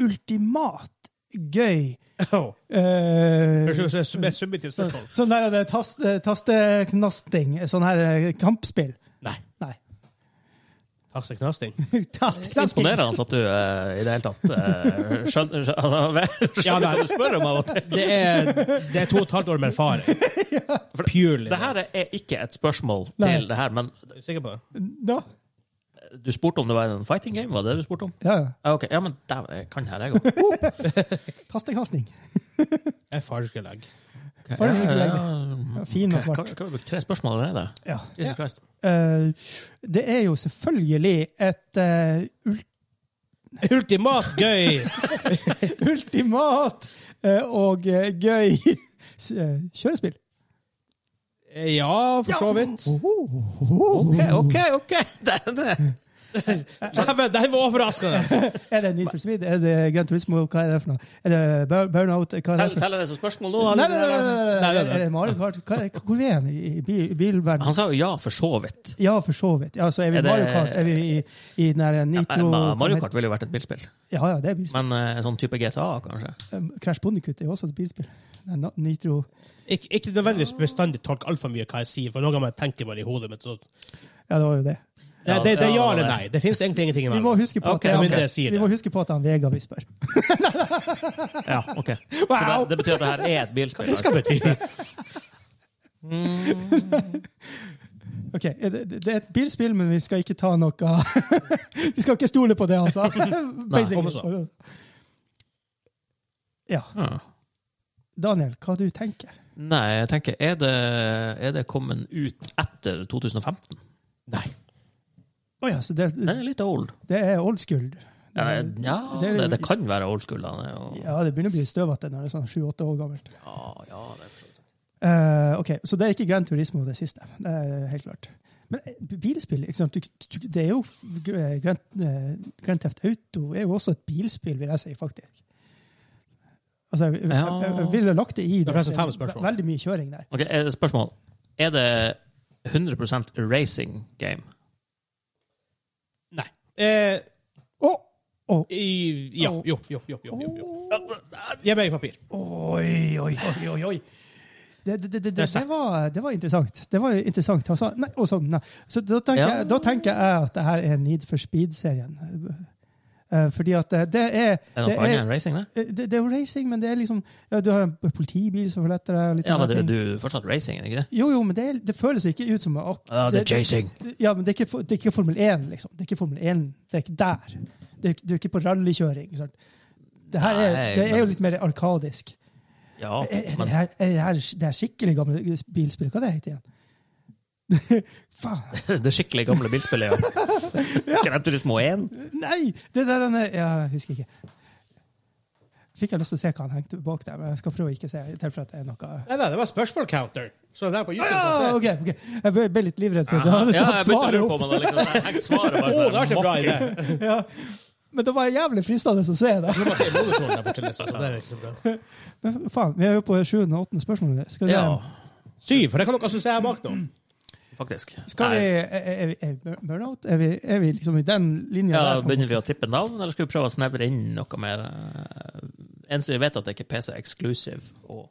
Speaker 1: ultimat gøy
Speaker 2: Oh.
Speaker 1: eh,
Speaker 2: Kanskje det er Med submitivt spørsmål.
Speaker 1: Sånn der det er tast, eh, tasteknasting. Sånn her eh, kampspill.
Speaker 2: Nei.
Speaker 1: Nei.
Speaker 2: Tasteknasting.
Speaker 1: Tasteknasting.
Speaker 3: Imponerende at du eh, i det hele tatt eh, skjønner, skjønner,
Speaker 2: Ja,
Speaker 3: skjønner
Speaker 2: nei.
Speaker 3: hva du spør om av og til.
Speaker 2: Det er, det er to og et halvt år med erfaring. Purely.
Speaker 3: Det her er ikke et spørsmål
Speaker 1: Nei.
Speaker 3: til det her, men
Speaker 2: Er du sikker på det?
Speaker 1: Da.
Speaker 3: du spurte om det var en fighting game? Var det det du spurte om?
Speaker 1: Ja, ja.
Speaker 3: Ja, Ah, ok. ja men dæven, jeg kan her, jeg òg.
Speaker 1: Tasteknasting.
Speaker 2: Jeg farskelegg.
Speaker 1: Får du ikke legge? Ja, fin og svart.
Speaker 3: Tre spørsmål allerede?
Speaker 1: Ja.
Speaker 3: Jesus Christ.
Speaker 1: Eh, det er jo selvfølgelig et eh, ul-
Speaker 2: Ultimat gøy!
Speaker 1: ultimat eh, og eh, gøy s- eh, kjørespill.
Speaker 2: Ja, for så vidt.
Speaker 3: OK, OK! ok. Det, det.
Speaker 2: Dæven, det her var overraskende!
Speaker 1: Er det Need for Speed? Er det Grand Turismo? Hva er det for noe? Er det Bur- Burnout? Hva er det
Speaker 3: Tell-
Speaker 1: for noe?
Speaker 3: Teller det som spørsmål nå?
Speaker 1: Nei, nei,
Speaker 3: eller?
Speaker 1: nei, nei, nei, nei,
Speaker 2: Nei, nei, nei.
Speaker 1: Er det Mario Kart? Hva, er- hvor er vi i bil, bilverden?
Speaker 3: Han sa jo ja, for så vidt.
Speaker 1: Ja, for så vidt. Ja, så er vi
Speaker 3: Er
Speaker 1: i
Speaker 3: det-
Speaker 1: Mario Kart? Er vi i, i den der Nitro
Speaker 3: Ma- Mario Kart ville jo vært et bilspill,
Speaker 1: Ja, ja, det er bilspill.
Speaker 3: men eh, sånn type GTA, kanskje?
Speaker 1: Eh, Crash Bandicoot er jo også et bilspill. Nei, na- Nitro
Speaker 2: Ik ikke nødvendigvis bestandig tolk altfor mye hva jeg sier, for noen ganger tenker jeg bare i hodet mitt. Så.
Speaker 1: Ja, det var jo det.
Speaker 2: Det, det, det er ja eller nei. Det fins egentlig ingenting
Speaker 1: Vi må
Speaker 2: imellom.
Speaker 1: huske på at
Speaker 3: Ok,
Speaker 2: Men
Speaker 3: ok.
Speaker 2: det sier
Speaker 1: Vi må
Speaker 2: det.
Speaker 1: huske på at han Vega vi spør.
Speaker 3: Ja, ok. Så det, det betyr at det her er et bilspill? altså. Mm,
Speaker 2: Det skal bety
Speaker 1: Ok, er det, det er et bilspill, men vi skal ikke ta noe Vi skal ikke stole på det han sa. Basically.
Speaker 2: kom så.
Speaker 1: Ja.
Speaker 3: Ja.
Speaker 1: Daniel, hva du tenker
Speaker 3: Nei, jeg tenker, er det, er det kommet ut etter 2015? Nei.
Speaker 1: Å ja, så det,
Speaker 3: Den er litt old.
Speaker 1: det er old school.
Speaker 3: Ja, ja
Speaker 1: Det
Speaker 3: det,
Speaker 1: er-
Speaker 3: det, kan være old school. da, det er jo-
Speaker 1: Ja, det begynner å bli støvete når det er sånn sju-åtte år gammelt.
Speaker 3: Ja, ja, det er for så vidt.
Speaker 1: Eh, ok, Så det er ikke Grand Turismo det siste. Det er helt klart. Men eh, bilspill ikke sant? Du- du- Det er jo f- eh, Grand, eh, Grand Theft Auto er jo også et bilspill, vil jeg si, faktisk. Altså, jeg, jeg,
Speaker 3: Ja.
Speaker 1: jeg, jeg ville lagt det i
Speaker 2: er forresten fem spørsmål.
Speaker 1: Veldig mye kjøring der.
Speaker 3: Ok, eh, Spørsmål. Er det 100 racing game?
Speaker 2: Nei. Eh,
Speaker 1: Å! Å,
Speaker 2: i, ja. Jo, jo, jo. jo, jo, jo. Gi meg papir.
Speaker 1: Oi, oi, oi, oi, oi. Det, det, det, det,
Speaker 2: er
Speaker 1: det,
Speaker 2: seks.
Speaker 1: var, det var interessant. Det var interessant. Han sa, nei, og så, nei. så da, tenker
Speaker 3: Ja.
Speaker 1: jeg, da tenker jeg at det her er Need for Speed-serien. Eh, Fordi at det- det er
Speaker 3: Er
Speaker 1: det
Speaker 3: det noe annet
Speaker 1: er,
Speaker 3: enn racing? Det?
Speaker 1: Eh, det, det er jo racing, men det er liksom ja, Du har en politibil som forletter deg. og Litt sånn
Speaker 3: Ja,
Speaker 1: sånne
Speaker 3: men det,
Speaker 1: ting.
Speaker 3: du fortsatt racing, er det ikke det?
Speaker 1: Jo, jo, men det, er- det føles ikke ut som ak-
Speaker 3: Ja, det er racing.
Speaker 1: Ja, men det er ikke, for- det er ikke Formel 1, liksom. Det er ikke Formel 1. Det er ikke der. Det er, du er ikke på rallykjøring. ikke sant? Det her er,
Speaker 3: Nei,
Speaker 1: det er
Speaker 3: men-
Speaker 1: jo litt mer arkadisk.
Speaker 3: Ja,
Speaker 1: Er, er, det,
Speaker 3: men
Speaker 1: her, er det, her, det er skikkelig gamle bilspill. Hva det heter det igjen? Faen!
Speaker 3: det skikkelig gamle bilspillet, ja. Gran Turismo 1?
Speaker 1: Nei! Det der den er, ja, Jeg husker ikke. Fikk jeg lyst til å se hva han hengte bak der, men jeg skal prøve å ikke se. i tilfelle at det er noe...
Speaker 2: Nei, nei, det var spørsmål counter. Så det er på YouTube.
Speaker 1: Ja,
Speaker 2: altså. kan se.
Speaker 1: ok, ok. Jeg ble, ble litt livredd for at jeg
Speaker 3: Ja,
Speaker 1: hadde tatt
Speaker 3: jeg begynte å
Speaker 1: svaret
Speaker 3: lure på
Speaker 1: opp.
Speaker 3: om det liksom jeg hengte svaret bare
Speaker 2: Å, Oh,
Speaker 3: sånn.
Speaker 2: det var ikke en bra idé!
Speaker 1: Ja. Men det var jævlig fristende å se det.
Speaker 2: Det må si modersmålet der borte, liksom. Det er ikke så bra.
Speaker 1: Men faen, vi er jo på sjuende og åttende spørsmål. nå. Skal vi, se-
Speaker 3: Ja,
Speaker 2: Syv, for det kan dere assosiere bak nå.
Speaker 3: faktisk.
Speaker 1: skal vi er, er, er vi burnout? Er vi, er vi liksom i den linja
Speaker 3: Ja,
Speaker 1: der?
Speaker 3: Begynner vi å tippe navn, eller skal vi prøve å snevre inn noe mer? eh, Eneste vi vet, at det ikke er PC exclusive og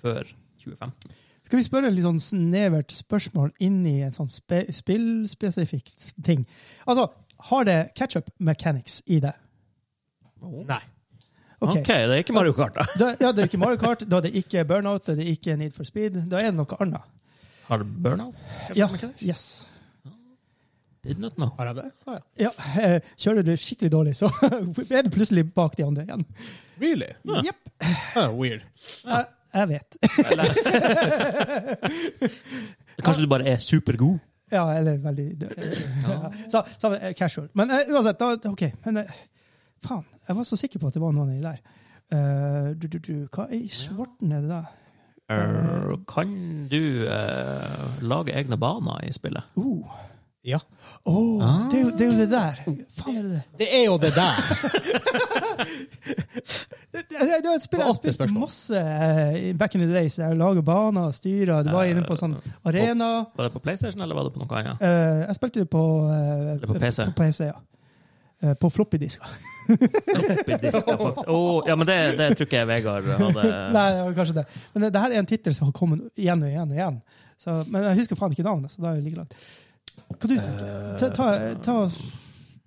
Speaker 3: før 2015.
Speaker 1: Skal vi spørre litt sånn snevert spørsmål inni en sånn spe spillspesifikk ting? Altså, har det catch-up mechanics i det?
Speaker 2: Nei.
Speaker 1: Ok.
Speaker 3: OK, det er ikke Mario Kart, da.
Speaker 1: Da, ja, det er ikke Mario Kart, da er det ikke Burnout, da er det ikke Need for Speed. Da er det noe annet.
Speaker 3: Har det burnout?
Speaker 1: Ja, yes.
Speaker 3: Did not know.
Speaker 2: Har jeg det? Ah, ja.
Speaker 1: ja, eh, kjører du skikkelig dårlig, så er du plutselig bak de andre igjen.
Speaker 2: Really?
Speaker 3: Ja.
Speaker 1: Jepp.
Speaker 2: Ah, weird.
Speaker 1: Jeg, jeg vet.
Speaker 3: Kanskje du bare er supergod?
Speaker 1: Ja, eller veldig ja. Så, så eh, casual. Men eh, uansett, da OK. Men eh, faen, jeg var så sikker på at det var noen i der. Eh, du, du, du, hva i svarten er det da? Eh.
Speaker 3: Er- Kan du eh, lage egne baner i spillet?
Speaker 1: Uh.
Speaker 2: Ja.
Speaker 1: Åh, det, er jo, det er jo det der. Faen, er det det?
Speaker 2: Det er jo det der.
Speaker 1: Det, det, det er et spill jeg
Speaker 2: Bare
Speaker 1: har
Speaker 2: åtte
Speaker 1: spilt
Speaker 2: spørsmål.
Speaker 1: masse eh, i back in the days. Jeg lager baner, styrer, det var inne på sånn arena.
Speaker 3: Var det på PlayStation eller var det på noe annet?
Speaker 1: Eh, jeg spilte det på, eh,
Speaker 3: Eller på PC.
Speaker 1: På PC, ja. Eh, på floppydisker.
Speaker 3: Floppydisker, faktisk. Åh, ja, men det, det tror ikke jeg Vegard hadde
Speaker 1: Nei, det var kanskje det. Men eh, det her er en tittel som har kommet igjen og igjen og igjen. Så, men jeg husker faen ikke navnet, så da er det like langt. Hva du tenker?
Speaker 3: Eh.
Speaker 1: Ta, ta, ta,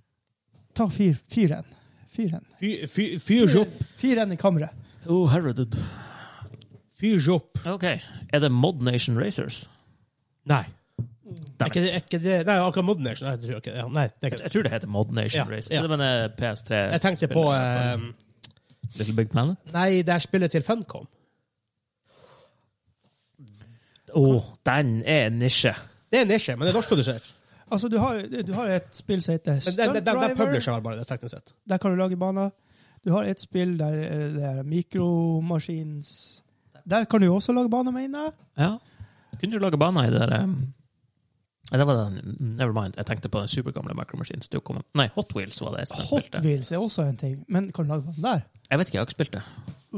Speaker 1: ta fyr, fyr en. Fyr en.
Speaker 2: Fyr- fyr- Fyrs opp.
Speaker 1: Fyr en i kammeret.
Speaker 3: Oh, herredud.
Speaker 2: Fyrs opp.
Speaker 3: Ok. Er det Mod Nation Racers?
Speaker 2: Nei. Er
Speaker 3: Damn
Speaker 2: ikke det, er ikke det. Nei, akkurat Modern Nation. Nei, jeg tror ikke det. Ja, nei, det er ikke det.
Speaker 3: Jeg tror det heter Mod Nation
Speaker 2: Ja,
Speaker 3: Racers. eh,
Speaker 2: ja.
Speaker 3: Det mener PS3.
Speaker 2: Jeg tenkte på eh,
Speaker 3: Little Big Planet.
Speaker 2: Nei, det er spillet til Funcom.
Speaker 3: Å, den er nisje.
Speaker 2: Det er nisje, men det er norskprodusert.
Speaker 1: Altså, du har, du har et spill som heter
Speaker 2: Men Det, det,
Speaker 1: Stunt
Speaker 2: det, det er
Speaker 1: Driver.
Speaker 2: publisher, bare det, teknisk sett.
Speaker 1: Der kan du lage baner. Du har et spill der eh, det er mikromaskins Der kan du jo også lage baner, mener jeg.
Speaker 3: Ja. Kunne du lage baner i det der eh, Nei, det var den Never mind. Jeg tenkte på den supergamle Micro Machines. Det er jo kommet- Nei, Hot Wheels var det. som Jeg, spilte.
Speaker 1: Hotwheels er også en ting, men kan du lage baner der?
Speaker 3: jeg vet ikke, jeg har ikke spilt det.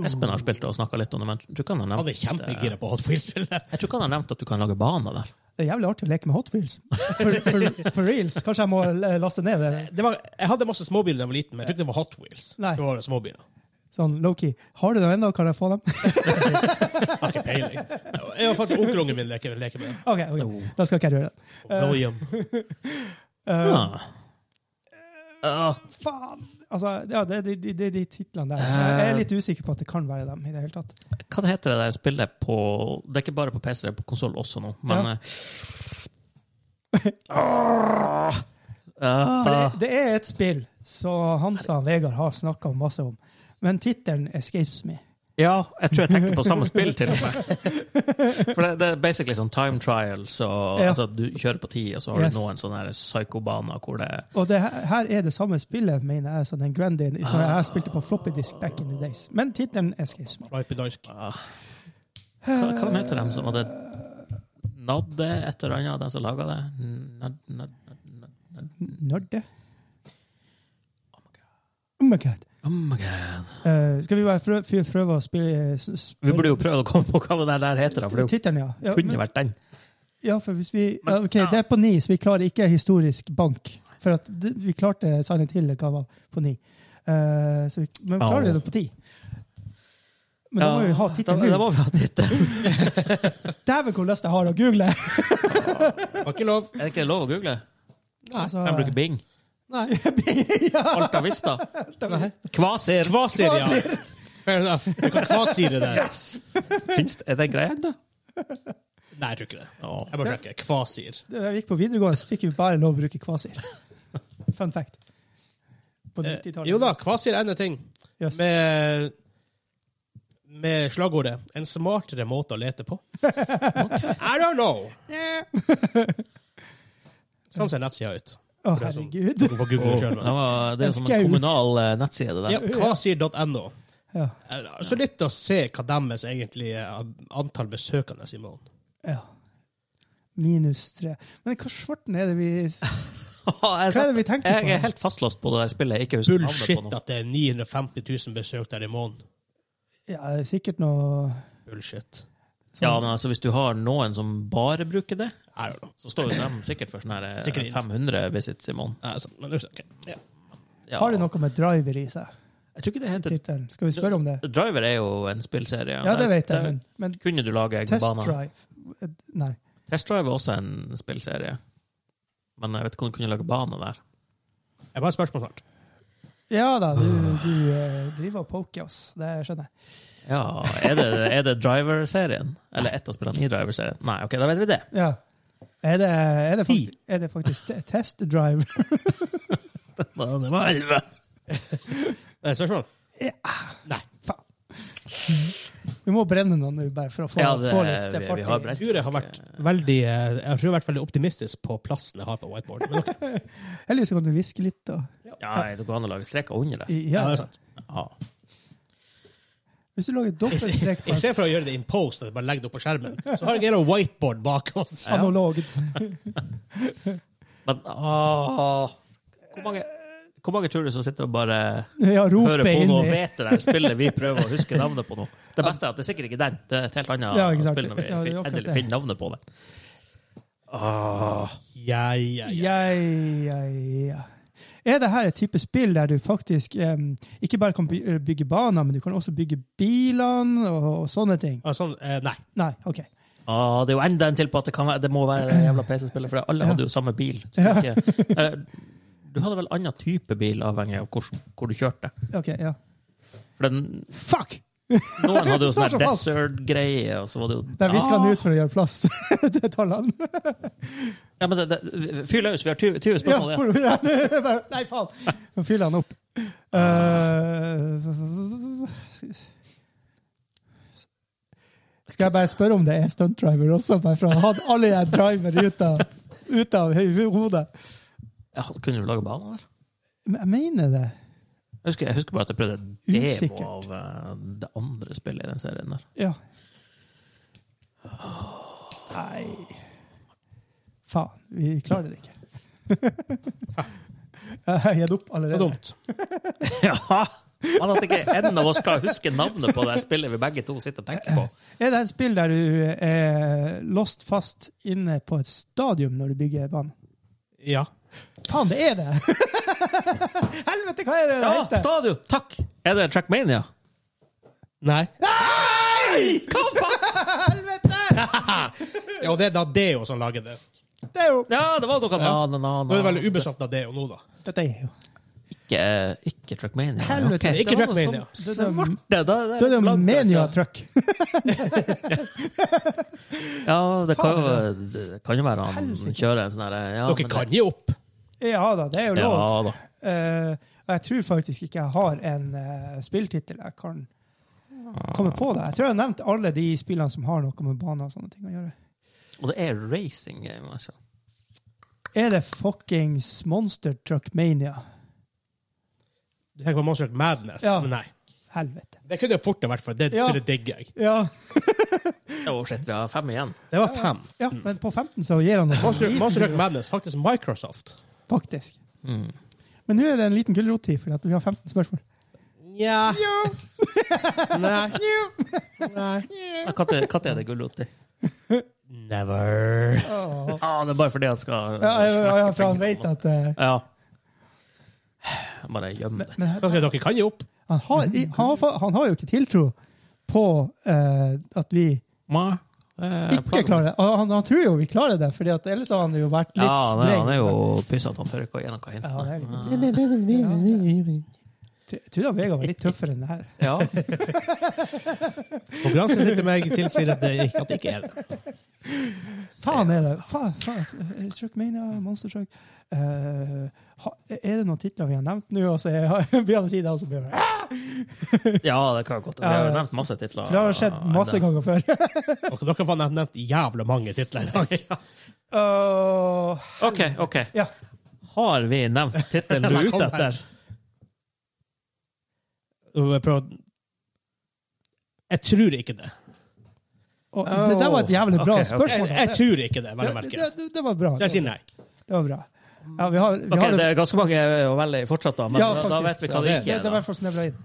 Speaker 3: Espen har spilt det og snakka litt om det, men jeg tror ikke han har
Speaker 2: Han er
Speaker 3: nevnt, eh,
Speaker 2: kjempegira på Hot Wheels-spillet.
Speaker 3: jeg tror ikke han har nevnt at du kan lage baner der.
Speaker 1: Det er jævlig artig å leke med hotwheels. For, for, for reals. Kanskje jeg må eh, laste ned det.
Speaker 2: Det var, jeg hadde masse småbiler da jeg var liten, men jeg tror ikke det var Hot Wheels.
Speaker 1: Nei.
Speaker 2: Det var småbiler.
Speaker 1: Sånn lowkey. Har du dem ennå? Kan jeg få dem?
Speaker 2: Jeg har ikke peiling. Jeg har faktisk onkelungen min leker, leker med det.
Speaker 1: OK, ok. da skal ikke jeg gjøre det.
Speaker 2: William.
Speaker 3: Ah. Ah.
Speaker 1: Faen! Altså, ja, det er de, de, de, de titlene der. Jeg er litt usikker på at det kan være dem i det hele tatt.
Speaker 3: Hva det heter det der spillet på Det er ikke bare på PC, det er på konsoll også nå, men
Speaker 1: Ja.
Speaker 3: eh, ah, ah,
Speaker 1: For det, det er et spill som Hansa og Vegard har snakka masse om, men tittelen escapes me.
Speaker 3: Ja, jeg tror jeg tenker på samme spill, til og med. For det, det er basically sånn time trials, og
Speaker 1: Ja.
Speaker 3: altså, du kjører på tid, og så har
Speaker 1: Yes.
Speaker 3: du noen sånne her psykobaner hvor det
Speaker 1: Og det, her her er det samme spillet, mener jeg, som den Grandin som jeg spilte på floppy disk back in the days. Men tittelen escapes me.
Speaker 2: Right Bedansk.
Speaker 3: ah. Hva, hva heter de som hadde Nadde et eller annet, den som laga det? Nad, nad, nad, nad.
Speaker 1: Nørde. Oh my god.
Speaker 3: Oh my god.
Speaker 1: Eh, skal vi bare prøve, prøve å spille, eh, s- spille
Speaker 3: Vi burde jo prøve å komme på hva det der, der heter, da, for det
Speaker 1: Tittelen, ja. Ja,
Speaker 3: kunne
Speaker 1: men,
Speaker 3: vært den.
Speaker 1: ja, for hvis vi
Speaker 3: Men-
Speaker 1: ja, OK, det er på ni, så vi klarer ikke historisk bank. For at det, vi klarte Silent Hill hva var på ni. Eh, så vi, men vi klarer
Speaker 3: Ja.
Speaker 1: det på ti. Men da må vi ha tittelen.
Speaker 3: Da, da
Speaker 1: nå.
Speaker 3: må vi ha tittelen.
Speaker 1: Dæven, hvor lyst jeg har å google!
Speaker 2: Har ikke lov.
Speaker 3: Er det ikke lov å google?
Speaker 1: Altså,
Speaker 3: Kan jeg bruke Bing?
Speaker 2: Nei.
Speaker 3: Alta Vista? Kvasir?
Speaker 2: Kvasir, ja. Fair enough. Du kan kvasire det.
Speaker 3: Finnes det? Er det greia ennå?
Speaker 2: Nei, jeg tror ikke det. Jeg bare sjekker. Kvasir.
Speaker 1: Da jeg gikk på videregående, så fikk vi bare lov å bruke kvasir. Fun fact. På
Speaker 2: Eh,
Speaker 1: 90-tallet.
Speaker 2: Jo da, kvasir er en ting.
Speaker 1: Yes.
Speaker 2: Med, med slagordet 'en smartere måte å lete på'. I don't know! Sånn ser nettsida ut.
Speaker 1: Å,
Speaker 2: For det er sånn-
Speaker 1: herregud.
Speaker 2: Du får google det selv,
Speaker 3: Det,
Speaker 2: men.
Speaker 3: var, det er jo som en
Speaker 1: Skau.
Speaker 3: kommunal eh, nettside, det der.
Speaker 2: Ja, kvasir.no.
Speaker 1: Ja.
Speaker 2: Eh, Så litt å se hva deres egentlige antall besøkende er i måneden.
Speaker 1: ja. Minus tre. Men hva svarten er det vi
Speaker 3: jeg,
Speaker 1: Hva er det vi tenker på?
Speaker 3: jeg er helt fastlåst på det der spillet. Jeg ikke husker navnet
Speaker 2: Bullshit
Speaker 3: på noe.
Speaker 2: at det er 950 000 besøk der i måneden.
Speaker 1: Ja, det er sikkert noe
Speaker 2: Bullshit.
Speaker 1: sånn-
Speaker 3: Ja, men altså, Hvis du har noen som bare bruker det,
Speaker 2: I don't know.
Speaker 3: så står jo de sikkert for sånn her eh,
Speaker 2: Sikkert inn.
Speaker 3: 500 visits i måneden.
Speaker 2: Eh, så- Men, ok, ja.
Speaker 3: Ja.
Speaker 1: Har det noe med driver i seg?
Speaker 3: Jeg tror ikke det heter
Speaker 1: Tittelen. Skal vi spørre om det?
Speaker 3: Driver er jo en spillserie.
Speaker 1: Ja, det
Speaker 3: Der-
Speaker 1: vet jeg,
Speaker 3: der
Speaker 1: men, men
Speaker 3: Kunne du lage egne
Speaker 1: test
Speaker 3: baner?
Speaker 1: drive Eh, Nei.
Speaker 3: Test Drive er også en spillserie. Men jeg vet ikke om du kunne lage bane der.
Speaker 2: Jeg bare har et spørsmål snart.
Speaker 1: Ja da, du, du eh, driver og poker oss. Det skjønner jeg.
Speaker 3: Ja, Er det, er det Driver-serien? Eller ett av spillene i Driver-serien? Nei, ok, da vet vi det.
Speaker 1: Ja. Er det, er det,
Speaker 2: Ti.
Speaker 1: faktisk, er det faktisk te- test drive?
Speaker 3: Det var elleve.
Speaker 2: Eh, Spørsmål?
Speaker 1: Ja.
Speaker 2: Nei.
Speaker 1: Faen. Vi må brenne noen nå, bare for å få,
Speaker 3: Ja, det-
Speaker 1: få litt eh,
Speaker 3: vi-
Speaker 1: fart
Speaker 3: vi har
Speaker 1: i-
Speaker 3: brent.
Speaker 2: Jeg tror jeg har vært veldig eh, Jeg tror jeg har vært veldig optimistisk på plassen jeg har på whiteboard. Men ok.
Speaker 1: Eller så kan du hviske litt, da.
Speaker 3: Ja, det går an å lage streker under det.
Speaker 1: I- Ja,
Speaker 2: det er sant.
Speaker 3: Ja.
Speaker 1: Hvis du lager
Speaker 2: I se-
Speaker 1: dobbeltstrekk
Speaker 2: I stedet for å gjøre det in post, at jeg bare legger det opp på skjermen, så har jeg en whiteboard bak oss.
Speaker 1: analogt
Speaker 3: Men åh, hvor, mange, hvor mange tror du som sitter og bare
Speaker 1: Ja,
Speaker 3: hører
Speaker 1: rope
Speaker 3: på
Speaker 1: inn
Speaker 3: noe og
Speaker 1: i
Speaker 3: vet det der spillet vi prøver å huske navnet på nå? Det beste er at det er sikkert ikke den. Det er et helt annet
Speaker 1: Ja, ikke sant.
Speaker 3: spill når vi
Speaker 1: Ja, det er
Speaker 3: fin-
Speaker 1: akkurat
Speaker 3: endelig
Speaker 1: det.
Speaker 3: finner navnet på det. Åh,
Speaker 2: Ja, ja, ja.
Speaker 1: Ja, ja, ja. Er det her et type spill der du faktisk em, ikke bare kan by- eh, bygge baner, men du kan også bygge bilene og, og sånne ting?
Speaker 2: Ah, sånn, eh, nei.
Speaker 1: Nei, OK.
Speaker 3: åh, det er jo enda en til på at det, kan være, det må være en jævla PC-spiller, for alle hadde jo samme bil. Ikke, eh, du hadde vel annen type bil, avhengig av hvor, hvor du kjørte.
Speaker 1: ok, ja.
Speaker 3: For den,
Speaker 1: Fuck!
Speaker 3: noen hadde jo
Speaker 1: Står
Speaker 3: sånn
Speaker 1: så
Speaker 3: her
Speaker 1: fast.
Speaker 3: desert-greie, og så var det jo
Speaker 1: Der visker
Speaker 3: Ah.
Speaker 1: han ut for å gjøre plass til tallene.
Speaker 3: Ja, men det, det, fyr løs, vi har 20, 20
Speaker 1: Ja,
Speaker 3: spørsmål. Ja,
Speaker 1: for, ja, det er bare- nei, faen! Nå fyller han opp. Eh, skal jeg bare spørre om det er stuntdriver også, bare for å ha alle de driver ut av, ut av høy- hodet?
Speaker 3: ja, kunne du lage baner der?
Speaker 1: Men jeg mener det.
Speaker 3: Jeg husker, jeg husker bare at jeg prøvde en demo
Speaker 1: Usikkert.
Speaker 3: av eh, det andre spillet i den serien. der.
Speaker 1: Ja. Nei Faen, vi klarer det ikke. Jeg har gitt opp
Speaker 2: Det var
Speaker 1: allerede.
Speaker 2: dumt.
Speaker 3: Ja! Man at ikke en av oss klarer å huske navnet på det her spillet vi begge to sitter og tenker på.
Speaker 1: Er det et spill der du er låst fast inne på et stadium når du bygger banen?
Speaker 2: Ja.
Speaker 1: Faen, det er det! Helvete, hva er det det
Speaker 3: Ja,
Speaker 1: heter?
Speaker 3: Stadio! Takk! Er det Trackmania?
Speaker 2: Nei.
Speaker 3: Hva faen?!
Speaker 1: Helvete!
Speaker 2: Ja, og det er Nadeo som lager det.
Speaker 1: Det er jo
Speaker 3: Ja, det var noe
Speaker 2: Ja.
Speaker 3: na, na, na,
Speaker 2: Nå
Speaker 3: na.
Speaker 2: er det veldig Ubisoft Nadeo nå, da.
Speaker 1: Dette er jo
Speaker 3: Ikke, ikke Trackmania.
Speaker 1: Helvete,
Speaker 3: Ok,
Speaker 2: ikke
Speaker 3: det var noe
Speaker 2: Trackmania.
Speaker 3: sånn
Speaker 1: Det er
Speaker 3: Svarte! Da,
Speaker 1: Det er jo
Speaker 3: blankt,
Speaker 1: Mania
Speaker 3: altså.
Speaker 1: Truck.
Speaker 3: Ja, det kan jo, det kan jo være han
Speaker 1: Helsike.
Speaker 3: kjører en sånn herre ja, men
Speaker 2: Dere
Speaker 3: det-
Speaker 2: kan gi opp.
Speaker 1: Ja da, det er jo lov.
Speaker 3: Ja da.
Speaker 1: Eh, og jeg tror faktisk ikke jeg har en uh, spilltittel jeg kan komme på. det. Jeg tror jeg har nevnt alle de spillene som har noe med baner og sånne ting å gjøre.
Speaker 3: Og det er racing game, altså.
Speaker 1: Er det fuckings Monster Truck Mania?
Speaker 2: Du tenker på Monster Truck Madness.
Speaker 1: Ja.
Speaker 2: Men nei.
Speaker 1: Helvete.
Speaker 2: Det kunne det fort ha vært, for det
Speaker 1: Ja.
Speaker 2: spillet digger jeg.
Speaker 1: Ja,
Speaker 3: Oh, shit, vi har fem igjen.
Speaker 2: Det var fem.
Speaker 1: ja men på 15 så gir han oss en
Speaker 2: Monster,
Speaker 1: liten
Speaker 2: Monster Truck
Speaker 1: gulrot,
Speaker 2: Madness, faktisk Microsoft.
Speaker 1: faktisk.
Speaker 3: Mm.
Speaker 1: Men nå er det en liten gulrot til, for at vi har 15 spørsmål.
Speaker 2: Nja Nei. Nei.
Speaker 3: Men Når når er det gulrot i?
Speaker 2: Never.
Speaker 1: Åh.
Speaker 3: Ah, det er bare fordi han skal
Speaker 1: Ja, ja, ja, ja, for han vet at eh,
Speaker 3: Ja. Bare gjem det.
Speaker 1: men,
Speaker 2: Ok, dere kan gi opp.
Speaker 1: han, har, i- han, har, fa- han har jo ikke tiltro på eh, at vi
Speaker 3: eh,
Speaker 1: ikke klarer det. Han, han, han tror jo vi klarer det, for ellers har han jo vært litt
Speaker 3: Ja, han er,
Speaker 1: streng.
Speaker 3: han er jo pysete. Han tør ikke å gi noe hint.
Speaker 1: Ja, han er litt-
Speaker 3: Men-
Speaker 1: Jeg trodde han Vegard var litt tøffere enn det her.
Speaker 3: Ja.
Speaker 2: Konkurransen sitter meg tilsier at det ikke, at det ikke er det.
Speaker 1: Faen er det! Faen, faen. Truckmania, Monster Truck Eh, ha, Er det noen titler vi har nevnt nå, altså? og så er- begynner han å si det, og så blir det altså, For
Speaker 3: ja, det kan godt Vi har jo nevnt masse titler.
Speaker 1: det har
Speaker 3: Ah,
Speaker 1: skjedd masse ganger før.
Speaker 2: Dere, dere har nevnt- nevnt jævla mange titler i dag.
Speaker 1: Åh,
Speaker 3: OK, OK.
Speaker 1: ja.
Speaker 3: Har vi nevnt tittelen du er ute etter?
Speaker 2: Og jeg prøver å- Jeg tror ikke det.
Speaker 1: Og, det der var et jævlig bra
Speaker 3: Ok, ok.
Speaker 1: spørsmål.
Speaker 2: Jeg, jeg tror ikke det, vel å
Speaker 1: det,
Speaker 2: merke.
Speaker 1: det, det var bra.
Speaker 2: Så jeg sier nei.
Speaker 1: Det var bra. Ja, vi har, vi
Speaker 3: Ok,
Speaker 1: har
Speaker 3: Det er ganske mange å velge i fortsatt, da, men
Speaker 1: Ja,
Speaker 3: da, da
Speaker 1: faktisk.
Speaker 3: vet vi hva det
Speaker 1: det,
Speaker 3: ikke
Speaker 1: det er i
Speaker 3: er.
Speaker 1: hvert fall snevra inn.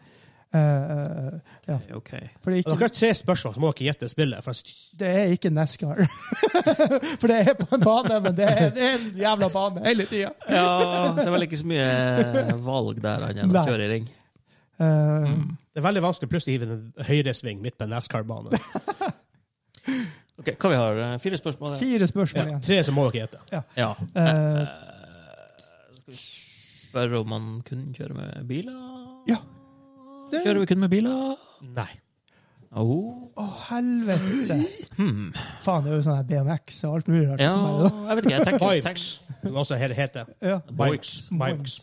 Speaker 1: Eh, ja,
Speaker 3: Da. Ok.
Speaker 1: for det er
Speaker 2: Dere
Speaker 1: ikke,
Speaker 2: har tre spørsmål, så må dere gjette spillet. For jeg
Speaker 1: det er ikke NASCAR. For det er på en bane, men det er, det er en jævla bane hele tida.
Speaker 3: Ja, det er vel ikke så mye valg der han er
Speaker 1: Nei.
Speaker 3: å kjøre i ring.
Speaker 1: Eh,
Speaker 2: Det er veldig vanskelig plutselig å hive en høyresving midt på en NASCAR-bane.
Speaker 3: Ok, Hva vi har? Eh, Fire spørsmål? igjen.
Speaker 1: Fire spørsmål
Speaker 2: Ja,
Speaker 1: igjen.
Speaker 2: tre som må dere gjette.
Speaker 3: Ja.
Speaker 1: Eh,
Speaker 3: spørre om man kun kjører med biler?
Speaker 1: Ja. Det-
Speaker 3: Kjører vi kun med biler?
Speaker 2: Nei.
Speaker 3: Oh.
Speaker 1: Å, helvete! Faen, det er jo sånn her BMX og alt mulig rart.
Speaker 3: Hmm. Ja, jeg vet ikke. Jeg tenkte,
Speaker 2: Bikes, som også her heter.
Speaker 1: Ja.
Speaker 2: Bikes. Bikes.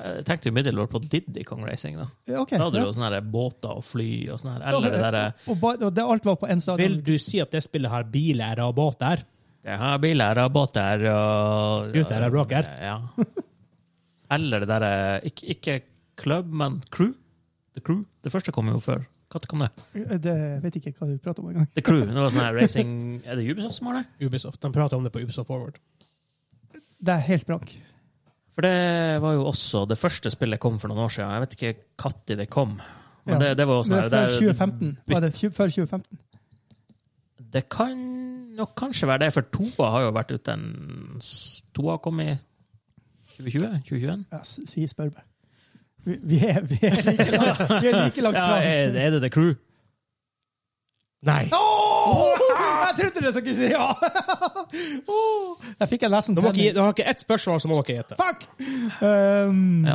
Speaker 3: Jeg tenkte umiddelbart på Diddy Kong Racing. Da
Speaker 1: Ja, ok.
Speaker 3: Da hadde du
Speaker 1: Ja.
Speaker 3: jo sånne her båter og fly og sånn her. Eller det derre
Speaker 1: Og, ba- og det, alt var på én stadion.
Speaker 2: Vil du si at det spillet har biler og båter?
Speaker 3: Jeg har biler og båter og
Speaker 2: Gutter og bråker.
Speaker 3: Ja. Eller det derre ikke, ikke club, men crew. The Crew. Det første kom jo før. Når kom det?
Speaker 1: Det vet ikke hva du prater om engang.
Speaker 3: The Crew. Det var sånn her racing Er det Ubisoft som har det?
Speaker 2: Ubisoft. De prater om det på Ubisoft Forward.
Speaker 1: Det er helt blank.
Speaker 3: For det var jo også Det første spillet kom for noen år siden. Jeg vet ikke når det kom. Men
Speaker 1: Ja.
Speaker 3: det, det var jo sånn
Speaker 1: Men før
Speaker 3: her det-
Speaker 1: 2015. Var det tju- før 2015?
Speaker 3: Det kan nok kanskje være det, for toa har jo vært ute en s- Toa kom i 2020? 2021?
Speaker 1: Ja, s- si spør meg. Vi, vi, er, vi, er like langt, vi er like langt
Speaker 3: Ja,
Speaker 1: fra.
Speaker 3: er, er det The Crew?
Speaker 2: Nei!
Speaker 1: Åh! Jeg trodde det skulle si ja! Åh! Jeg fikk en nesten
Speaker 2: Du, må ikke,
Speaker 1: tenning.
Speaker 2: gi- du har ikke ett spørsmål, så må dere gjette.
Speaker 1: Fuck! Um,
Speaker 3: Mm. Ja,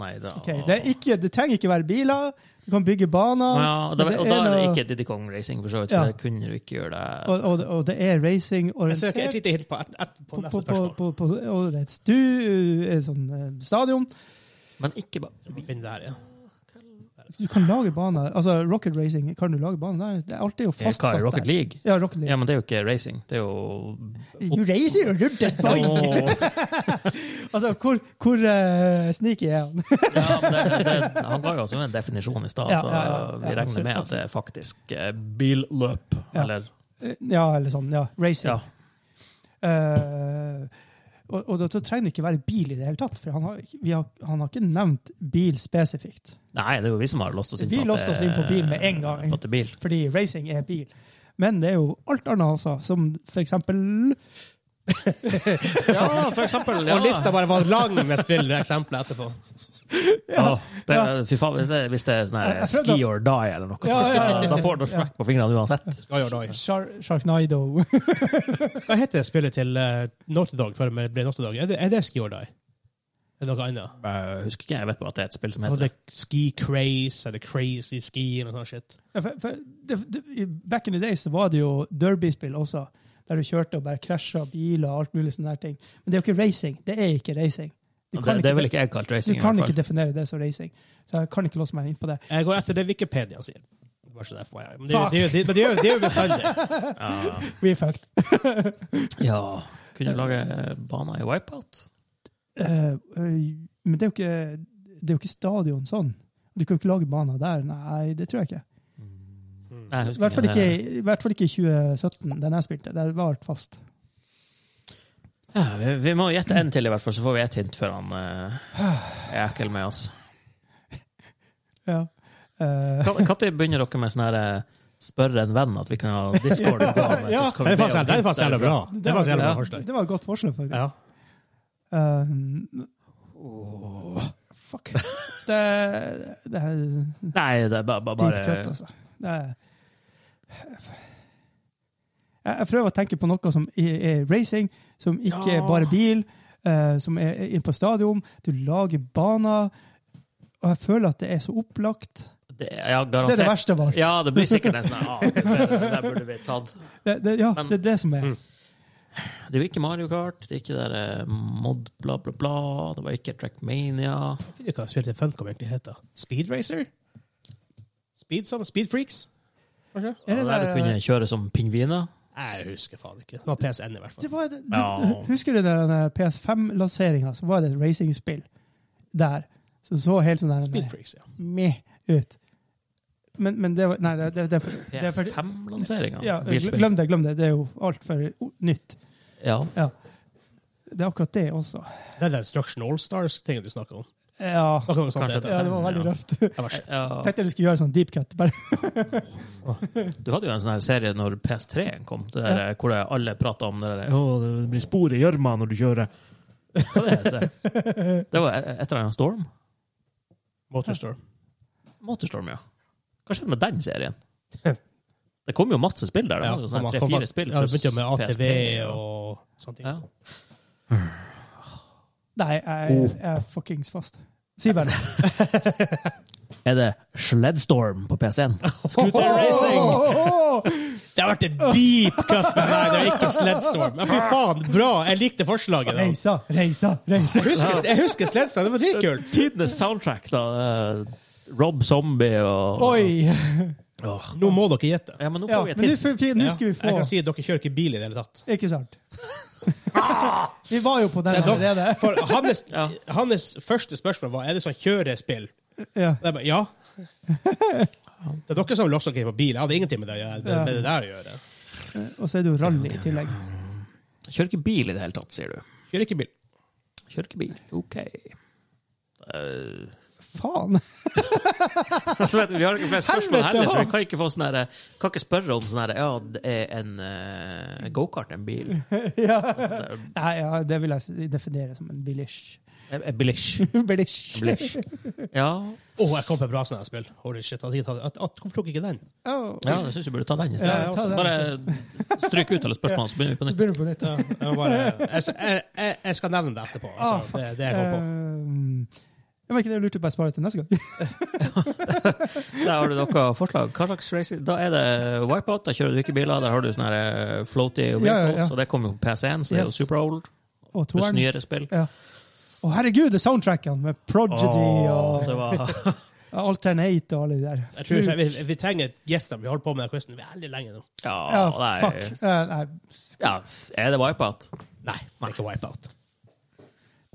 Speaker 3: nei da
Speaker 1: ok, det, er ikke, det trenger ikke være biler. Du kan bygge baner.
Speaker 3: Ja, og, det, og
Speaker 1: er
Speaker 3: da er det
Speaker 1: noe-
Speaker 3: ikke Diddy Kong Racing, for så vidt. For
Speaker 1: Ja.
Speaker 3: det kunne du ikke gjøre det.
Speaker 1: Og, og, og det er racing
Speaker 2: Jeg søker et
Speaker 1: orientert.
Speaker 2: lite hint på, et, et, på
Speaker 1: På,
Speaker 2: neste
Speaker 1: på, på,
Speaker 2: spørsmål.
Speaker 1: på, på, og det er et stu, et sånn eh, stadion.
Speaker 3: Men ikke bare
Speaker 2: Vi finner det her, ja.
Speaker 1: Du kan lage baner. Altså, Rocket Racing, kan du lage baner der? Det er alltid jo
Speaker 3: Eh, Hva
Speaker 1: fastsatt
Speaker 3: er Rocket
Speaker 1: der.
Speaker 3: League?
Speaker 1: Ja, Rocket League.
Speaker 3: Ja, men det er jo ikke racing. Det er jo
Speaker 1: You raise your dead boy!
Speaker 3: Åh.
Speaker 1: Altså, hvor, hvor eh, sneaky er han?
Speaker 3: ja, men det, det, Han ga jo også en definisjon i stad,
Speaker 1: Ja,
Speaker 3: så
Speaker 1: ja, ja, ja,
Speaker 3: vi regner
Speaker 1: absolutt,
Speaker 3: med at det er faktisk eh, billøp.
Speaker 1: Ja.
Speaker 3: Eller
Speaker 1: ja, eller sånn. Ja, racing.
Speaker 3: Ja.
Speaker 1: Eh, og, og da, da trenger det ikke være bil i det hele tatt, for han har, ikke- vi har, han har ikke nevnt bil spesifikt.
Speaker 3: Nei, det er jo vi som har låst oss inn
Speaker 1: Vi
Speaker 3: på at
Speaker 1: låste oss inn på bil med en gang.
Speaker 3: på at det er bil.
Speaker 1: Fordi racing er bil. Men det er jo alt annet også, som for eksempel
Speaker 3: Ja, for eksempel. Ja.
Speaker 2: Og lista bare var lang med spilleeksempler etterpå.
Speaker 3: Åh, det, fy faen, det, hvis det er sånn her
Speaker 1: Jeg prøvde
Speaker 3: ski or die eller noe,
Speaker 1: Ja, ja, ja, ja.
Speaker 3: da- da får du smekk på fingrene uansett.
Speaker 2: Skal gjøre det.
Speaker 1: Shar Sharknado.
Speaker 2: Hva heter det spillet til uh, Naughty Dog før det ble Naughty Dog? Er det, er det Ski or Die? Er det noe annet?
Speaker 3: Jeg husker ikke, jeg vet bare at det er et spill som
Speaker 2: Var
Speaker 3: heter
Speaker 2: det
Speaker 3: det.
Speaker 2: Ski Craze eller Crazy Ski eller noe sånt shit?
Speaker 1: Ja, for, for, det, det, i- back in the days så var det jo derbyspill også, der du kjørte og bare krasja biler og alt mulig sånne her ting. Men det er jo ikke racing. Det er ikke racing. Du
Speaker 3: Det,
Speaker 1: kan
Speaker 3: det
Speaker 1: ikke,
Speaker 3: vil ikke jeg kalt
Speaker 1: du
Speaker 3: racing. i
Speaker 1: kan
Speaker 3: hvert
Speaker 1: ikke
Speaker 3: fall.
Speaker 1: definere det som racing. Så jeg kan ikke låse meg inn på det.
Speaker 2: Jeg går etter det Wikipedia sier. Bare så det er for meg. Men det,
Speaker 1: Fuck.
Speaker 2: det, det, men det, gjør- det gjør vi bestandig.
Speaker 1: We fucked.
Speaker 3: Ja. Kunne du lage eh, baner i Wipeout?
Speaker 1: Eh, eh, men det er, jo ikke, det er jo ikke stadion sånn. Du kan jo ikke lage baner der. Nei, det tror jeg ikke.
Speaker 3: Nei,
Speaker 1: I
Speaker 3: jeg husker
Speaker 1: hvert fall
Speaker 3: det.
Speaker 1: ikke i, hvert fall ikke i 2017, den jeg spilte. Der var alt fast.
Speaker 3: Ja, vi, vi må gjette en til, i hvert fall, så får vi et hint før han eh, er ekkel med oss.
Speaker 1: Ja. Eh,
Speaker 3: Når begynner dere med sånn her eh, Spørre en venn at vi kan ha discord?
Speaker 2: Ja, den er faktisk den er faktisk jævlig bra. Det er faktisk jævlig bra
Speaker 3: Ja.
Speaker 2: forslag.
Speaker 1: det var et godt forslag, faktisk.
Speaker 2: Ja.
Speaker 1: Eh, fuck. Det, det er
Speaker 3: Nei, det er bare, bare,
Speaker 1: deep cut,
Speaker 3: bare
Speaker 1: altså. Det er, jeg, jeg prøver å tenke på noe som er, er racing, som ikke
Speaker 3: Ja.
Speaker 1: er bare bil, eh, som er, er inne på stadion. Du lager baner. Og jeg føler at det er så opplagt.
Speaker 3: det, ja,
Speaker 1: Det er det
Speaker 3: garantert.
Speaker 1: verste av alt.
Speaker 3: Ja, det blir sikkert en sånn ah, det, det, det burde vi tatt.
Speaker 1: Det, det, ja,
Speaker 3: Men- Mm.
Speaker 1: det er det som er.
Speaker 3: Det var ikke Mario Kart, det er ikke der eh, Mod bla, bla, bla. Det var ikke Trackmania.
Speaker 2: Jeg finner ikke hva spillet til Funcom egentlig heter. Speed Racer? Speed, som- speed Freaks? Kanskje?
Speaker 1: Er
Speaker 3: Det
Speaker 1: det,
Speaker 3: der du
Speaker 1: der,
Speaker 3: kunne kjøre som pingviner.
Speaker 2: Jeg husker faen ikke. Det var PSN i hvert
Speaker 1: det
Speaker 2: fall.
Speaker 1: var, det, du,
Speaker 3: Ja.
Speaker 1: Husker du den eh, PS5-lanseringa? Så var det et racingspill der. Som så helt sånn der
Speaker 2: Speed Freaks, ja.
Speaker 1: meh ut. Men, men det var Nei, det, det, det, er for- det er for
Speaker 3: PS5-lanseringa.
Speaker 1: Ja, glem det, glem det. Det er jo altfor nytt.
Speaker 3: Ja.
Speaker 1: Det er akkurat det også.
Speaker 2: Det er den Destruction All-Stars-tingen du snakker om.
Speaker 1: Ja,
Speaker 2: Det var ikke noe sånt
Speaker 3: Kanskje
Speaker 2: det.
Speaker 1: ja det var veldig
Speaker 3: Ja.
Speaker 1: røft.
Speaker 2: Det var shit.
Speaker 3: Ja.
Speaker 1: Tenkte jeg du skulle gjøre sånn deep cut. Bare,
Speaker 3: Du hadde jo en sånn her serie når PS3 kom, det der, eh, hvor det alle prata om det der Å, det blir spor i gjørma når du kjører. Hva det heter Det var e- et eller annet Storm?
Speaker 2: Motorstorm.
Speaker 3: Motorstorm, ja. Hva skjedde med den serien? Det kom jo masse spill der. Det var jo sånn
Speaker 2: man
Speaker 3: her
Speaker 2: kom
Speaker 3: tre-fire
Speaker 2: fast-
Speaker 3: spill.
Speaker 2: Ja, det begynte jo med
Speaker 3: pluss
Speaker 2: ATV
Speaker 3: PSP,
Speaker 2: og sånne ting.
Speaker 3: Ja.
Speaker 1: Nei, jeg, jeg er fuckings fast. Si bare det.
Speaker 3: Er det Sledstorm på PC-en?
Speaker 2: Scooter Racing!
Speaker 1: Åh,
Speaker 2: Det har vært en deep cut med meg. Det er ikke Sledstorm. Men fy faen, bra. Jeg likte forslaget. da.
Speaker 1: Reisa, reisa, reisa.
Speaker 2: Jeg husker, jeg husker Sledstorm. Det var dritkult.
Speaker 3: Tidenes soundtrack, da. eh, Rob Zombie og
Speaker 1: Oi!
Speaker 3: Åh.
Speaker 2: Nå må dere gjette.
Speaker 3: Ja, men nå
Speaker 1: Ja,
Speaker 3: får
Speaker 1: men
Speaker 3: vi et
Speaker 1: nå f-
Speaker 3: hint.
Speaker 1: f- nå skal vi
Speaker 2: Jeg
Speaker 1: få
Speaker 2: kan si at dere kjører ikke bil i det hele tatt.
Speaker 1: Ikke sant? Vi var jo på den
Speaker 2: Det er dere-
Speaker 1: allerede.
Speaker 2: Ah! For hans,
Speaker 3: Ja.
Speaker 2: hans første spørsmål var er det sånn kjørespill.
Speaker 1: Ja.
Speaker 2: Og jeg bare, ja. Det er dere som låser dere på bil. Jeg hadde ingenting med det, å gjøre- med det der å gjøre.
Speaker 1: Og så er det jo rally i tillegg.
Speaker 3: Kjører ikke bil i det hele tatt, sier du.
Speaker 2: Kjører ikke bil.
Speaker 3: Kjører ikke bil. OK.
Speaker 1: Faen!
Speaker 3: Altså, vet, du, vi har ikke flere spørsmål
Speaker 1: Helvete,
Speaker 3: heller, så
Speaker 1: ja.
Speaker 3: vi kan ikke, få sånn her- kan ikke spørre om sånn her Ja, det er en eh, gokart en bil?
Speaker 1: Ja. Nei, ja, det vil jeg s- definere som en bilish.
Speaker 3: En en Bilish.
Speaker 1: Bilish.
Speaker 3: Blish. Ja,
Speaker 2: Å, jeg kom på et bra sånt her spill. Holy shit, han sier at, at, at, hvorfor tok jeg ikke den?
Speaker 1: Åh.
Speaker 3: ja jeg syns vi burde ta den i
Speaker 1: Ja, jeg
Speaker 3: stedet. altså.
Speaker 1: tar den.
Speaker 3: Bare stryk ut alle spørsmålene, så begynner vi på nytt.
Speaker 1: Begynner på nytt.
Speaker 2: Ja, jeg, bare, jeg, jeg, jeg skal nevne det etterpå.
Speaker 1: Ah,
Speaker 2: Altså,
Speaker 1: fuck.
Speaker 2: det, det jeg kom på.
Speaker 1: Ehm, jeg var ikke det jeg lurte på, jeg sparer til neste gang.
Speaker 3: Der har du noe forslag. Hva slags racing? Da er det wipeout. Der kjører du ikke biler. Der har du sånne her, eh, floaty vehicles,
Speaker 1: Ja, ja, ja.
Speaker 3: og det kommer jo på PC1, så det er
Speaker 1: Yes.
Speaker 3: jo super old.
Speaker 1: Og
Speaker 3: Pluss
Speaker 1: toeren.
Speaker 3: nyere spill.
Speaker 1: Ja. Å, herregud, det er soundtrackene med Prodigy
Speaker 3: Åh,
Speaker 1: og
Speaker 3: det var...
Speaker 1: Alternate og alle de der.
Speaker 2: Jeg tror ikke, vi, vi trenger et gjest der. Vi holder på med den quizen veldig lenge nå.
Speaker 3: Ja,
Speaker 1: Ja,
Speaker 3: nei.
Speaker 1: fuck. Eh, nei,
Speaker 3: Ja, er det wipeout?
Speaker 2: Nei, det er ikke Wipeout.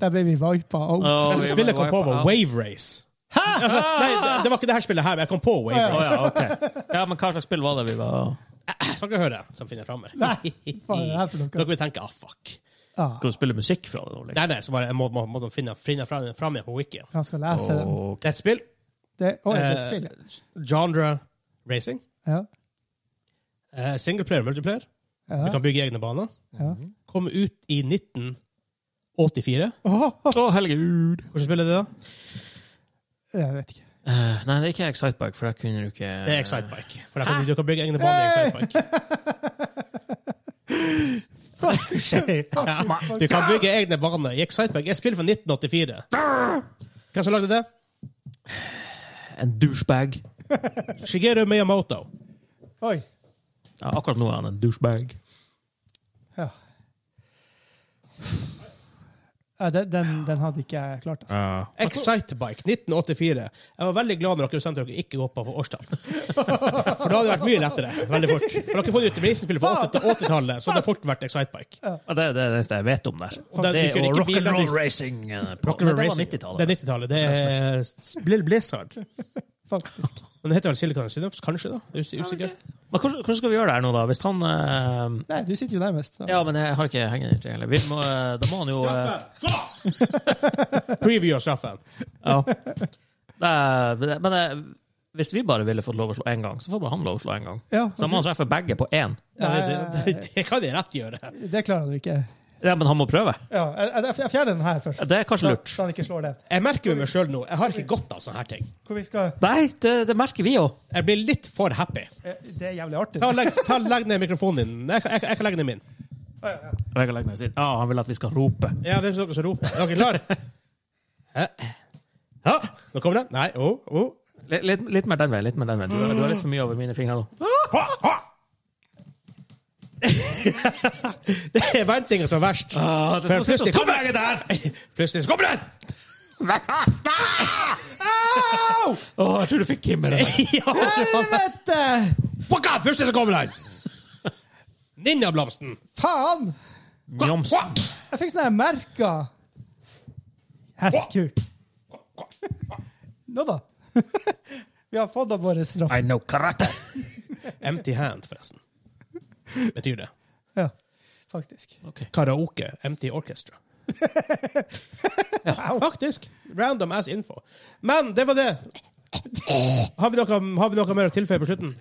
Speaker 1: der ble vi vipa out.
Speaker 3: Åh,
Speaker 2: Neste
Speaker 3: vi
Speaker 2: spillet jeg
Speaker 3: var
Speaker 2: kom på, var
Speaker 3: Wipeout.
Speaker 2: Wave Race. Hæ?! Altså, nei, det, det var ikke det her spillet her, men jeg kom på Wave
Speaker 1: Å, ja.
Speaker 2: Race.
Speaker 3: Ja, ok. ja, men hva slags spill var det vi var
Speaker 2: Skal dere høre som finner fram her?
Speaker 1: faen, det er for noe.
Speaker 2: Dere vil tenke ah, fuck.
Speaker 1: Ja,
Speaker 3: Skal du spille musikk fra det nå? liksom?
Speaker 2: Nei, nei, så bare, jeg må, må, må de finne, finne fram, fram igjen på wiki.
Speaker 1: han skal lese den.
Speaker 2: Det er et spill.
Speaker 1: Det, oi, det er et
Speaker 2: Eh,
Speaker 1: spill, ja.
Speaker 2: Genre racing.
Speaker 1: ja.
Speaker 2: Eh, single player, multiplayer. Du
Speaker 1: ja.
Speaker 2: kan bygge egne baner.
Speaker 1: Ja.
Speaker 2: Kom ut i 1984.
Speaker 1: Åh, åh,
Speaker 3: Å, herregud!
Speaker 2: Hvordan spiller det, da?
Speaker 1: jeg vet ikke.
Speaker 3: Eh, nei, det er ikke Excitebike, for da kunne du ikke
Speaker 2: Det er Excitebike. For da kan du- du kan bygge egne baner i Excitebike. ja, du kan bygge egne baner i Excitebike. Jeg spiller fra 1984. Hvem som lagde det?
Speaker 3: En douchebag.
Speaker 2: Shigeru Miyamoto.
Speaker 1: Oi.
Speaker 3: Ja, akkurat nå er han en douchebag.
Speaker 1: Ja. Ja, den, den, den hadde ikke jeg klart. Altså.
Speaker 2: Excitebike 1984. Jeg var veldig glad når dere bestemte dere ikke går på for årstall. For da hadde det vært mye lettere. veldig fort. For dere har fått ut racingspillet på 80- 80-tallet, så hadde det fort vært Excitebike.
Speaker 3: Ja, det, det er det eneste jeg vet om der.
Speaker 2: Og det-
Speaker 3: det
Speaker 2: du kjører
Speaker 3: og
Speaker 2: ikke
Speaker 3: rock
Speaker 2: bil,
Speaker 3: and
Speaker 2: da,
Speaker 3: roll
Speaker 2: du-
Speaker 3: racing. eh, på-
Speaker 2: Rock'n'roll
Speaker 3: Men det var
Speaker 2: Racing. Det er
Speaker 3: 90-tallet.
Speaker 2: 90-tallet. Det er Bl- Blizzard.
Speaker 1: Faktisk.
Speaker 2: Men det heter vel Silicon Synops, kanskje? da? Us usikker.
Speaker 3: Men hvordan, hvordan skal vi gjøre det her nå, da? Hvis han eh,
Speaker 1: Nei, du sitter jo nærmest. Så.
Speaker 3: Ja, men jeg har ikke hengende triangel. Vi må, eh, da må han jo eh,
Speaker 2: Preview av straffen.
Speaker 3: Ja. Det er, men det- men det, hvis vi bare ville fått lov å slå én gang, så får bare han lov å slå én gang.
Speaker 1: Ja,
Speaker 3: Så da må han treffe begge på én.
Speaker 2: Nei, det, det, det kan jeg rett gjøre.
Speaker 1: Det klarer han ikke.
Speaker 3: Ja, men han må prøve.
Speaker 1: Ja, jeg, jeg- jeg fjerner den her først.
Speaker 3: Det er kanskje lurt.
Speaker 1: Så han ikke slår den.
Speaker 2: Jeg merker med meg sjøl nå jeg har ikke godt av sånne her ting.
Speaker 1: Hvor vi skal...
Speaker 3: Nei, det, det merker vi òg.
Speaker 2: Jeg blir litt for happy.
Speaker 1: eh, Det er jævlig artig.
Speaker 2: Ta, og legg, ta og Legg ned mikrofonen din. Jeg, kan- jeg, kan- jeg kan legge ned min.
Speaker 3: Ja, «Ah, han vil at vi skal rope.
Speaker 2: Ja, det er noen som roper. Er dere klare? Hæ? Ja, nå kommer den. Nei, oh, oh.
Speaker 3: Litt, litt, litt mer den veien. litt mer den veien. Du, har- du har litt for mye over mine fingre nå.
Speaker 2: Det er ventinga som er verst.
Speaker 3: Ah, det er som å
Speaker 2: For
Speaker 3: sitte og
Speaker 2: plutselig kommer den der! Plutselig så kommer den! Au!
Speaker 3: Åh, jeg tror du fikk Kim i det. der.
Speaker 2: Ja,
Speaker 1: Helvete!
Speaker 2: Fuck up! Plutselig så kommer den! Ninjablomsten.
Speaker 1: Faen!
Speaker 3: Njomsen.
Speaker 1: Jeg fikk sånne her merker. Hestekuk. Nå da. Vi har fått av våre straff.
Speaker 3: I know karate.
Speaker 2: Empty hand, forresten. Betyr det.
Speaker 1: Ja, faktisk.
Speaker 2: Karaoke. Empty orchestra. ja, faktisk. Random ass info. Men det var det. Har vi noe, har vi noe mer å tilføye på slutten?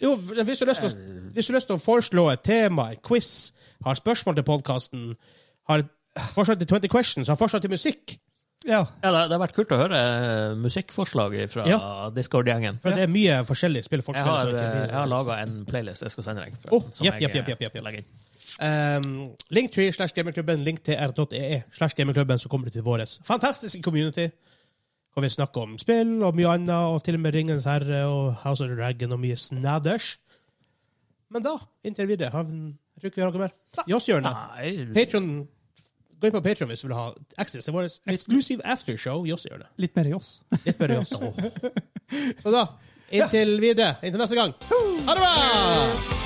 Speaker 2: Jo, hvis du har lyst til å, hvis du har lyst til å foreslå et tema, en quiz, har spørsmål til podkasten, har forslag til 20 questions, har forslag til musikk
Speaker 1: Ja.
Speaker 3: Ja, det, det har vært kult å høre eh, musikkforslag fra
Speaker 2: Ja.
Speaker 3: Discord-gjengen.
Speaker 2: For det er mye forskjellige spill folk
Speaker 3: Jeg
Speaker 2: spiller.
Speaker 3: har,
Speaker 2: så det er
Speaker 3: eh,
Speaker 2: ikke-
Speaker 3: jeg har laga en playlist jeg skal sende deg.
Speaker 2: Åh,
Speaker 3: som
Speaker 2: jepp,
Speaker 3: jeg,
Speaker 2: jepp, jepp, jepp,
Speaker 3: eh,
Speaker 2: jepp.
Speaker 3: legger inn.
Speaker 2: Um, link tree slash gamerklubben, link til r.ee slash gamerklubben, så kommer du til vår fantastiske community. Hvor vi snakker om spill og mye annet, og til og med Ringens herre og House of the Dragon og mye snadders. Men da, inntil videre, har vi, tror ikke vi har noe mer. Jåsshjørnet.
Speaker 3: eh, Nei,
Speaker 2: Patron. Gå inn på Patron hvis du vil ha access til vår exclusive aftershow. Jåsshjørnet.
Speaker 1: Litt mer i oss.
Speaker 2: Litt mer Jåss. Så da, inntil videre, inntil neste gang. Ha det bra!